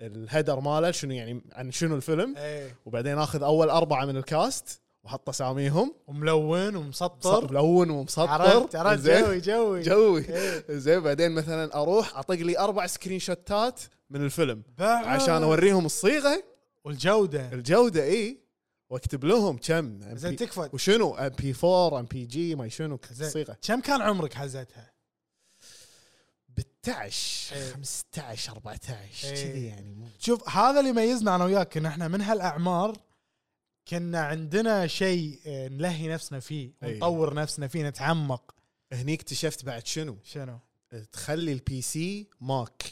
[SPEAKER 5] الهيدر ماله شنو يعني عن شنو الفيلم
[SPEAKER 4] اي
[SPEAKER 5] وبعدين اخذ اول اربعه من الكاست واحط اساميهم
[SPEAKER 4] وملون
[SPEAKER 5] مسطر
[SPEAKER 4] ومسطر
[SPEAKER 5] ملون ومسطر
[SPEAKER 4] عرفت عرفت
[SPEAKER 5] زين؟
[SPEAKER 4] جوي جوي
[SPEAKER 5] جوي
[SPEAKER 4] إيه.
[SPEAKER 5] زين بعدين مثلا اروح اطق لي اربع سكرين شوتات من الفيلم
[SPEAKER 4] بعد.
[SPEAKER 5] عشان اوريهم الصيغه
[SPEAKER 4] والجوده
[SPEAKER 5] الجوده اي واكتب لهم كم
[SPEAKER 4] زين
[SPEAKER 5] MP
[SPEAKER 4] تكفى
[SPEAKER 5] وشنو ام بي 4 ام بي جي ما شنو الصيغه
[SPEAKER 4] كم كان عمرك حزتها؟
[SPEAKER 5] بالتعش
[SPEAKER 4] إيه.
[SPEAKER 5] 15 14
[SPEAKER 4] إيه.
[SPEAKER 5] كذي يعني مو-
[SPEAKER 4] شوف هذا اللي يميزنا انا وياك ان احنا من هالاعمار كنا عندنا شيء آه، نلهي نفسنا فيه
[SPEAKER 5] أي.
[SPEAKER 4] ونطور نفسنا فيه نتعمق
[SPEAKER 5] هني اكتشفت بعد شنو
[SPEAKER 4] شنو؟
[SPEAKER 5] تخلي البي سي ماك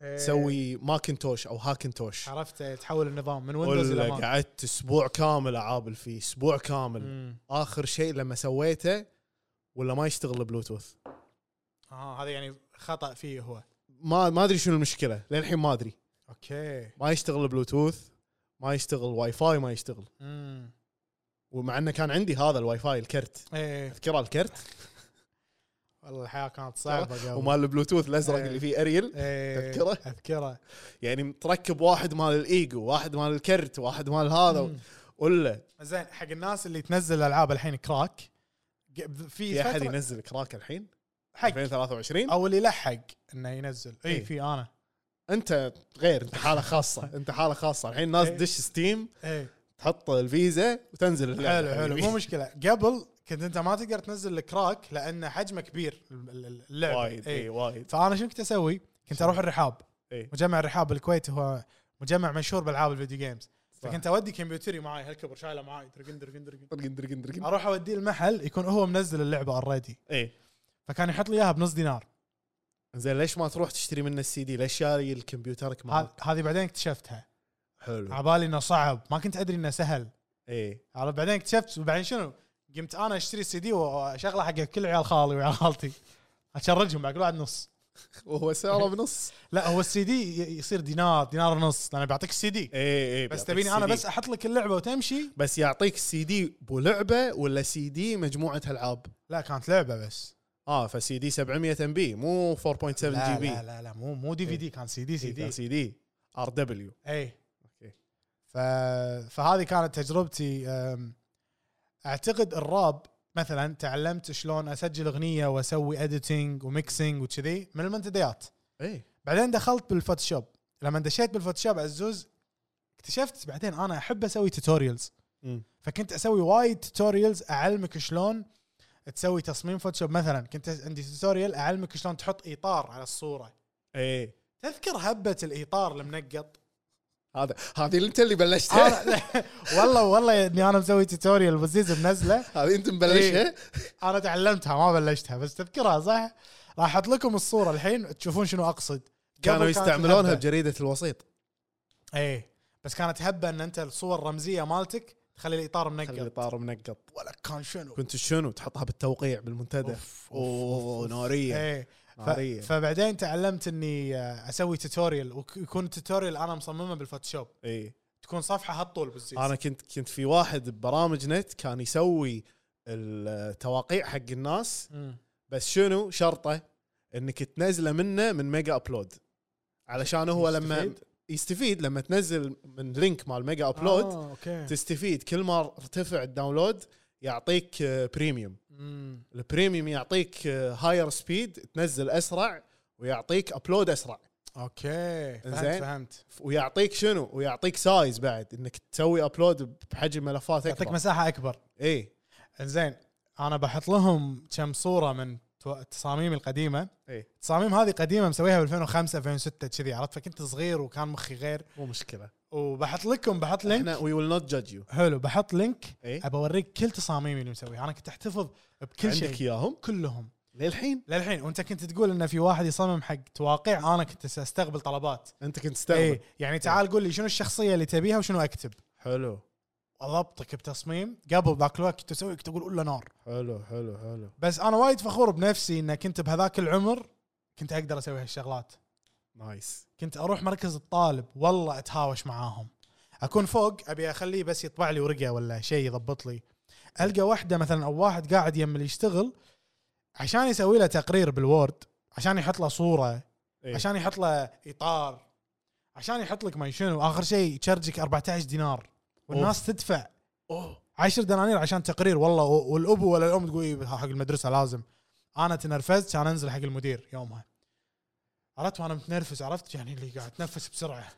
[SPEAKER 5] تسوي ماكنتوش او هاكنتوش
[SPEAKER 4] عرفت إيه، تحول النظام من ويندوز
[SPEAKER 5] ولا
[SPEAKER 4] الى ماك
[SPEAKER 5] قعدت اسبوع كامل اعابل فيه اسبوع كامل
[SPEAKER 4] مم.
[SPEAKER 5] اخر شيء لما سويته ولا ما يشتغل البلوتوث
[SPEAKER 4] اه هذا يعني خطا فيه هو
[SPEAKER 5] ما ما ادري شنو المشكله للحين ما ادري
[SPEAKER 4] اوكي
[SPEAKER 5] ما يشتغل البلوتوث ما يشتغل واي فاي ما يشتغل
[SPEAKER 4] امم
[SPEAKER 5] ومع انه كان عندي هذا الواي فاي الكرت
[SPEAKER 4] ايه
[SPEAKER 5] تذكره الكرت
[SPEAKER 4] والله الحياه كانت صعبه قبل
[SPEAKER 5] ومال البلوتوث الازرق
[SPEAKER 4] إيه.
[SPEAKER 5] اللي فيه اريل
[SPEAKER 4] إيه،
[SPEAKER 5] تذكره؟
[SPEAKER 4] اذكره
[SPEAKER 5] يعني متركب واحد مال الايجو واحد مال الكرت واحد مال هذا
[SPEAKER 4] مم. إيه،
[SPEAKER 5] ولا
[SPEAKER 4] زين حق الناس اللي تنزل العاب الحين كراك ق- في
[SPEAKER 5] في احد
[SPEAKER 4] فترة-
[SPEAKER 5] ينزل كراك الحين
[SPEAKER 4] حق
[SPEAKER 5] 2023
[SPEAKER 4] او اللي لحق انه ينزل اي
[SPEAKER 5] إيه.
[SPEAKER 4] في انا
[SPEAKER 5] انت غير انت حاله خاصه
[SPEAKER 4] [LAUGHS]
[SPEAKER 5] انت حاله خاصه الحين الناس
[SPEAKER 4] إيه.
[SPEAKER 5] تدش ستيم
[SPEAKER 4] ايه
[SPEAKER 5] تحط الفيزا وتنزل اللعبة. يعني
[SPEAKER 4] حلو حلو
[SPEAKER 5] حبيبي.
[SPEAKER 4] مو مشكله قبل كنت انت ما تقدر تنزل الكراك لان حجمه كبير ال- ال- اللعبه
[SPEAKER 5] [LAUGHS] وايد اي
[SPEAKER 4] إيه.
[SPEAKER 5] وايد
[SPEAKER 4] فانا شنو كنت اسوي؟ كنت
[SPEAKER 5] شنو؟
[SPEAKER 4] اروح الرحاب
[SPEAKER 5] إيه.
[SPEAKER 4] مجمع الرحاب بالكويت هو مجمع مشهور بالعاب الفيديو جيمز
[SPEAKER 5] صح.
[SPEAKER 4] فكنت اودي كمبيوتري معاي هالكبر شايله معاي درقن درقن درقن
[SPEAKER 5] درقن درقن درقن
[SPEAKER 4] اروح اوديه المحل يكون هو منزل اللعبه اوريدي
[SPEAKER 5] اي
[SPEAKER 4] فكان يحط لي اياها بنص دينار آه.
[SPEAKER 5] زين ليش ما تروح تشتري منه السي دي؟ ليش شاري الكمبيوترك
[SPEAKER 4] هذ-
[SPEAKER 5] مالك؟
[SPEAKER 4] هذه بعدين اكتشفتها
[SPEAKER 5] حلو إيه.
[SPEAKER 4] عبالي انه صعب ما كنت ادري انه سهل
[SPEAKER 5] اي [LAUGHS]
[SPEAKER 4] عرفت بعدين اكتشفت وبعدين شنو قمت انا اشتري السي دي واشغله حق كل عيال خالي وعيال خالتي اشرجهم بعد كل واحد نص
[SPEAKER 5] وهو سعره
[SPEAKER 4] [LAUGHS]
[SPEAKER 5] بنص
[SPEAKER 4] لا هو السي دي ي- يصير دينار دينار ونص لان بيعطيك السي دي
[SPEAKER 5] اي اي
[SPEAKER 4] بس
[SPEAKER 5] إيه، بيعطيك
[SPEAKER 4] تبيني انا
[SPEAKER 5] CD.
[SPEAKER 4] بس احط لك اللعبه وتمشي
[SPEAKER 5] بس يعطيك سي دي بو لعبه ولا سي دي مجموعه العاب
[SPEAKER 4] لا كانت لعبه بس
[SPEAKER 5] اه فسي دي 700 ام بي مو 4.7
[SPEAKER 4] لا
[SPEAKER 5] جي بي
[SPEAKER 4] لا لا, لا مو مو دي في دي إيه. كان سي دي سي دي
[SPEAKER 5] سي دي ار دبليو
[SPEAKER 4] اي
[SPEAKER 5] اوكي
[SPEAKER 4] ف... فهذه كانت تجربتي أم، اعتقد الراب مثلا تعلمت شلون اسجل اغنيه واسوي اديتنج وميكسينج وكذي من المنتديات
[SPEAKER 5] اي
[SPEAKER 4] بعدين دخلت بالفوتوشوب لما دشيت بالفوتوشوب عزوز اكتشفت بعدين انا احب اسوي توتوريالز
[SPEAKER 5] مم.
[SPEAKER 4] فكنت اسوي وايد توتوريالز اعلمك شلون تسوي تصميم فوتوشوب مثلا كنت عندي توتوريال اعلمك شلون تحط اطار على الصوره
[SPEAKER 5] اي
[SPEAKER 4] تذكر هبه الاطار
[SPEAKER 5] [LAUGHS]
[SPEAKER 4] المنقط
[SPEAKER 5] هذا آه، هذه اللي انت اللي بلشتها
[SPEAKER 4] أنا والله والله اني انا مسوي توتوريال بزيز
[SPEAKER 5] [LAUGHS]
[SPEAKER 4] منزله
[SPEAKER 5] هذه انت مبلشها
[SPEAKER 4] انا تعلمتها ما بلشتها بس تذكرها صح؟ راح احط لكم الصوره الحين تشوفون شنو اقصد قبل
[SPEAKER 5] كانوا
[SPEAKER 4] كانت
[SPEAKER 5] يستعملونها
[SPEAKER 4] الهبة.
[SPEAKER 5] بجريده الوسيط
[SPEAKER 4] ايه بس كانت هبه ان انت الصور الرمزيه مالتك تخلي الاطار
[SPEAKER 5] خلي
[SPEAKER 4] منقط
[SPEAKER 5] الاطار منقط
[SPEAKER 4] ولا كان شنو
[SPEAKER 5] كنت شنو تحطها بالتوقيع بالمنتدى
[SPEAKER 4] أوف، أوف،
[SPEAKER 5] اوه ناريه
[SPEAKER 4] ايه ف...
[SPEAKER 5] ناريه
[SPEAKER 4] فبعدين تعلمت اني آه، اسوي توتوريال ويكون التوتوريال انا مصممه بالفوتوشوب
[SPEAKER 5] اي
[SPEAKER 4] تكون صفحه هالطول بالزيت
[SPEAKER 5] انا إيه. كنت كنت في واحد ببرامج نت كان يسوي التواقيع حق الناس
[SPEAKER 4] مم.
[SPEAKER 5] بس شنو شرطه انك تنزله منه من ميجا ابلود علشان هو لما
[SPEAKER 4] يستفيد؟
[SPEAKER 5] يستفيد لما تنزل من لينك مال ميجا ابلود
[SPEAKER 4] آه، اوكي
[SPEAKER 5] تستفيد كل ما ارتفع الداونلود يعطيك آه، بريميوم
[SPEAKER 4] مم.
[SPEAKER 5] البريميوم يعطيك هاير سبيد تنزل اسرع ويعطيك ابلود اسرع
[SPEAKER 4] اوكي فهمت
[SPEAKER 5] إنزين.
[SPEAKER 4] فهمت
[SPEAKER 5] ويعطيك شنو ويعطيك سايز بعد انك تسوي ابلود بحجم ملفات
[SPEAKER 4] يعطيك
[SPEAKER 5] اكبر
[SPEAKER 4] مساحه اكبر
[SPEAKER 5] اي
[SPEAKER 4] إيه. زين انا بحط لهم كم صوره من تو- تصاميمي القديمه
[SPEAKER 5] اي
[SPEAKER 4] التصاميم هذه قديمه مسويها ب 2005 2006 كذي عرفت فكنت صغير وكان مخي غير
[SPEAKER 5] مو مشكله
[SPEAKER 4] وبحط لكم بحط لينك
[SPEAKER 5] احنا وي ويل نوت جادج يو
[SPEAKER 4] حلو بحط لينك
[SPEAKER 5] إيه؟
[SPEAKER 4] ابى اوريك كل تصاميمي اللي مسويها انا كنت احتفظ بكل
[SPEAKER 5] عندك
[SPEAKER 4] شيء
[SPEAKER 5] اياهم
[SPEAKER 4] كلهم
[SPEAKER 5] للحين
[SPEAKER 4] للحين وانت كنت تقول انه في واحد يصمم حق تواقيع انا كنت استقبل طلبات
[SPEAKER 5] انت كنت
[SPEAKER 4] اي
[SPEAKER 5] تستعمل
[SPEAKER 4] يعني تعال قول لي شنو الشخصيه اللي تبيها وشنو اكتب
[SPEAKER 5] حلو
[SPEAKER 4] اضبطك بتصميم قبل ذاك الوقت كنت اسوي كنت اقول قول له نار
[SPEAKER 5] حلو حلو حلو
[SPEAKER 4] بس انا وايد فخور بنفسي ان كنت بهذاك العمر كنت اقدر اسوي هالشغلات
[SPEAKER 5] نايس
[SPEAKER 4] كنت اروح مركز الطالب والله اتهاوش معاهم اكون فوق ابي اخليه بس يطبع لي ورقه ولا شيء يضبط لي القى واحده مثلا او واحد قاعد يم اللي يشتغل عشان يسوي له تقرير بالوورد عشان يحط له صوره
[SPEAKER 5] إيه.
[SPEAKER 4] عشان يحط له اطار عشان يحط لك ما شنو اخر شيء يشرجك 14 دينار والناس أوف. تدفع
[SPEAKER 5] اوه
[SPEAKER 4] 10 دنانير عشان تقرير والله و- والاب ولا الام تقول إيه حق المدرسه لازم انا تنرفزت كان انزل حق المدير يومها عرفت وانا متنرفز عرفت يعني اللي قاعد اتنفس بسرعه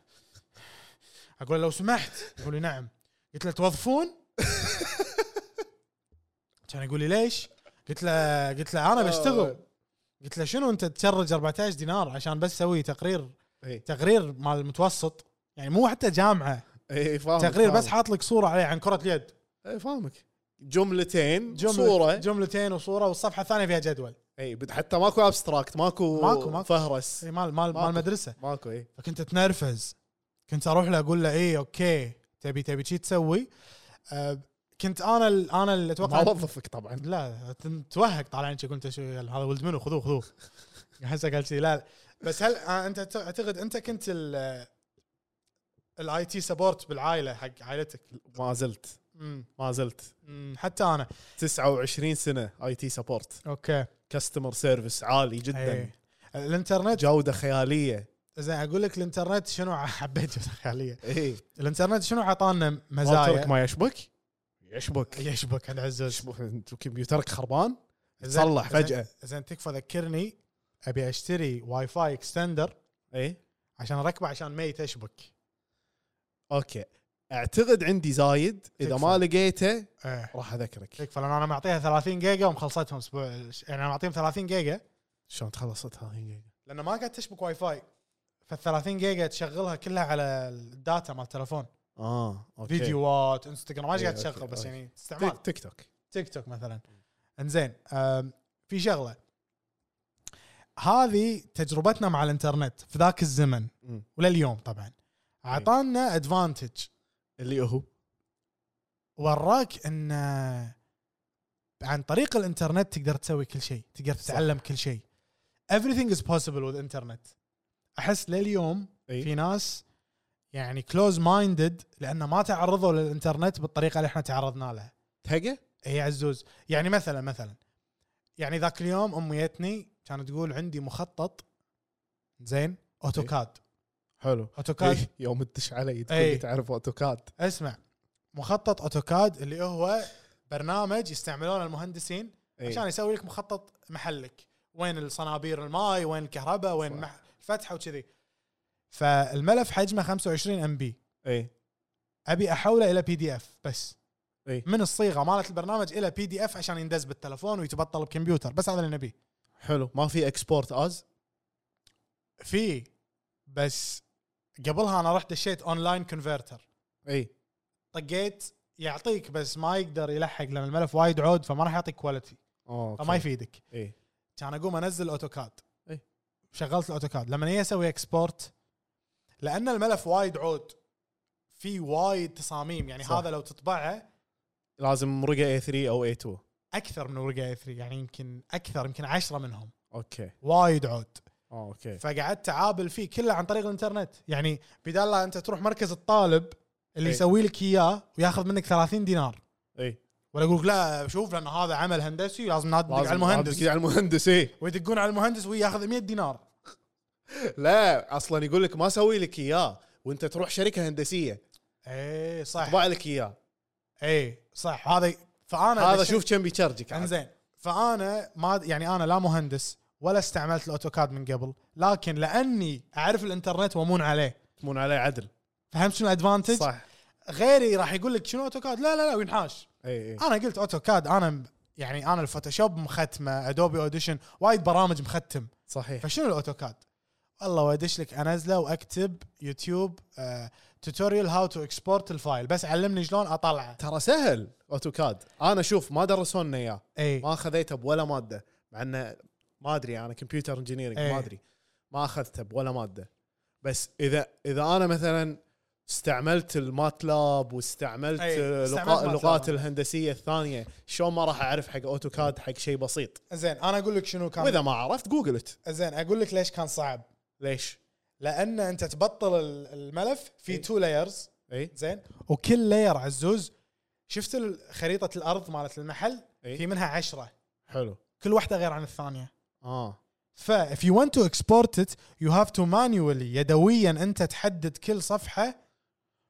[SPEAKER 4] اقول له لو سمحت يقول لي نعم قلت له توظفون [LAUGHS] كان يقول لي ليش قلت له قلت له انا بشتغل قلت له شنو انت تشرج 14 دينار عشان بس تسوي تقرير
[SPEAKER 5] اي
[SPEAKER 4] تقرير مال المتوسط يعني مو حتى جامعه
[SPEAKER 5] اي إيه، فاهمك
[SPEAKER 4] تقرير بس
[SPEAKER 5] فاهمك.
[SPEAKER 4] حاط لك صوره عليه عن كره اليد
[SPEAKER 5] اي فاهمك جملتين
[SPEAKER 4] جملة
[SPEAKER 5] صوره
[SPEAKER 4] جملتين وصوره والصفحه الثانيه فيها جدول
[SPEAKER 5] اي إيه، بد- حتى ماكو ابستراكت ماكو
[SPEAKER 4] ماكو- ماكو.
[SPEAKER 5] فهرس
[SPEAKER 4] اي مال مال مال
[SPEAKER 5] ماكو.
[SPEAKER 4] مدرسه
[SPEAKER 5] ماكو إيه. اي
[SPEAKER 4] فكنت اتنرفز كنت اروح له اقول له ايه اوكي تبي تبي شي تسوي أه كنت انا ال- انا اللي
[SPEAKER 5] ما
[SPEAKER 4] اتوقع
[SPEAKER 5] وظفك طبعا
[SPEAKER 4] لا تن- توهق طالع انت قلت شو هذا ولد منو خذوه خذوه [LAUGHS] هسه قال شي لا بس هل آه، انت ت- اعتقد انت كنت ال الاي تي سبورت بالعائله حق عائلتك
[SPEAKER 5] ما زلت
[SPEAKER 4] أمم،
[SPEAKER 5] ما زلت
[SPEAKER 4] أمم، حتى انا
[SPEAKER 5] 29 سنه اي تي سبورت
[SPEAKER 4] اوكي
[SPEAKER 5] كاستمر سيرفيس عالي جدا
[SPEAKER 4] أي. الانترنت
[SPEAKER 5] جوده خياليه
[SPEAKER 4] زين اقول لك الانترنت شنو [LAUGHS] حبيت خياليه
[SPEAKER 5] اي
[SPEAKER 4] الانترنت شنو عطانا
[SPEAKER 5] كمبيوترك
[SPEAKER 4] مزايا
[SPEAKER 5] ما يشبك يشبك
[SPEAKER 4] يشبك عند عزوز
[SPEAKER 5] يشبك أنت كمبيوترك خربان
[SPEAKER 4] زين-
[SPEAKER 5] تصلح
[SPEAKER 4] زين-
[SPEAKER 5] فجأة.
[SPEAKER 4] زين تكفى ذكرني ابي اشتري واي فاي اكستندر
[SPEAKER 5] اي
[SPEAKER 4] عشان اركبه عشان ما يتشبك
[SPEAKER 5] اوكي اعتقد عندي زايد اذا
[SPEAKER 4] تكفى.
[SPEAKER 5] ما لقيته
[SPEAKER 4] إيه.
[SPEAKER 5] راح اذكرك
[SPEAKER 4] تكفى لان انا معطيها 30 جيجا ومخلصتهم اسبوع يعني انا معطيهم 30 جيجا
[SPEAKER 5] شلون تخلصتها هي
[SPEAKER 4] لان ما قاعد تشبك واي فاي فال 30 جيجا تشغلها كلها على الداتا مال التلفون
[SPEAKER 5] اه اوكي
[SPEAKER 4] فيديوهات انستغرام ما إيش قاعد
[SPEAKER 5] إيه، أوكي،
[SPEAKER 4] تشغل بس
[SPEAKER 5] أوكي.
[SPEAKER 4] يعني استعمال
[SPEAKER 5] تيك تيك توك
[SPEAKER 4] تيك توك مثلا انزين أم، في شغله هذه تجربتنا مع الانترنت في ذاك الزمن
[SPEAKER 5] مم.
[SPEAKER 4] ولليوم طبعا اعطانا ادفانتج
[SPEAKER 5] اللي هو
[SPEAKER 4] وراك ان آه، عن طريق الانترنت تقدر تسوي كل شيء تقدر تتعلم كل شيء everything is possible with internet احس لليوم
[SPEAKER 5] إي.
[SPEAKER 4] في ناس يعني كلوز مايندد لانه ما تعرضوا للانترنت بالطريقه اللي احنا تعرضنا لها
[SPEAKER 5] تهقه
[SPEAKER 4] اي عزوز يعني مثلا مثلا يعني ذاك اليوم امي جتني كانت تقول عندي مخطط زين اوتوكاد
[SPEAKER 5] حلو
[SPEAKER 4] اوتوكاد
[SPEAKER 5] إيه، يوم تدش علي تقول
[SPEAKER 4] إيه.
[SPEAKER 5] لي تعرف اوتوكاد
[SPEAKER 4] اسمع مخطط اوتوكاد اللي هو برنامج يستعملونه المهندسين
[SPEAKER 5] إيه.
[SPEAKER 4] عشان يسوي لك مخطط محلك وين الصنابير الماي وين الكهرباء وين
[SPEAKER 5] صح.
[SPEAKER 4] مح- الفتحه وكذي فالملف حجمه 25 ام بي
[SPEAKER 5] اي
[SPEAKER 4] ابي احوله الى بي دي اف بس
[SPEAKER 5] إيه.
[SPEAKER 4] من الصيغه مالت البرنامج الى بي دي اف عشان يندز بالتلفون ويتبطل بكمبيوتر بس هذا اللي نبيه
[SPEAKER 5] حلو ما في اكسبورت از
[SPEAKER 4] في بس قبلها انا رحت دشيت اونلاين كونفرتر
[SPEAKER 5] اي
[SPEAKER 4] طقيت يعطيك بس ما يقدر يلحق لان الملف وايد عود فما راح يعطيك كواليتي
[SPEAKER 5] اوكي
[SPEAKER 4] فما يفيدك
[SPEAKER 5] اي
[SPEAKER 4] كان اقوم انزل الاوتوكاد
[SPEAKER 5] إيه.
[SPEAKER 4] شغلت الاوتوكاد لما هي اسوي اكسبورت لان الملف وايد عود في وايد تصاميم يعني
[SPEAKER 5] صح.
[SPEAKER 4] صح. هذا لو تطبعه
[SPEAKER 5] لازم رقه اي 3 او اي 2
[SPEAKER 4] اكثر من ورقه 3 يعني يمكن اكثر يمكن عشرة منهم
[SPEAKER 5] اوكي
[SPEAKER 4] وايد عود
[SPEAKER 5] اوكي
[SPEAKER 4] فقعدت اعابل فيه كله عن طريق الانترنت يعني بدال لا انت تروح مركز الطالب اللي
[SPEAKER 5] إيه.
[SPEAKER 4] يسوي لك اياه وياخذ منك 30 دينار
[SPEAKER 5] اي
[SPEAKER 4] ولا يقول لك لا شوف لان هذا عمل هندسي لازم ندق على المهندس
[SPEAKER 5] على المهندس إيه. اي
[SPEAKER 4] ويدقون على المهندس وياخذ 100 دينار
[SPEAKER 5] [LAUGHS] لا اصلا يقول لك ما سوي لك اياه وانت تروح شركه هندسيه
[SPEAKER 4] ايه صح
[SPEAKER 5] طبع لك اياه [LAUGHS]
[SPEAKER 4] ايه صح هذا فانا
[SPEAKER 5] هذا
[SPEAKER 4] دشيت-
[SPEAKER 5] شوف كم بيتشارجك عاد.
[SPEAKER 4] انزين فانا ما يعني انا لا مهندس ولا استعملت الاوتوكاد من قبل لكن لاني اعرف الانترنت وامون عليه
[SPEAKER 5] تمون عليه عدل
[SPEAKER 4] فهمت شنو الادفانتج؟
[SPEAKER 5] صح
[SPEAKER 4] غيري راح يقول لك شنو اوتوكاد لا لا لا وينحاش
[SPEAKER 5] اي اي
[SPEAKER 4] انا قلت اوتوكاد انا م- يعني انا الفوتوشوب مختمه ادوبي اوديشن وايد برامج مختم
[SPEAKER 5] صحيح
[SPEAKER 4] إيه. فشنو الاوتوكاد؟ والله وادش لك انزله واكتب يوتيوب آه، توتوريال هاو تو اكسبورت الفايل بس علمني شلون اطلعه
[SPEAKER 5] ترى سهل اوتوكاد انا شوف ما درسونا اياه
[SPEAKER 4] اي
[SPEAKER 5] ما خذيته بولا ماده مع انه ما ادري انا كمبيوتر انجينيرنج
[SPEAKER 4] إيه.
[SPEAKER 5] ما ادري ما اخذته بولا ماده بس اذا اذا انا مثلا استعملت الماتلاب واستعملت
[SPEAKER 4] إيه،
[SPEAKER 5] آه،
[SPEAKER 4] استعملت
[SPEAKER 5] لقاء-
[SPEAKER 4] ماتلاب.
[SPEAKER 5] اللغات الهندسيه الثانيه شلون ما راح اعرف حق اوتوكاد حق شيء بسيط
[SPEAKER 4] زين انا اقول لك شنو كان
[SPEAKER 5] واذا ما عرفت جوجلت
[SPEAKER 4] زين اقول لك ليش كان صعب
[SPEAKER 5] ليش
[SPEAKER 4] لان انت تبطل ال- الملف في
[SPEAKER 5] إيه.
[SPEAKER 4] تو لايرز
[SPEAKER 5] اي
[SPEAKER 4] زين وكل لاير عزوز شفت ال- خريطه الارض مالت المحل
[SPEAKER 5] إيه.
[SPEAKER 4] في منها عشرة
[SPEAKER 5] حلو
[SPEAKER 4] كل واحده غير عن الثانيه
[SPEAKER 5] اه
[SPEAKER 4] ف if you want to export it you have to manually يدويا انت تحدد كل صفحه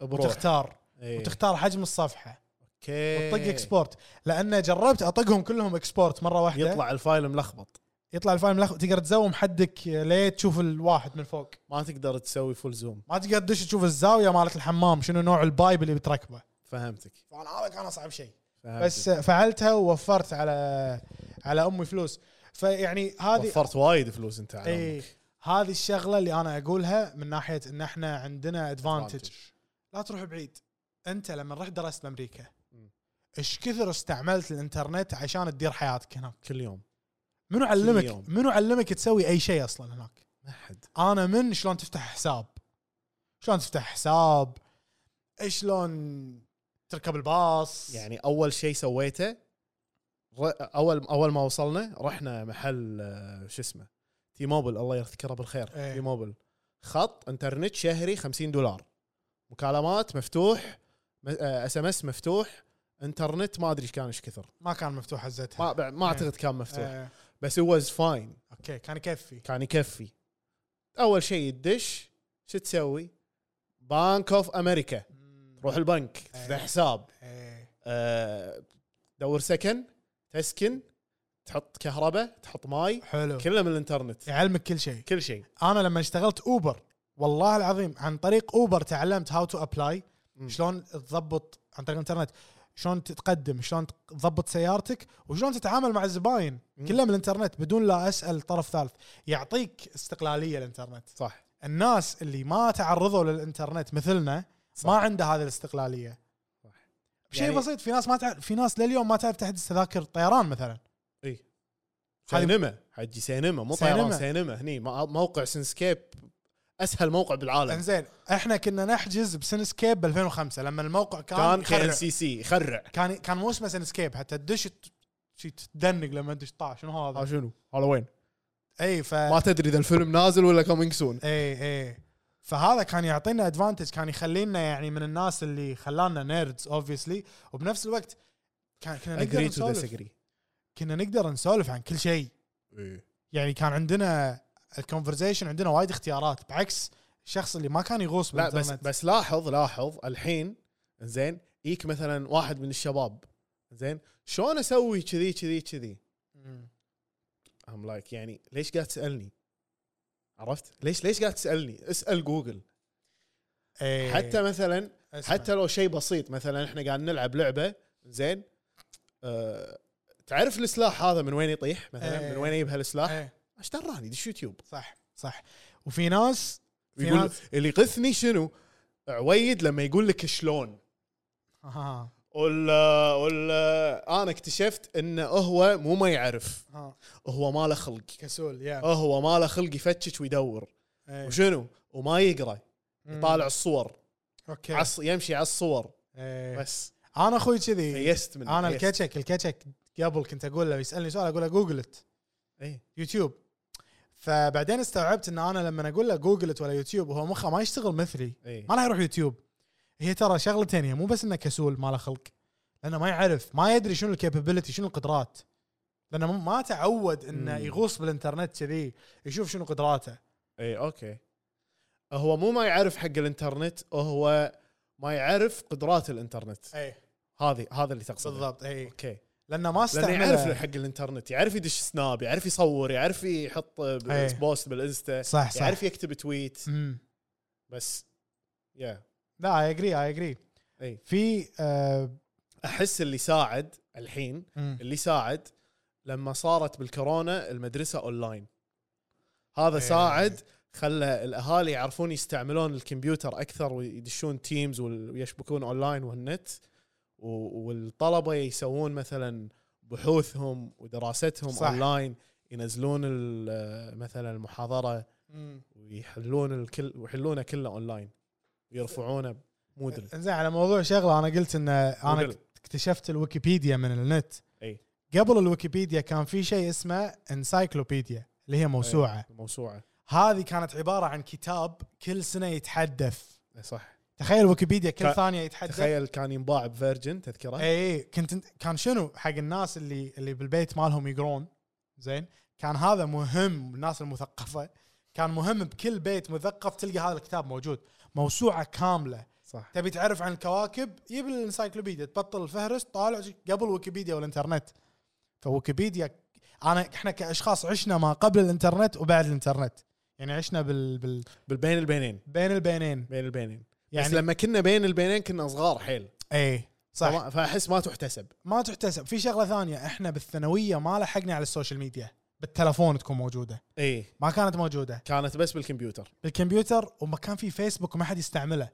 [SPEAKER 5] بروح
[SPEAKER 4] وتختار
[SPEAKER 5] إيه.
[SPEAKER 4] وتختار حجم الصفحه
[SPEAKER 5] اوكي
[SPEAKER 4] وتطق اكسبورت لان جربت اطقهم كلهم اكسبورت مره واحده يطلع
[SPEAKER 5] يطلع الفايل ملخبط
[SPEAKER 4] يطلع الفايل ملخ- تقدر تزوم حدك ليه تشوف الواحد من فوق
[SPEAKER 5] ما تقدر تسوي فول زوم
[SPEAKER 4] ما تقدر تدش تشوف الزاويه مالت الحمام شنو نوع البايب اللي بتركبه
[SPEAKER 5] فهمتك
[SPEAKER 4] فانا هذا كان اصعب شيء
[SPEAKER 5] فهمتك.
[SPEAKER 4] بس فعلتها ووفرت على على امي فلوس فيعني هذه إيه.
[SPEAKER 5] وفرت وايد فلوس انت على
[SPEAKER 4] اي
[SPEAKER 5] أمك.
[SPEAKER 4] هذه الشغله اللي انا اقولها من ناحيه ان احنا عندنا ادفانتج لا تروح بعيد انت لما رحت درست بامريكا ايش كثر استعملت الانترنت عشان تدير حياتك هناك
[SPEAKER 5] كل يوم
[SPEAKER 4] منو
[SPEAKER 5] يوم.
[SPEAKER 4] علمك منو علمك تسوي اي شيء اصلا هناك
[SPEAKER 5] ما حد
[SPEAKER 4] انا من شلون تفتح حساب شلون تفتح حساب شلون تركب الباص
[SPEAKER 5] يعني اول شيء سويته ر- اول اول ما وصلنا رحنا محل آه، شو اسمه تي موبل الله يذكره بالخير
[SPEAKER 4] إيه.
[SPEAKER 5] تي موبل خط انترنت شهري 50 دولار مكالمات مفتوح آه، اس ام اس مفتوح انترنت ما ادري ايش كان ايش كثر
[SPEAKER 4] ما كان مفتوح عزتها
[SPEAKER 5] ما بع- ما اعتقد كان مفتوح
[SPEAKER 4] آه.
[SPEAKER 5] بس هو فاين
[SPEAKER 4] اوكي كان يكفي
[SPEAKER 5] كان يكفي اول شيء تدش شو تسوي؟ بانك اوف امريكا تروح البنك تفتح حساب
[SPEAKER 4] إيه.
[SPEAKER 5] آه، دور سكن تسكن تحط كهرباء تحط ماي
[SPEAKER 4] حلو
[SPEAKER 5] كله من الانترنت
[SPEAKER 4] يعلمك كل شيء
[SPEAKER 5] كل شيء
[SPEAKER 4] انا لما اشتغلت اوبر والله العظيم عن طريق اوبر تعلمت هاو تو ابلاي
[SPEAKER 5] مم.
[SPEAKER 4] شلون تضبط عن طريق الانترنت شلون تتقدم شلون تضبط سيارتك وشلون تتعامل مع الزباين كله من الانترنت بدون لا اسال طرف ثالث يعطيك استقلاليه الانترنت
[SPEAKER 5] صح
[SPEAKER 4] الناس اللي ما تعرضوا للانترنت مثلنا ما عنده هذه الاستقلاليه
[SPEAKER 5] صح.
[SPEAKER 4] شيء
[SPEAKER 5] يعني-
[SPEAKER 4] يعني بسيط في ناس ما تعرف في ناس لليوم ما تعرف تحجز تذاكر طيران مثلا
[SPEAKER 5] اي
[SPEAKER 4] هذه-
[SPEAKER 5] سينما حجي سينما مو طيران
[SPEAKER 4] سينما.
[SPEAKER 5] سينما هني ما- موقع سنسكيب اسهل موقع بالعالم
[SPEAKER 4] انزين احنا كنا نحجز بسنسكيب ب 2005 لما الموقع كان
[SPEAKER 5] كان كي
[SPEAKER 4] يخرع.
[SPEAKER 5] ان سي سي يخرع
[SPEAKER 4] كان كان مو اسمه سنسكيب حتى تدش ت- شي تدنق لما تدش طاح شنو
[SPEAKER 5] ها
[SPEAKER 4] هذا
[SPEAKER 5] شنو على وين
[SPEAKER 4] اي ف
[SPEAKER 5] ما تدري اذا الفيلم نازل ولا كومينج سون
[SPEAKER 4] اي اي فهذا كان يعطينا ادفانتج كان يخلينا يعني من الناس اللي خلانا نيردز اوبفيسلي وبنفس الوقت كان كنا نقدر
[SPEAKER 5] اجري تو
[SPEAKER 4] يعني نسولف
[SPEAKER 5] ديسجري
[SPEAKER 4] كنا نقدر نسولف عن كل شيء يعني كان عندنا الكونفرزيشن عندنا وايد اختيارات بعكس الشخص اللي ما كان يغوص
[SPEAKER 5] لا بس
[SPEAKER 4] بالانترنت
[SPEAKER 5] بس لاحظ لاحظ الحين زين يجيك مثلا واحد من الشباب زين شلون اسوي كذي كذي كذي
[SPEAKER 4] مم.
[SPEAKER 5] ام لايك يعني ليش قاعد تسالني عرفت ليش ليش قاعد تسالني اسال جوجل
[SPEAKER 4] إيه.
[SPEAKER 5] حتى مثلا
[SPEAKER 4] اسمع.
[SPEAKER 5] حتى لو شيء بسيط مثلا احنا قاعد نلعب لعبه زين أه تعرف السلاح هذا من وين يطيح مثلا
[SPEAKER 4] إيه.
[SPEAKER 5] من وين يجيب هالسلاح
[SPEAKER 4] إيه.
[SPEAKER 5] ايش دراني دش يوتيوب
[SPEAKER 4] صح صح وفي ناس في
[SPEAKER 5] يقول
[SPEAKER 4] ناس-
[SPEAKER 5] اللي يقثني شنو عويد لما يقول لك شلون
[SPEAKER 4] آه، ها
[SPEAKER 5] ولا ولا انا اكتشفت انه هو مو ما يعرف
[SPEAKER 4] ها
[SPEAKER 5] هو ما له خلق
[SPEAKER 4] كسول يا
[SPEAKER 5] هو ما له خلق يفتش ويدور
[SPEAKER 4] إيه.
[SPEAKER 5] وشنو وما يقرا يطالع الصور
[SPEAKER 4] اوكي
[SPEAKER 5] عص يمشي على الصور
[SPEAKER 4] إيه.
[SPEAKER 5] بس إيه،
[SPEAKER 4] انا اخوي كذي
[SPEAKER 5] يست من
[SPEAKER 4] انا الكتشك الكتشك قبل كنت اقول له يسالني سؤال اقول له جوجلت
[SPEAKER 5] اي
[SPEAKER 4] يوتيوب فبعدين استوعبت ان انا لما اقول له جوجلت ولا يوتيوب هو مخه ما يشتغل مثلي
[SPEAKER 5] اي
[SPEAKER 4] ما راح يروح يوتيوب هي ترى شغلتين هي مو بس انه كسول ما له خلق لانه ما يعرف ما يدري شنو الكابابيلتي شنو القدرات لانه م- ما تعود انه
[SPEAKER 5] مم.
[SPEAKER 4] يغوص بالانترنت كذي يشوف شنو قدراته
[SPEAKER 5] اي اوكي إيه، هو مو ما يعرف حق الانترنت هو ما يعرف قدرات الانترنت
[SPEAKER 4] اي
[SPEAKER 5] هذه هذا اللي تقصده
[SPEAKER 4] بالضبط اي
[SPEAKER 5] اوكي
[SPEAKER 4] لانه ما
[SPEAKER 5] لانه إيه. يعرف
[SPEAKER 4] استعمل
[SPEAKER 5] حق الانترنت يعرف يدش سناب يعرف يصور يعرف يحط ب-
[SPEAKER 4] إيه.
[SPEAKER 5] بوست بالانستا
[SPEAKER 4] صح صح
[SPEAKER 5] يعرف يكتب تويت
[SPEAKER 4] مم.
[SPEAKER 5] بس يا
[SPEAKER 4] لا اي اجري اي اجري
[SPEAKER 5] اي
[SPEAKER 4] في آه
[SPEAKER 5] احس اللي ساعد الحين
[SPEAKER 4] مم.
[SPEAKER 5] اللي ساعد لما صارت بالكورونا المدرسه اونلاين هذا
[SPEAKER 4] إيه.
[SPEAKER 5] ساعد خلى الاهالي يعرفون يستعملون الكمبيوتر اكثر ويدشون تيمز ويشبكون اونلاين والنت و- والطلبه يسوون مثلا بحوثهم ودراستهم
[SPEAKER 4] صح.
[SPEAKER 5] اونلاين ينزلون ال- مثلا المحاضره
[SPEAKER 4] مم.
[SPEAKER 5] ويحلون الكل ويحلونه كله اونلاين ويرفعونه مودل
[SPEAKER 4] انزين على موضوع شغله انا قلت ان انا
[SPEAKER 5] مودل.
[SPEAKER 4] اكتشفت الويكيبيديا من النت
[SPEAKER 5] اي
[SPEAKER 4] قبل الويكيبيديا كان في شيء اسمه انسايكلوبيديا اللي هي موسوعه
[SPEAKER 5] إيه. موسوعه
[SPEAKER 4] هذه كانت عباره عن كتاب كل سنه يتحدث
[SPEAKER 5] إي إيه، صح
[SPEAKER 4] تخيل ويكيبيديا كل
[SPEAKER 5] ك-
[SPEAKER 4] ثانيه يتحدث
[SPEAKER 5] تخيل كان ينباع بفيرجن تذكره
[SPEAKER 4] اي إي، إيه، كنت كان شنو حق الناس اللي اللي بالبيت مالهم يقرون زين كان هذا مهم الناس المثقفه كان مهم بكل بيت مثقف تلقى هذا الكتاب موجود موسوعه كامله
[SPEAKER 5] صح
[SPEAKER 4] تبي تعرف عن الكواكب جيب الانسايكلوبيديا تبطل الفهرست طالع قبل ويكيبيديا والانترنت فويكيبيديا انا احنا كاشخاص عشنا ما قبل الانترنت وبعد الانترنت يعني عشنا بال, بال
[SPEAKER 5] بالبين البينين
[SPEAKER 4] بين البينين
[SPEAKER 5] بين البينين يعني بس
[SPEAKER 4] يعني
[SPEAKER 5] لما كنا بين البينين كنا صغار حيل
[SPEAKER 4] اي صح
[SPEAKER 5] فما- فاحس ما تحتسب
[SPEAKER 4] ما تحتسب في شغله ثانيه احنا بالثانويه ما لحقنا على السوشيال ميديا بالتلفون تكون موجوده
[SPEAKER 5] اي
[SPEAKER 4] ما كانت موجوده
[SPEAKER 5] كانت بس بالكمبيوتر
[SPEAKER 4] بالكمبيوتر وما كان في فيسبوك وما حد يستعمله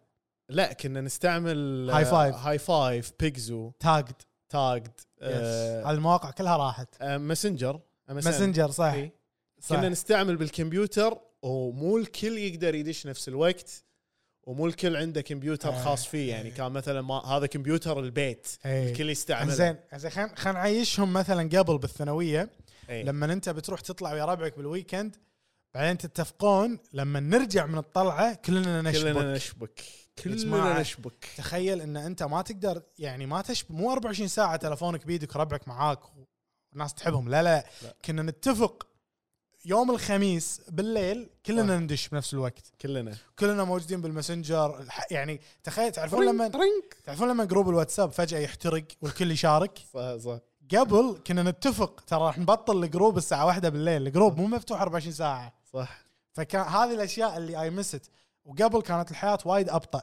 [SPEAKER 5] لا كنا نستعمل آه،
[SPEAKER 4] هاي فايف.
[SPEAKER 5] هاي فايف بيجزو
[SPEAKER 4] تاجد
[SPEAKER 5] تاجد آه،
[SPEAKER 4] هذه المواقع كلها راحت
[SPEAKER 5] ماسنجر
[SPEAKER 4] ماسنجر صح, صح.
[SPEAKER 5] آه، إيه. كنا نستعمل بالكمبيوتر ومو الكل يقدر يدش نفس الوقت ومو الكل عنده كمبيوتر
[SPEAKER 4] آه،
[SPEAKER 5] خاص فيه يعني كان مثلا ما هذا كمبيوتر البيت
[SPEAKER 4] إيه.
[SPEAKER 5] الكل يستعمله
[SPEAKER 4] زين زين خلينا خلينا نعيشهم مثلا قبل بالثانويه
[SPEAKER 5] إيه.
[SPEAKER 4] لما انت بتروح تطلع ويا ربعك بالويكند بعدين تتفقون لما نرجع من الطلعه كلنا
[SPEAKER 5] كلنا
[SPEAKER 4] نشبك
[SPEAKER 5] نشبك
[SPEAKER 4] جماعة.
[SPEAKER 5] كلنا نشبك
[SPEAKER 4] تخيل ان انت ما تقدر يعني ما تشب مو 24 ساعه تلفونك بيدك ربعك معاك والناس تحبهم لا لا,
[SPEAKER 5] لا.
[SPEAKER 4] كنا نتفق يوم الخميس بالليل كلنا
[SPEAKER 5] صح.
[SPEAKER 4] ندش بنفس الوقت
[SPEAKER 5] كلنا
[SPEAKER 4] كلنا موجودين بالماسنجر الح- يعني تخيل تعرفون لما تعرفون لما جروب الواتساب فجاه يحترق والكل يشارك
[SPEAKER 5] صح صح
[SPEAKER 4] قبل كنا نتفق ترى راح نبطل الجروب الساعه واحدة بالليل الجروب مو مفتوح 24 ساعه
[SPEAKER 5] صح
[SPEAKER 4] فكان هذه الاشياء اللي اي مست وقبل كانت الحياه وايد ابطا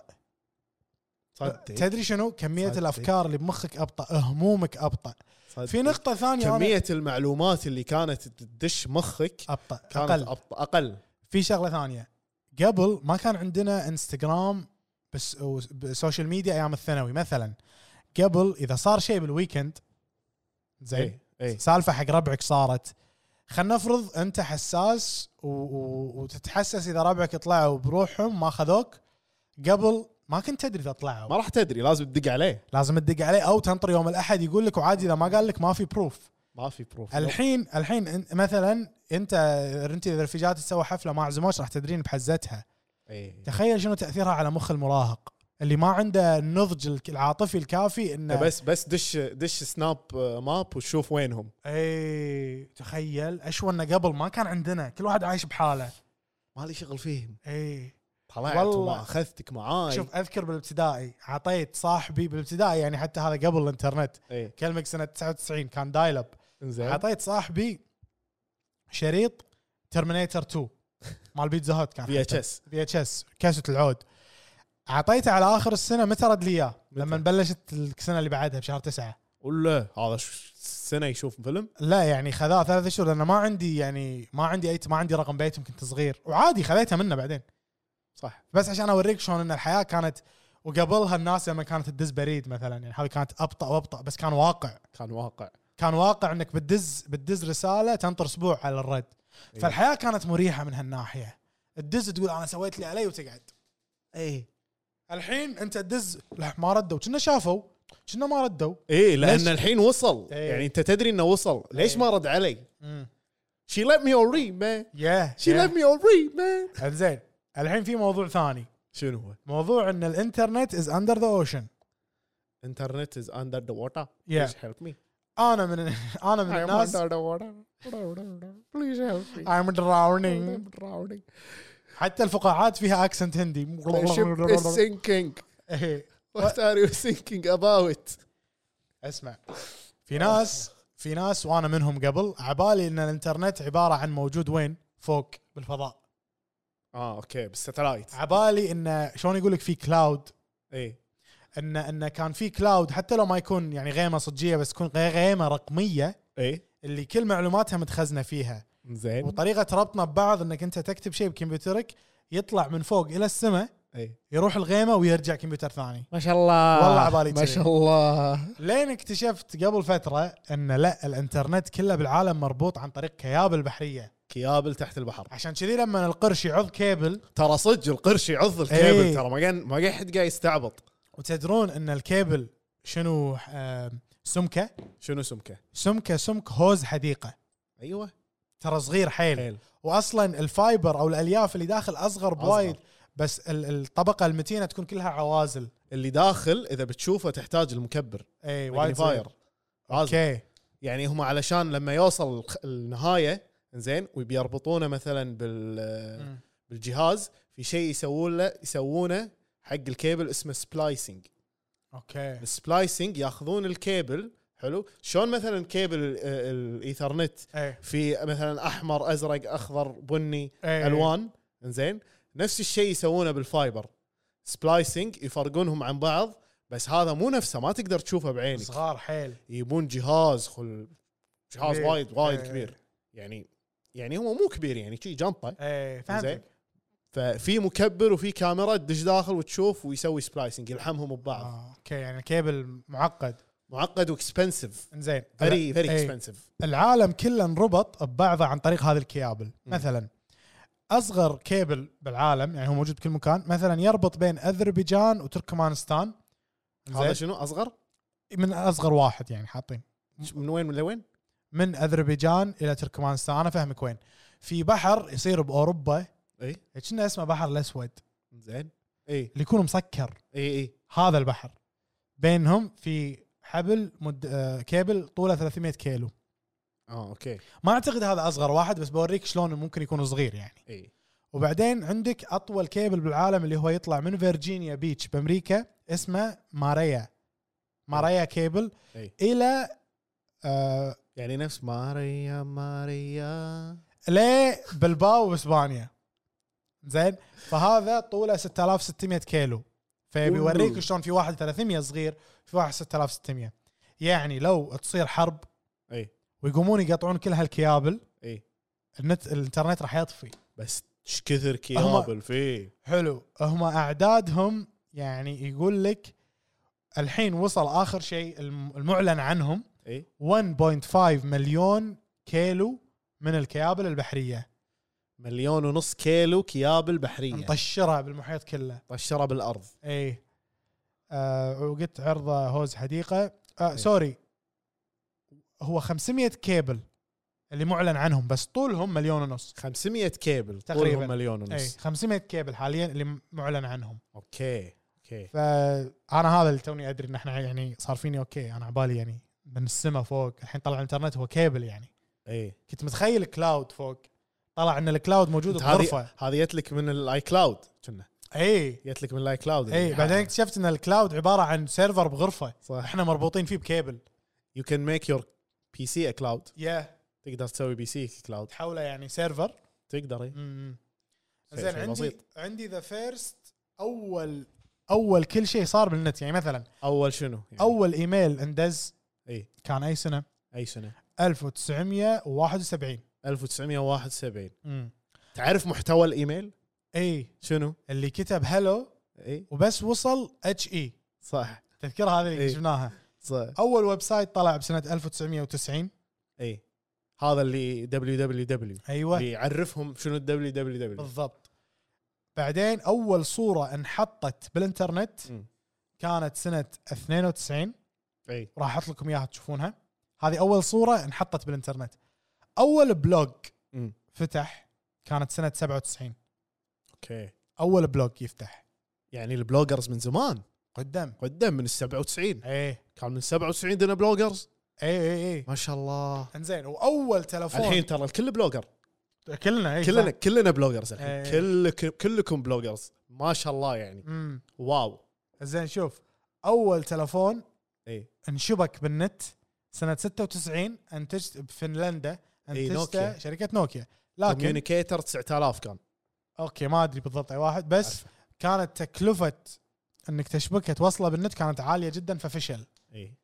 [SPEAKER 5] صدق
[SPEAKER 4] تدري شنو كميه
[SPEAKER 5] صدق.
[SPEAKER 4] الافكار اللي بمخك ابطا همومك ابطا
[SPEAKER 5] صدق.
[SPEAKER 4] في نقطه ثانيه أنا
[SPEAKER 5] كمية المعلومات اللي كانت تدش مخك
[SPEAKER 4] ابطا
[SPEAKER 5] كانت
[SPEAKER 4] اقل
[SPEAKER 5] أقل, أقل.
[SPEAKER 4] في شغله ثانيه قبل ما كان عندنا انستغرام بس سوشيال ميديا ايام الثانوي مثلا قبل اذا صار شيء بالويكند زين
[SPEAKER 5] اي اي
[SPEAKER 4] سالفه حق ربعك صارت خلينا نفرض انت حساس و... و... وتتحسس اذا ربعك طلعوا بروحهم ما اخذوك قبل ما كنت تدري اذا
[SPEAKER 5] ما
[SPEAKER 4] طلعوا
[SPEAKER 5] راح تدري لازم تدق عليه
[SPEAKER 4] لازم تدق عليه او تنطر يوم الاحد يقول لك وعادي اذا ما قال لك ما في بروف
[SPEAKER 5] ما في بروف
[SPEAKER 4] الحين الحين انت مثلا انت انت اذا رفيجات تسوي حفله ما عزموش راح تدرين بحزتها
[SPEAKER 5] إيه.
[SPEAKER 4] تخيل شنو تاثيرها على مخ المراهق اللي ما عنده النضج الك- العاطفي الكافي انه
[SPEAKER 5] بس بس دش دش سناب ماب وشوف وينهم
[SPEAKER 4] اي إيه، تخيل اشوى انه قبل ما كان عندنا كل واحد عايش بحاله
[SPEAKER 5] ما لي شغل فيهم
[SPEAKER 4] اي
[SPEAKER 5] طلعت
[SPEAKER 4] والله.
[SPEAKER 5] وما اخذتك معاي
[SPEAKER 4] شوف اذكر بالابتدائي عطيت صاحبي بالابتدائي يعني حتى هذا قبل الانترنت
[SPEAKER 5] ايه
[SPEAKER 4] كلمك سنه 99 كان دايل اب
[SPEAKER 5] انزين
[SPEAKER 4] عطيت صاحبي شريط ترمينيتر 2 مال بيتزا هوت كان
[SPEAKER 5] في اتش اس
[SPEAKER 4] في اتش اس كاسه العود اعطيته على اخر السنه متى رد لي اياه؟ لما بلشت السنه اللي بعدها بشهر تسعه
[SPEAKER 5] ولا هذا ش- سنه يشوف فيلم
[SPEAKER 4] لا يعني خذاه ثلاثة شهور لان ما عندي يعني ما عندي اي ما عندي رقم بيتهم كنت صغير وعادي خذيتها منه بعدين
[SPEAKER 5] صح
[SPEAKER 4] بس عشان اوريك شلون ان الحياه كانت وقبلها الناس لما كانت تدز بريد مثلا يعني هذه كانت ابطا وابطا بس كان واقع
[SPEAKER 5] كان واقع
[SPEAKER 4] كان واقع انك بتدز بتدز رساله تنطر اسبوع على الرد
[SPEAKER 5] إيه.
[SPEAKER 4] فالحياه كانت مريحه من هالناحيه تدز تقول انا سويت اللي علي وتقعد
[SPEAKER 5] ايه
[SPEAKER 4] الحين انت تدز لا ما ردوا كنا شافوا كنا ما ردوا
[SPEAKER 5] ايه لان
[SPEAKER 4] ليش؟
[SPEAKER 5] الحين وصل
[SPEAKER 4] إيه.
[SPEAKER 5] يعني انت تدري انه وصل ليش ما رد علي؟ شي let me already man
[SPEAKER 4] يا
[SPEAKER 5] شي let me already man
[SPEAKER 4] زين الحين في موضوع ثاني
[SPEAKER 5] شنو هو؟
[SPEAKER 4] موضوع ان الانترنت از اندر ذا اوشن
[SPEAKER 5] انترنت از اندر ذا ووتر
[SPEAKER 4] Yeah.
[SPEAKER 5] بليز هيلب مي
[SPEAKER 4] انا من [LAUGHS] انا من الناس
[SPEAKER 5] ذا ووتر بليز هيلب
[SPEAKER 4] I'm drowning
[SPEAKER 5] مي
[SPEAKER 4] حتى الفقاعات فيها اكسنت هندي [LAUGHS]
[SPEAKER 5] sinking
[SPEAKER 4] إيه.
[SPEAKER 5] what are you thinking about
[SPEAKER 4] اسمع في ناس في ناس وانا منهم قبل عبالي ان الانترنت عباره عن موجود وين فوق بالفضاء
[SPEAKER 5] اه اوكي بالستلايت
[SPEAKER 4] عبالي ان شلون يقول لك في كلاود
[SPEAKER 5] ايه
[SPEAKER 4] ان ان كان في كلاود حتى لو ما يكون يعني غيمه صجيه بس تكون غي- غيمه رقميه
[SPEAKER 5] ايه
[SPEAKER 4] اللي كل معلوماتها متخزنه فيها
[SPEAKER 5] زين
[SPEAKER 4] وطريقه ربطنا ببعض انك انت تكتب شيء بكمبيوترك يطلع من فوق الى السماء
[SPEAKER 5] ايه
[SPEAKER 4] يروح الغيمه ويرجع كمبيوتر ثاني
[SPEAKER 5] ما شاء الله
[SPEAKER 4] والله عبالي
[SPEAKER 5] ما
[SPEAKER 4] كذي.
[SPEAKER 5] شاء الله
[SPEAKER 4] لين اكتشفت قبل فتره ان لا الانترنت كله بالعالم مربوط عن طريق كيابل بحريه
[SPEAKER 5] كيابل تحت البحر
[SPEAKER 4] عشان كذي لما القرش يعض كيبل
[SPEAKER 5] ترى صدق القرش يعض الكيبل
[SPEAKER 4] إيه.
[SPEAKER 5] ترى ما كان ما كان حد قاعد يستعبط
[SPEAKER 4] وتدرون ان الكيبل شنو آه، سمكه
[SPEAKER 5] شنو سمكه؟
[SPEAKER 4] سمكه سمك هوز حديقه
[SPEAKER 5] ايوه
[SPEAKER 4] ترى صغير حيل
[SPEAKER 5] حيل
[SPEAKER 4] واصلا الفايبر او الالياف اللي داخل اصغر بوايد بس ال- الطبقه المتينه تكون كلها عوازل
[SPEAKER 5] اللي داخل اذا بتشوفه تحتاج المكبر
[SPEAKER 4] اي إيه، وايد
[SPEAKER 5] ماجنيفاير
[SPEAKER 4] صغير
[SPEAKER 5] لازم
[SPEAKER 4] اوكي
[SPEAKER 5] يعني هم علشان لما يوصل الخ- النهايه زين وبيربطونه مثلا بال
[SPEAKER 4] مم.
[SPEAKER 5] بالجهاز في شيء يسوون له يسوونه حق الكيبل اسمه سبلايسنج
[SPEAKER 4] اوكي
[SPEAKER 5] السبلايسنج ياخذون الكيبل حلو شلون مثلا كيبل ال- الايثرنت
[SPEAKER 4] اي
[SPEAKER 5] في مثلا احمر ازرق اخضر بني
[SPEAKER 4] إيه.
[SPEAKER 5] الوان زين نفس الشيء يسوونه بالفايبر سبلايسنج يفرقونهم عن بعض بس هذا مو نفسه ما تقدر تشوفه بعينك
[SPEAKER 4] صغار حيل
[SPEAKER 5] يبون جهاز خل جهاز
[SPEAKER 4] كبير.
[SPEAKER 5] وايد وايد
[SPEAKER 4] إيه.
[SPEAKER 5] كبير يعني يعني هو مو كبير يعني شي جنطه
[SPEAKER 4] اي
[SPEAKER 5] زين.
[SPEAKER 4] إيه، فهمتك
[SPEAKER 5] ففي مكبر وفي كاميرا تدش داخل وتشوف ويسوي سبلايسنج يلحمهم ببعض
[SPEAKER 4] آه، اوكي يعني الكيبل معقد
[SPEAKER 5] معقد واكسبنسيف
[SPEAKER 4] زين
[SPEAKER 5] فيري فيري
[SPEAKER 4] إي.
[SPEAKER 5] اكسبنسيف
[SPEAKER 4] العالم كله انربط ببعضه عن طريق هذه الكيابل مثلا اصغر كيبل بالعالم يعني هو موجود بكل مكان مثلا يربط بين اذربيجان وتركمانستان
[SPEAKER 5] هذا
[SPEAKER 4] زين
[SPEAKER 5] شنو اصغر
[SPEAKER 4] من اصغر واحد يعني حاطين
[SPEAKER 5] من وين من لوين
[SPEAKER 4] من اذربيجان الى تركمانستان انا فاهمك وين في بحر يصير باوروبا
[SPEAKER 5] اي
[SPEAKER 4] كنا اسمه بحر الاسود
[SPEAKER 5] زين اي
[SPEAKER 4] اللي يكون مسكر
[SPEAKER 5] اي اي
[SPEAKER 4] هذا البحر بينهم في حبل مد... آه، كيبل طوله 300 كيلو
[SPEAKER 5] اه اوكي
[SPEAKER 4] ما اعتقد هذا اصغر واحد بس بوريك شلون ممكن يكون صغير يعني
[SPEAKER 5] اي
[SPEAKER 4] وبعدين عندك اطول كيبل بالعالم اللي هو يطلع من فيرجينيا بيتش بامريكا اسمه ماريا ماريا كيبل
[SPEAKER 5] إي.
[SPEAKER 4] الى آه...
[SPEAKER 5] يعني نفس ماريا ماريا
[SPEAKER 4] ليه بلباو باسبانيا زين فهذا طوله 6600 كيلو فبيوريك
[SPEAKER 5] أوه.
[SPEAKER 4] شلون في واحد 300 صغير في واحد 6600 يعني لو تصير حرب
[SPEAKER 5] اي
[SPEAKER 4] ويقومون يقطعون كل هالكيابل
[SPEAKER 5] اي
[SPEAKER 4] النت الانترنت راح يطفي
[SPEAKER 5] بس ايش كثر كيابل فيه
[SPEAKER 4] حلو هم اعدادهم يعني يقول لك الحين وصل اخر شيء الم- المعلن عنهم
[SPEAKER 5] اي
[SPEAKER 4] 1.5 مليون كيلو من الكيابل البحريه
[SPEAKER 5] مليون ونص كيلو كيابل بحريه
[SPEAKER 4] طيب. نطشرها بالمحيط كله
[SPEAKER 5] طشرها بالارض
[SPEAKER 4] اي آه وقلت عرضه هوز حديقه
[SPEAKER 5] إيه.
[SPEAKER 4] آه سوري هو 500 كيبل اللي معلن عنهم بس طولهم مليون ونص
[SPEAKER 5] 500 كيبل
[SPEAKER 4] تقريباً. إيه.
[SPEAKER 5] تقريبا مليون
[SPEAKER 4] اي
[SPEAKER 5] ونص
[SPEAKER 4] 500 كيبل حاليا اللي معلن عنهم
[SPEAKER 5] اوكي اوكي
[SPEAKER 4] فانا هذا اللي توني ادري ان احنا يعني صار فيني اوكي انا عبالي يعني من السما فوق الحين طلع الانترنت هو كيبل يعني
[SPEAKER 5] اي
[SPEAKER 4] كنت متخيل كلاود فوق طلع ان الكلاود موجود
[SPEAKER 5] أنت هذه-
[SPEAKER 4] بغرفه
[SPEAKER 5] هذه جت لك من الاي كلاود كنا
[SPEAKER 4] اي
[SPEAKER 5] جت لك من يعني الاي كلاود
[SPEAKER 4] اي إيه، بعدين اكتشفت ان الكلاود عباره عن سيرفر بغرفه
[SPEAKER 5] صح
[SPEAKER 4] احنا مربوطين فيه بكيبل
[SPEAKER 5] يو كان ميك يور بي سي كلاود
[SPEAKER 4] يا
[SPEAKER 5] تقدر تسوي بي سي كلاود
[SPEAKER 4] تحوله يعني سيرفر
[SPEAKER 5] تقدر اي شيء-
[SPEAKER 4] زين
[SPEAKER 5] شيء
[SPEAKER 4] عندي
[SPEAKER 5] بسيط.
[SPEAKER 4] عندي ذا فيرست اول اول كل شيء صار بالنت يعني مثلا
[SPEAKER 5] اول شنو؟ يعني
[SPEAKER 4] اول ايميل اندز
[SPEAKER 5] اي
[SPEAKER 4] كان اي سنه
[SPEAKER 5] اي سنه؟
[SPEAKER 4] 1971
[SPEAKER 5] 1971
[SPEAKER 4] امم
[SPEAKER 5] تعرف محتوى الايميل؟
[SPEAKER 4] اي
[SPEAKER 5] شنو؟
[SPEAKER 4] اللي كتب هلو
[SPEAKER 5] اي
[SPEAKER 4] وبس وصل اتش اي
[SPEAKER 5] صح
[SPEAKER 4] تذكر هذه اللي
[SPEAKER 5] إي.
[SPEAKER 4] جبناها
[SPEAKER 5] صح
[SPEAKER 4] اول ويب سايت طلع بسنه 1990
[SPEAKER 5] اي هذا اللي دبليو دبليو دبليو
[SPEAKER 4] ايوه
[SPEAKER 5] اللي يعرفهم شنو الدبليو دبليو دبليو
[SPEAKER 4] بالضبط بعدين اول صوره انحطت بالانترنت
[SPEAKER 5] مم.
[SPEAKER 4] كانت سنه 92
[SPEAKER 5] اي
[SPEAKER 4] راح احط لكم اياها تشوفونها هذه اول صوره انحطت بالانترنت اول بلوج
[SPEAKER 5] مم.
[SPEAKER 4] فتح كانت سنه 97
[SPEAKER 5] اوكي
[SPEAKER 4] اول بلوج يفتح
[SPEAKER 5] يعني البلوجرز من زمان
[SPEAKER 4] قدام
[SPEAKER 5] قدام من ال 97
[SPEAKER 4] ايه
[SPEAKER 5] كان من 97 دنا بلوجرز
[SPEAKER 4] ايه ايه ايه
[SPEAKER 5] ما شاء الله
[SPEAKER 4] انزين واول تلفون
[SPEAKER 5] الحين ترى الكل بلوجر
[SPEAKER 4] كلنا ايه
[SPEAKER 5] كلنا كلنا بلوجرز
[SPEAKER 4] إيه.
[SPEAKER 5] الحين كلكم كلكم بلوجرز ما شاء الله يعني
[SPEAKER 4] امم
[SPEAKER 5] واو
[SPEAKER 4] زين شوف اول تلفون
[SPEAKER 5] اي
[SPEAKER 4] انشبك بالنت سنه 96 انتجت بفنلندا انتجته
[SPEAKER 5] نوكيا.
[SPEAKER 4] شركه نوكيا لكن
[SPEAKER 5] كوميونيكيتر 9000 كان
[SPEAKER 4] اوكي ما ادري بالضبط اي واحد بس كانت تكلفه انك تشبكه توصله بالنت كانت عاليه جدا ففشل
[SPEAKER 5] اي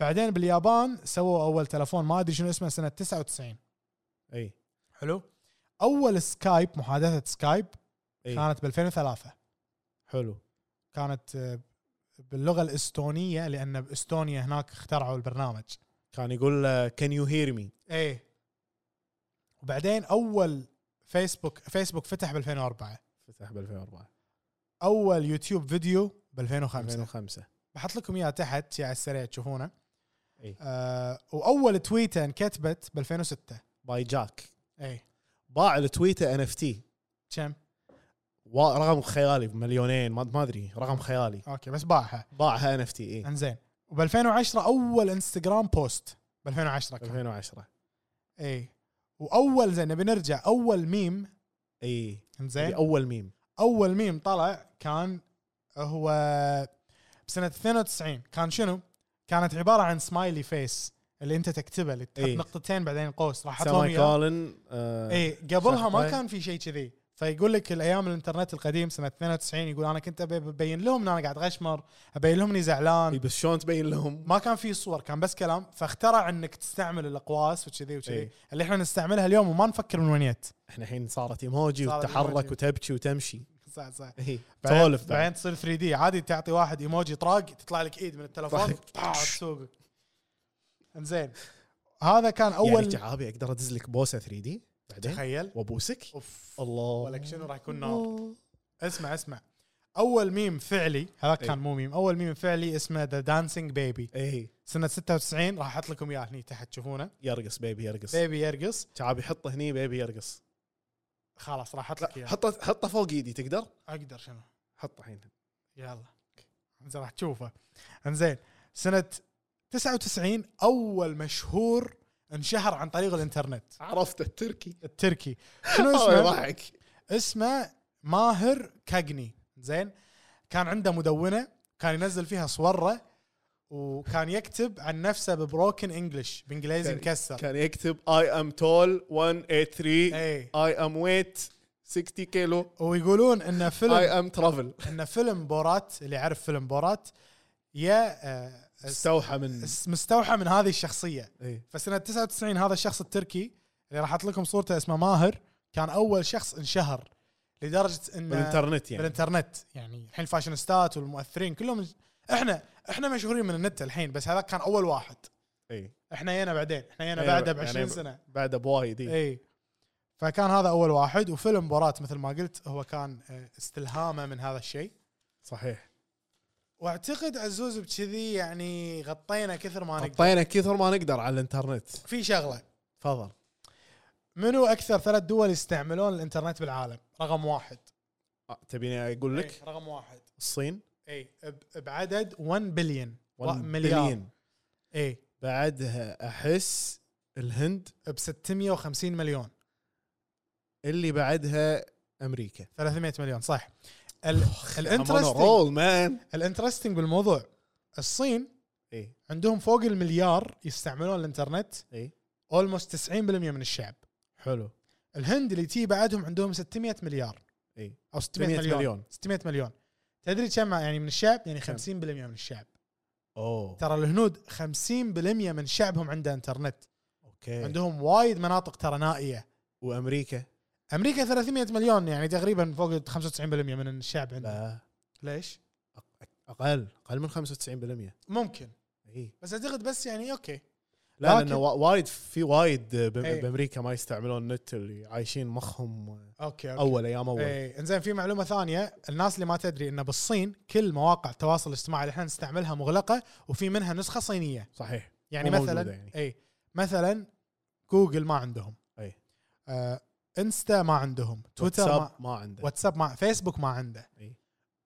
[SPEAKER 4] بعدين باليابان سووا اول تلفون ما ادري شنو اسمه سنه 99
[SPEAKER 5] اي
[SPEAKER 4] حلو اول سكايب محادثه سكايب
[SPEAKER 5] إي.
[SPEAKER 4] كانت ب 2003
[SPEAKER 5] حلو
[SPEAKER 4] كانت آه، باللغه الاستونيه لان باستونيا هناك اخترعوا البرنامج
[SPEAKER 5] كان يقول "Uh, كان يو هير مي
[SPEAKER 4] ايه وبعدين اول فيسبوك فيسبوك فتح ب 2004
[SPEAKER 5] فتح ب 2004
[SPEAKER 4] اول يوتيوب فيديو ب 2005
[SPEAKER 5] 2005
[SPEAKER 4] بحط لكم اياه تحت شي على السريع تشوفونه
[SPEAKER 5] إي.
[SPEAKER 4] آه واول تويته انكتبت ب 2006
[SPEAKER 5] باي جاك
[SPEAKER 4] اي
[SPEAKER 5] باع التويته ان اف تي
[SPEAKER 4] كم
[SPEAKER 5] رقم خيالي بمليونين ما ما ادري رقم خيالي
[SPEAKER 4] اوكي بس باعها
[SPEAKER 5] باعها ان اف تي اي
[SPEAKER 4] انزين وب 2010 اول انستغرام بوست ب 2010 كان
[SPEAKER 5] 2010
[SPEAKER 4] اي واول زين نبي نرجع اول ميم
[SPEAKER 5] اي
[SPEAKER 4] انزين
[SPEAKER 5] هذه اول ميم
[SPEAKER 4] اول ميم طلع كان هو بسنه 92 كان شنو؟ كانت عباره عن سمايلي فيس اللي انت تكتبه اللي تحط
[SPEAKER 5] إيه.
[SPEAKER 4] نقطتين بعدين قوس راح احط لهم
[SPEAKER 5] سامي
[SPEAKER 4] إياه.
[SPEAKER 5] كولن آه،
[SPEAKER 4] اي قبلها ما
[SPEAKER 5] شاطر.
[SPEAKER 4] كان في شيء كذي فيقول لك الايام الانترنت القديم سنه 92 يقول انا كنت ابي ابين لهم ان انا قاعد غشمر ابين لهم اني
[SPEAKER 5] إي،
[SPEAKER 4] زعلان
[SPEAKER 5] بس شلون تبين لهم
[SPEAKER 4] ما كان في صور كان بس كلام فاخترع انك تستعمل الاقواس وكذي وكذي
[SPEAKER 5] إيه.
[SPEAKER 4] اللي احنا نستعملها اليوم وما نفكر من وين جت
[SPEAKER 5] احنا الحين صارت ايموجي
[SPEAKER 4] صارت
[SPEAKER 5] وتتحرك
[SPEAKER 4] إيموجي.
[SPEAKER 5] وتبكي وتمشي
[SPEAKER 4] صح صح
[SPEAKER 5] إي،
[SPEAKER 4] بعدين-
[SPEAKER 5] تسولف بعد
[SPEAKER 4] بعدين تصير 3 دي عادي تعطي واحد ايموجي طراق تطلع لك ايد من التلفون [LAUGHS]
[SPEAKER 5] طاح.
[SPEAKER 4] طاع، تسوقك انزين هذا كان
[SPEAKER 5] يعني
[SPEAKER 4] اول
[SPEAKER 5] جعابي اقدر ادز لك بوسه 3 دي بعدين
[SPEAKER 4] تخيل
[SPEAKER 5] وابوسك
[SPEAKER 4] اوف
[SPEAKER 5] الله
[SPEAKER 4] ولك شنو راح يكون نار اسمع اسمع اول ميم فعلي هذا
[SPEAKER 5] إيه.
[SPEAKER 4] كان مو ميم اول ميم فعلي اسمه ذا دانسينج بيبي
[SPEAKER 5] اي
[SPEAKER 4] سنه 96 راح احط لكم اياه هني تحت تشوفونه
[SPEAKER 5] يرقص بيبي يرقص
[SPEAKER 4] بيبي يرقص
[SPEAKER 5] شعبي حطه هني بيبي يرقص
[SPEAKER 4] خلاص راح احط لك
[SPEAKER 5] لا
[SPEAKER 4] اياه
[SPEAKER 5] حطه حطه فوق ايدي تقدر
[SPEAKER 4] اقدر شنو
[SPEAKER 5] حطه الحين
[SPEAKER 4] يلا انزين راح تشوفه انزين سنة 99 أول مشهور انشهر عن طريق الإنترنت
[SPEAKER 5] عرفت التركي آه،
[SPEAKER 4] التركي
[SPEAKER 5] [LAUGHS]
[SPEAKER 4] شنو اسمه؟
[SPEAKER 5] يضحك
[SPEAKER 4] اسمه ماهر كاجني زين كان عنده مدونة كان ينزل فيها صوره وكان يكتب عن نفسه ببروكن انجلش بانجليزي مكسر
[SPEAKER 5] كان يكتب اي ام تول 183
[SPEAKER 4] اي
[SPEAKER 5] اي ام ويت 60 كيلو
[SPEAKER 4] إيه. ويقولون انه فيلم
[SPEAKER 5] اي ام ترافل
[SPEAKER 4] انه فيلم بورات اللي يعرف فيلم بورات يا آه،
[SPEAKER 5] استوحى إيه. من
[SPEAKER 4] مستوحى من هذه الشخصيه
[SPEAKER 5] اي
[SPEAKER 4] فسنه 99 هذا الشخص التركي اللي راح احط لكم صورته اسمه ماهر كان اول شخص انشهر لدرجه انه
[SPEAKER 5] بالانترنت يعني
[SPEAKER 4] بالانترنت يعني الحين الفاشينيستات والمؤثرين كلهم احنا احنا مشهورين من النت الحين بس هذا كان اول واحد
[SPEAKER 5] اي
[SPEAKER 4] احنا جينا بعدين احنا جينا
[SPEAKER 5] إيه،
[SPEAKER 4] بعده ب
[SPEAKER 5] يعني
[SPEAKER 4] 20 سنه
[SPEAKER 5] بعده بوايد إيه.
[SPEAKER 4] اي فكان هذا اول واحد وفيلم بورات مثل ما قلت هو كان آه، استلهامه من هذا الشيء
[SPEAKER 5] صحيح
[SPEAKER 4] واعتقد عزوز بكذي يعني غطينا كثر ما نقدر
[SPEAKER 5] حطينا كثر ما نقدر على الانترنت
[SPEAKER 4] في شغله
[SPEAKER 5] تفضل
[SPEAKER 4] منو اكثر ثلاث دول يستعملون الانترنت بالعالم رقم واحد
[SPEAKER 5] آه، تبيني اقول لك
[SPEAKER 4] إي، رقم واحد
[SPEAKER 5] الصين
[SPEAKER 4] اي ب- بعدد 1 بليون
[SPEAKER 5] 1
[SPEAKER 4] مليار
[SPEAKER 5] بليون
[SPEAKER 4] اي
[SPEAKER 5] بعدها احس الهند
[SPEAKER 4] ب 650 مليون
[SPEAKER 5] اللي بعدها امريكا
[SPEAKER 4] 300 مليون صح ال- الانترستنج
[SPEAKER 5] رول مان
[SPEAKER 4] الانترستنج بالموضوع الصين
[SPEAKER 5] اي
[SPEAKER 4] عندهم فوق المليار يستعملون الانترنت
[SPEAKER 5] اي
[SPEAKER 4] اولموست 90% من الشعب
[SPEAKER 5] إيه. حلو
[SPEAKER 4] الهند اللي تي بعدهم عندهم 600 مليار
[SPEAKER 5] اي
[SPEAKER 4] او 600
[SPEAKER 5] 600
[SPEAKER 4] مليون.
[SPEAKER 5] إيه. مليون.
[SPEAKER 4] 600 مليون تدري كم يعني من الشعب يعني 50% من الشعب
[SPEAKER 5] اوه
[SPEAKER 4] ترى الهنود 50% من شعبهم عنده انترنت
[SPEAKER 5] اوكي
[SPEAKER 4] عندهم وايد مناطق ترى نائيه
[SPEAKER 5] وامريكا
[SPEAKER 4] امريكا 300 مليون يعني تقريبا فوق 95% من الشعب عنده
[SPEAKER 5] لا
[SPEAKER 4] ليش
[SPEAKER 5] اقل اقل من 95%
[SPEAKER 4] ممكن
[SPEAKER 5] اي
[SPEAKER 4] بس اعتقد بس يعني اوكي
[SPEAKER 5] إيه. لا
[SPEAKER 4] لكن-
[SPEAKER 5] لانه وا- وايد في وايد ب-
[SPEAKER 4] إي.
[SPEAKER 5] بامريكا ما يستعملون النت اللي عايشين مخهم
[SPEAKER 4] اوكي, أوكي. إيه.
[SPEAKER 5] اول ايام اول
[SPEAKER 4] اي انزين في معلومه ثانيه الناس اللي ما تدري انه بالصين كل مواقع التواصل الاجتماعي اللي احنا نستعملها مغلقه وفي منها نسخه صينيه
[SPEAKER 5] صحيح
[SPEAKER 4] يعني
[SPEAKER 5] مو موجودة
[SPEAKER 4] مثلا
[SPEAKER 5] يعني.
[SPEAKER 4] يعني. اي مثلا جوجل ما عندهم
[SPEAKER 5] أي.
[SPEAKER 4] آه انستا ما عندهم تويتر ما
[SPEAKER 5] إيه. واتساب ما عنده إيه.
[SPEAKER 4] واتساب ما فيسبوك ما عنده
[SPEAKER 5] أي.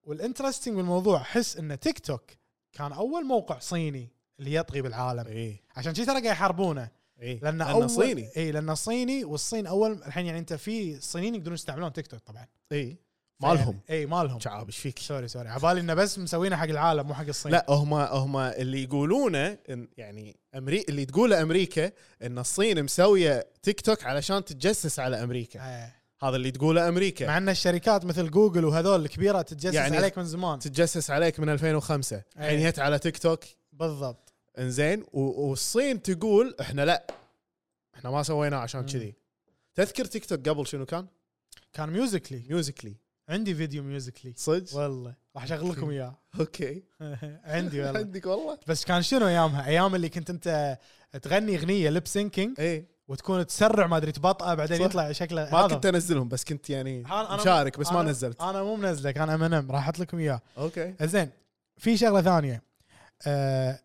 [SPEAKER 4] والانترستنج بالموضوع حس ان تيك توك كان اول موقع صيني اللي يطغي بالعالم
[SPEAKER 5] اي
[SPEAKER 4] عشان كذي ترى قاعد يحاربونه
[SPEAKER 5] اي
[SPEAKER 4] لان
[SPEAKER 5] إيه. لأنه
[SPEAKER 4] اول
[SPEAKER 5] صيني
[SPEAKER 4] اي لانه صيني والصين اول الحين يعني انت في صينيين يقدرون يستعملون تيك توك طبعا
[SPEAKER 5] اي مالهم
[SPEAKER 4] اي مالهم
[SPEAKER 5] شعاب ايش فيك؟
[SPEAKER 4] سوري سوري عبالي انه بس مسوينه حق العالم مو حق الصين
[SPEAKER 5] لا هم هم اللي يقولونه إن يعني أمري... اللي تقوله امريكا ان الصين مسويه تيك توك علشان تتجسس على امريكا
[SPEAKER 4] إيه.
[SPEAKER 5] هذا اللي تقوله امريكا
[SPEAKER 4] مع ان الشركات مثل جوجل وهذول الكبيره تتجسس
[SPEAKER 5] يعني-
[SPEAKER 4] يعني عليك من زمان
[SPEAKER 5] تتجسس عليك من 2005 الحين
[SPEAKER 4] أي.
[SPEAKER 5] جت على تيك توك
[SPEAKER 4] بالضبط
[SPEAKER 5] انزين و... والصين تقول احنا لا احنا ما سويناه عشان
[SPEAKER 4] مم.
[SPEAKER 5] كذي تذكر تيك توك قبل شنو كان؟
[SPEAKER 4] كان ميوزيكلي
[SPEAKER 5] ميوزيكلي
[SPEAKER 4] عندي فيديو ميوزيكلي
[SPEAKER 5] صدق؟
[SPEAKER 4] والله راح اشغل لكم اياه
[SPEAKER 5] اوكي
[SPEAKER 4] [LAUGHS] عندي والله
[SPEAKER 5] عندك والله
[SPEAKER 4] بس كان شنو ايامها ايام اللي كنت انت تغني اغنيه ليب سينكينج
[SPEAKER 5] ايه
[SPEAKER 4] وتكون تسرع ما ادري تبطئه بعدين
[SPEAKER 5] صح.
[SPEAKER 4] يطلع شكله
[SPEAKER 5] إيه، ما
[SPEAKER 4] إيه. هذا.
[SPEAKER 5] كنت انزلهم بس كنت يعني
[SPEAKER 4] أنا- أنا-
[SPEAKER 5] مشارك بس ما
[SPEAKER 4] أنا-
[SPEAKER 5] نزلت
[SPEAKER 4] انا مو منزله كان ام ان ام راح احط لكم اياه
[SPEAKER 5] اوكي
[SPEAKER 4] زين في شغله ثانيه آه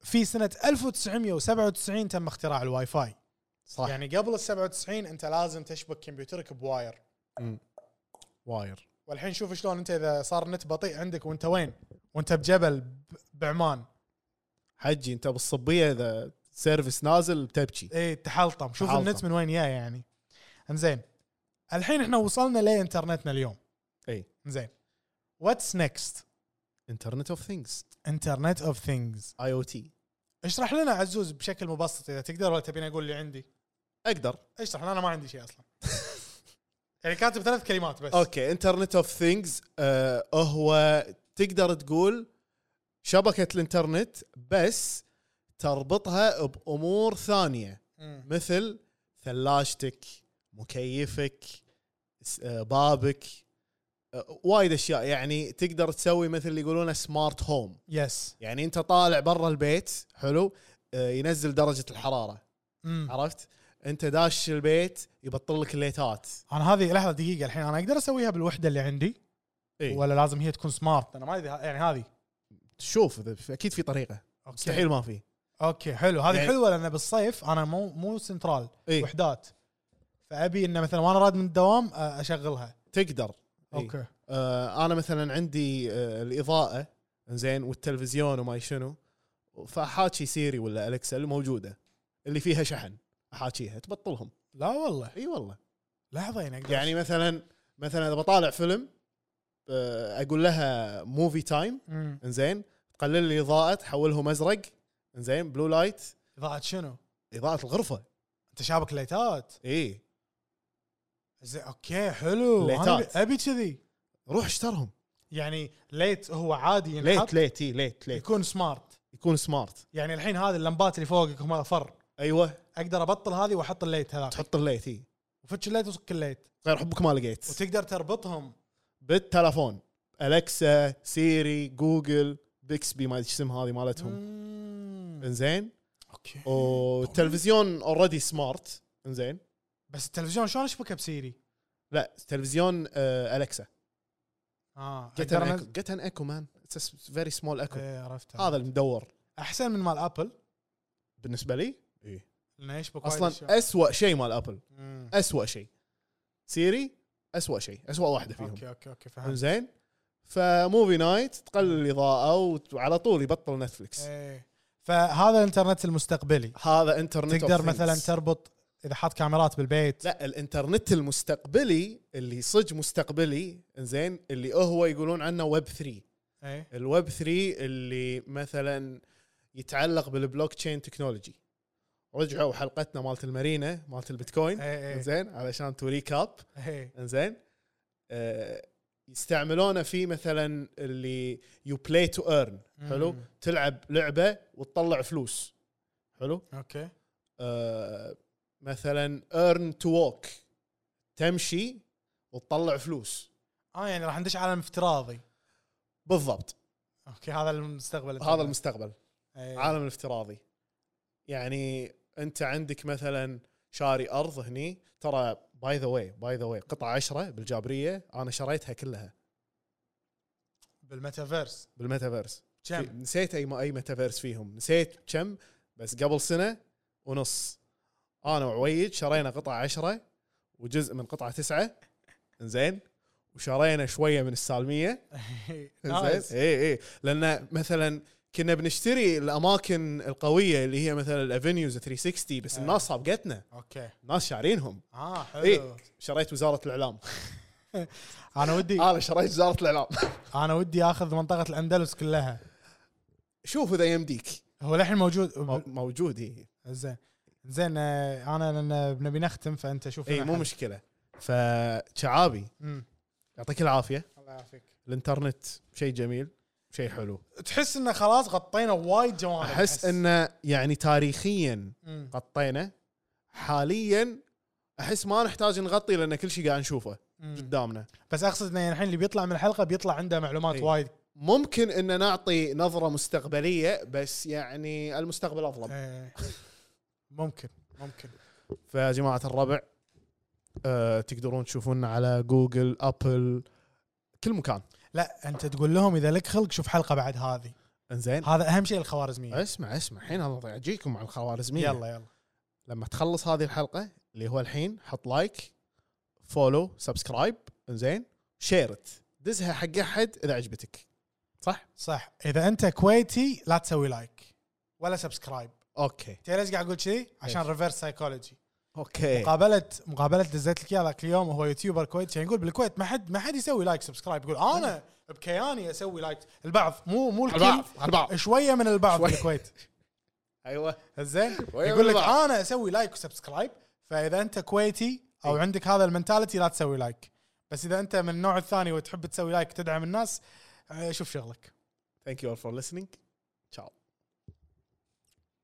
[SPEAKER 4] في سنه 1997 تم اختراع الواي فاي
[SPEAKER 5] صح يعني
[SPEAKER 4] يعني قبل ال 97 انت لازم تشبك كمبيوترك بواير
[SPEAKER 5] واير
[SPEAKER 4] والحين شوف شلون انت اذا صار نت بطيء عندك وانت وين؟ وانت بجبل ب- بعمان
[SPEAKER 5] حجي انت بالصبيه اذا سيرفس نازل بتبكي
[SPEAKER 4] اي إيه، تحلطم شوف
[SPEAKER 5] تحلطم.
[SPEAKER 4] النت من وين جاي يعني انزين الحين احنا وصلنا لانترنتنا اليوم
[SPEAKER 5] اي
[SPEAKER 4] انزين واتس نيكست
[SPEAKER 5] انترنت اوف ثينجز
[SPEAKER 4] انترنت اوف ثينجز
[SPEAKER 5] اي او تي
[SPEAKER 4] اشرح لنا عزوز بشكل مبسط اذا تقدر ولا تبيني اقول اللي عندي
[SPEAKER 5] اقدر
[SPEAKER 4] اشرح لنا انا ما عندي شيء [LAUGHS] اصلا يعني كاتب ثلاث كلمات بس
[SPEAKER 5] اوكي انترنت اوف ثينجز آه، هو تقدر تقول شبكه الانترنت بس تربطها بامور ثانيه
[SPEAKER 4] مم.
[SPEAKER 5] مثل ثلاجتك مكيفك س- آه، بابك آه، وايد اشياء يعني تقدر تسوي مثل اللي يقولونه سمارت هوم
[SPEAKER 4] يس
[SPEAKER 5] يعني انت طالع برا البيت حلو آه، ينزل درجه الحراره
[SPEAKER 4] مم.
[SPEAKER 5] عرفت انت داش البيت يبطل لك الليتات
[SPEAKER 4] انا هذه لحظه دقيقه الحين انا اقدر اسويها بالوحده اللي عندي
[SPEAKER 5] إيه.
[SPEAKER 4] ولا لازم هي تكون سمارت انا ما ادري يعني هذه
[SPEAKER 5] تشوف إذا- اكيد في طريقه
[SPEAKER 4] أوكي.
[SPEAKER 5] مستحيل ما في
[SPEAKER 4] اوكي حلو هذه
[SPEAKER 5] يعني-
[SPEAKER 4] يعني حلوه لان بالصيف انا مو مو سنترال
[SPEAKER 5] إيه.
[SPEAKER 4] وحدات فابي انه مثلا وانا راد من الدوام آه، اشغلها
[SPEAKER 5] تقدر إيه.
[SPEAKER 4] اوكي
[SPEAKER 5] آه انا مثلا عندي آه الاضاءه زين والتلفزيون وما شنو فاحاكي سيري ولا الكسا الموجوده اللي فيها شحن احاكيها تبطلهم
[SPEAKER 4] لا والله
[SPEAKER 5] اي والله
[SPEAKER 4] لحظه يعني اقدر
[SPEAKER 5] يعني مثلا مثلا اذا بطالع فيلم آه اقول لها موفي تايم
[SPEAKER 4] مم.
[SPEAKER 5] انزين تقلل لي الاضاءه تحوله مزرق انزين بلو لايت
[SPEAKER 4] اضاءه شنو؟
[SPEAKER 5] اضاءه الغرفه
[SPEAKER 4] انت شابك ليتات
[SPEAKER 5] اي
[SPEAKER 4] زين اوكي حلو
[SPEAKER 5] ليتات.
[SPEAKER 4] أنا أبي- ابي كذي
[SPEAKER 5] روح اشترهم
[SPEAKER 4] يعني ليت هو عادي ينحط
[SPEAKER 5] ليت ليت إي، ليت ليت
[SPEAKER 4] يكون سمارت
[SPEAKER 5] يكون سمارت
[SPEAKER 4] يعني الحين هذه اللمبات اللي فوقك هم فر
[SPEAKER 5] ايوه
[SPEAKER 4] اقدر ابطل هذه واحط الليت هذاك
[SPEAKER 5] تحط الليت اي
[SPEAKER 4] وفتش الليت وصك الليت
[SPEAKER 5] غير حبك ما لقيت
[SPEAKER 4] وتقدر تربطهم
[SPEAKER 5] بالتلفون الكسا سيري جوجل بيكسبي ما ادري إيش اسمها هذه مالتهم
[SPEAKER 4] مم.
[SPEAKER 5] انزين
[SPEAKER 4] اوكي
[SPEAKER 5] والتلفزيون اوريدي سمارت انزين
[SPEAKER 4] بس التلفزيون شلون اشبكه بسيري؟
[SPEAKER 5] لا تلفزيون آه الكسا
[SPEAKER 4] اه
[SPEAKER 5] جت
[SPEAKER 4] أقدر
[SPEAKER 5] ان
[SPEAKER 4] أنزل-
[SPEAKER 5] ايكو جت ان ايكو مان اتس فيري سمول ايكو
[SPEAKER 4] ايه عرفت
[SPEAKER 5] هذا المدور
[SPEAKER 4] احسن من مال ابل
[SPEAKER 5] بالنسبه لي إيه.
[SPEAKER 4] لانه يشبك وايد أشياء.
[SPEAKER 5] اصلا اسوء شيء مال ابل
[SPEAKER 4] مم.
[SPEAKER 5] اسوء شيء سيري اسوء شيء اسوء واحده فيهم
[SPEAKER 4] اوكي اوكي اوكي فهمت
[SPEAKER 5] انزين فموفي نايت تقلل الاضاءه وت- وعلى طول يبطل نتفلكس
[SPEAKER 4] ايه فهذا الانترنت المستقبلي
[SPEAKER 5] هذا انترنت
[SPEAKER 4] تقدر
[SPEAKER 5] of
[SPEAKER 4] مثلا
[SPEAKER 5] things.
[SPEAKER 4] تربط اذا حاط كاميرات بالبيت
[SPEAKER 5] لا الانترنت المستقبلي اللي صج مستقبلي انزين اللي هو يقولون عنه ويب 3
[SPEAKER 4] ايه
[SPEAKER 5] الويب 3 اللي مثلا يتعلق بالبلوك تشين تكنولوجي رجعوا حلقتنا مالت المارينا مالت البيتكوين
[SPEAKER 4] ايه ايه
[SPEAKER 5] انزين علشان تو ريكاب
[SPEAKER 4] ايه
[SPEAKER 5] انزين آه، يستعملونه في مثلا اللي يو بلاي تو ايرن حلو
[SPEAKER 4] مم.
[SPEAKER 5] تلعب لعبه وتطلع فلوس حلو
[SPEAKER 4] اوكي
[SPEAKER 5] آه، مثلا ايرن تو ووك تمشي وتطلع فلوس
[SPEAKER 4] اه يعني راح ندش عالم افتراضي
[SPEAKER 5] بالضبط
[SPEAKER 4] اوكي هذا المستقبل إيه.
[SPEAKER 5] هذا المستقبل
[SPEAKER 4] المستقبل
[SPEAKER 5] العالم الافتراضي يعني انت عندك مثلا شاري ارض هني ترى باي ذا واي باي ذا واي قطعه 10 بالجابريه انا شريتها كلها
[SPEAKER 4] بالميتافيرس
[SPEAKER 5] بالميتافيرس في-
[SPEAKER 4] كم
[SPEAKER 5] نسيت اي اي ميتافيرس فيهم نسيت كم بس قبل سنه ونص انا وعويد شرينا قطعه 10 وجزء من قطعه 9 زين وشرينا شويه من
[SPEAKER 4] [LAUGHS]
[SPEAKER 5] إيه، السالميه
[SPEAKER 4] إيه،
[SPEAKER 5] [LAUGHS] زين
[SPEAKER 4] نايس
[SPEAKER 5] اي اي لان مثلا كنا بنشتري الاماكن القويه اللي هي مثلا الافنيوز 360 بس الناس صابقتنا
[SPEAKER 4] اوكي
[SPEAKER 5] الناس شارينهم
[SPEAKER 4] اه آه. حلو
[SPEAKER 5] اي شريت وزاره
[SPEAKER 4] [LAUGHS]
[SPEAKER 5] الاعلام
[SPEAKER 4] انا ودي
[SPEAKER 5] انا شريت وزاره [LAUGHS] الاعلام
[SPEAKER 4] انا ودي اخذ منطقه الاندلس كلها
[SPEAKER 5] شوف اذا يمديك
[SPEAKER 4] هو الحين موجود
[SPEAKER 5] مو- موجود إيه. اي
[SPEAKER 4] زين زين آه، انا لان نبي نختم فانت شوف
[SPEAKER 5] اي
[SPEAKER 4] لنا
[SPEAKER 5] إيه، مو
[SPEAKER 4] حل.
[SPEAKER 5] مشكله فشعابي
[SPEAKER 4] مم.
[SPEAKER 5] يعطيك العافيه
[SPEAKER 4] الله يعافيك
[SPEAKER 5] الانترنت شيء جميل شيء حلو
[SPEAKER 4] تحس انه خلاص غطينا وايد جوانب
[SPEAKER 5] احس انه يعني تاريخيا
[SPEAKER 4] مم.
[SPEAKER 5] غطينا حاليا احس ما نحتاج نغطي لان كل شيء قاعد نشوفه
[SPEAKER 4] مم.
[SPEAKER 5] قدامنا
[SPEAKER 4] بس اقصد انه يعني الحين اللي بيطلع من الحلقه بيطلع عنده معلومات
[SPEAKER 5] إي.
[SPEAKER 4] وايد
[SPEAKER 5] ممكن ان نعطي نظره مستقبليه بس يعني المستقبل اظلم
[SPEAKER 4] آه، ممكن ممكن
[SPEAKER 5] فيا جماعه الربع أه تقدرون تشوفونا على جوجل ابل كل مكان
[SPEAKER 4] لا انت تقول لهم اذا لك خلق شوف حلقه بعد هذه
[SPEAKER 5] انزين
[SPEAKER 4] هذا اهم شيء الخوارزميه
[SPEAKER 5] اسمع اسمع الحين انا اجيكم مع الخوارزميه
[SPEAKER 4] يلا يلا
[SPEAKER 5] لما تخلص هذه الحلقه اللي هو الحين حط لايك فولو سبسكرايب انزين شيرت دزها حق احد اذا عجبتك صح
[SPEAKER 4] صح اذا انت كويتي لا تسوي لايك ولا سبسكرايب
[SPEAKER 5] اوكي
[SPEAKER 4] تدري ليش قاعد اقول كذي عشان ريفرس سايكولوجي
[SPEAKER 5] اوكي
[SPEAKER 4] مقابله مقابله دزيت لك اياه ذاك اليوم هو يوتيوبر كويتي كان يقول بالكويت ما حد ما حد يسوي لايك سبسكرايب يقول انا بكياني اسوي لايك البعض مو مو الكل
[SPEAKER 5] البعض البعض
[SPEAKER 4] شويه من البعض
[SPEAKER 5] شوية.
[SPEAKER 4] بالكويت
[SPEAKER 5] ايوه [LAUGHS]
[SPEAKER 4] زين
[SPEAKER 5] وين
[SPEAKER 4] يقول لك
[SPEAKER 5] البعض؟
[SPEAKER 4] انا اسوي لايك وسبسكرايب فاذا انت كويتي او
[SPEAKER 5] إي.
[SPEAKER 4] عندك هذا المنتاليتي لا تسوي لايك بس اذا انت من النوع الثاني وتحب تسوي لايك تدعم الناس آه، شوف شغلك
[SPEAKER 5] ثانك يو فور listening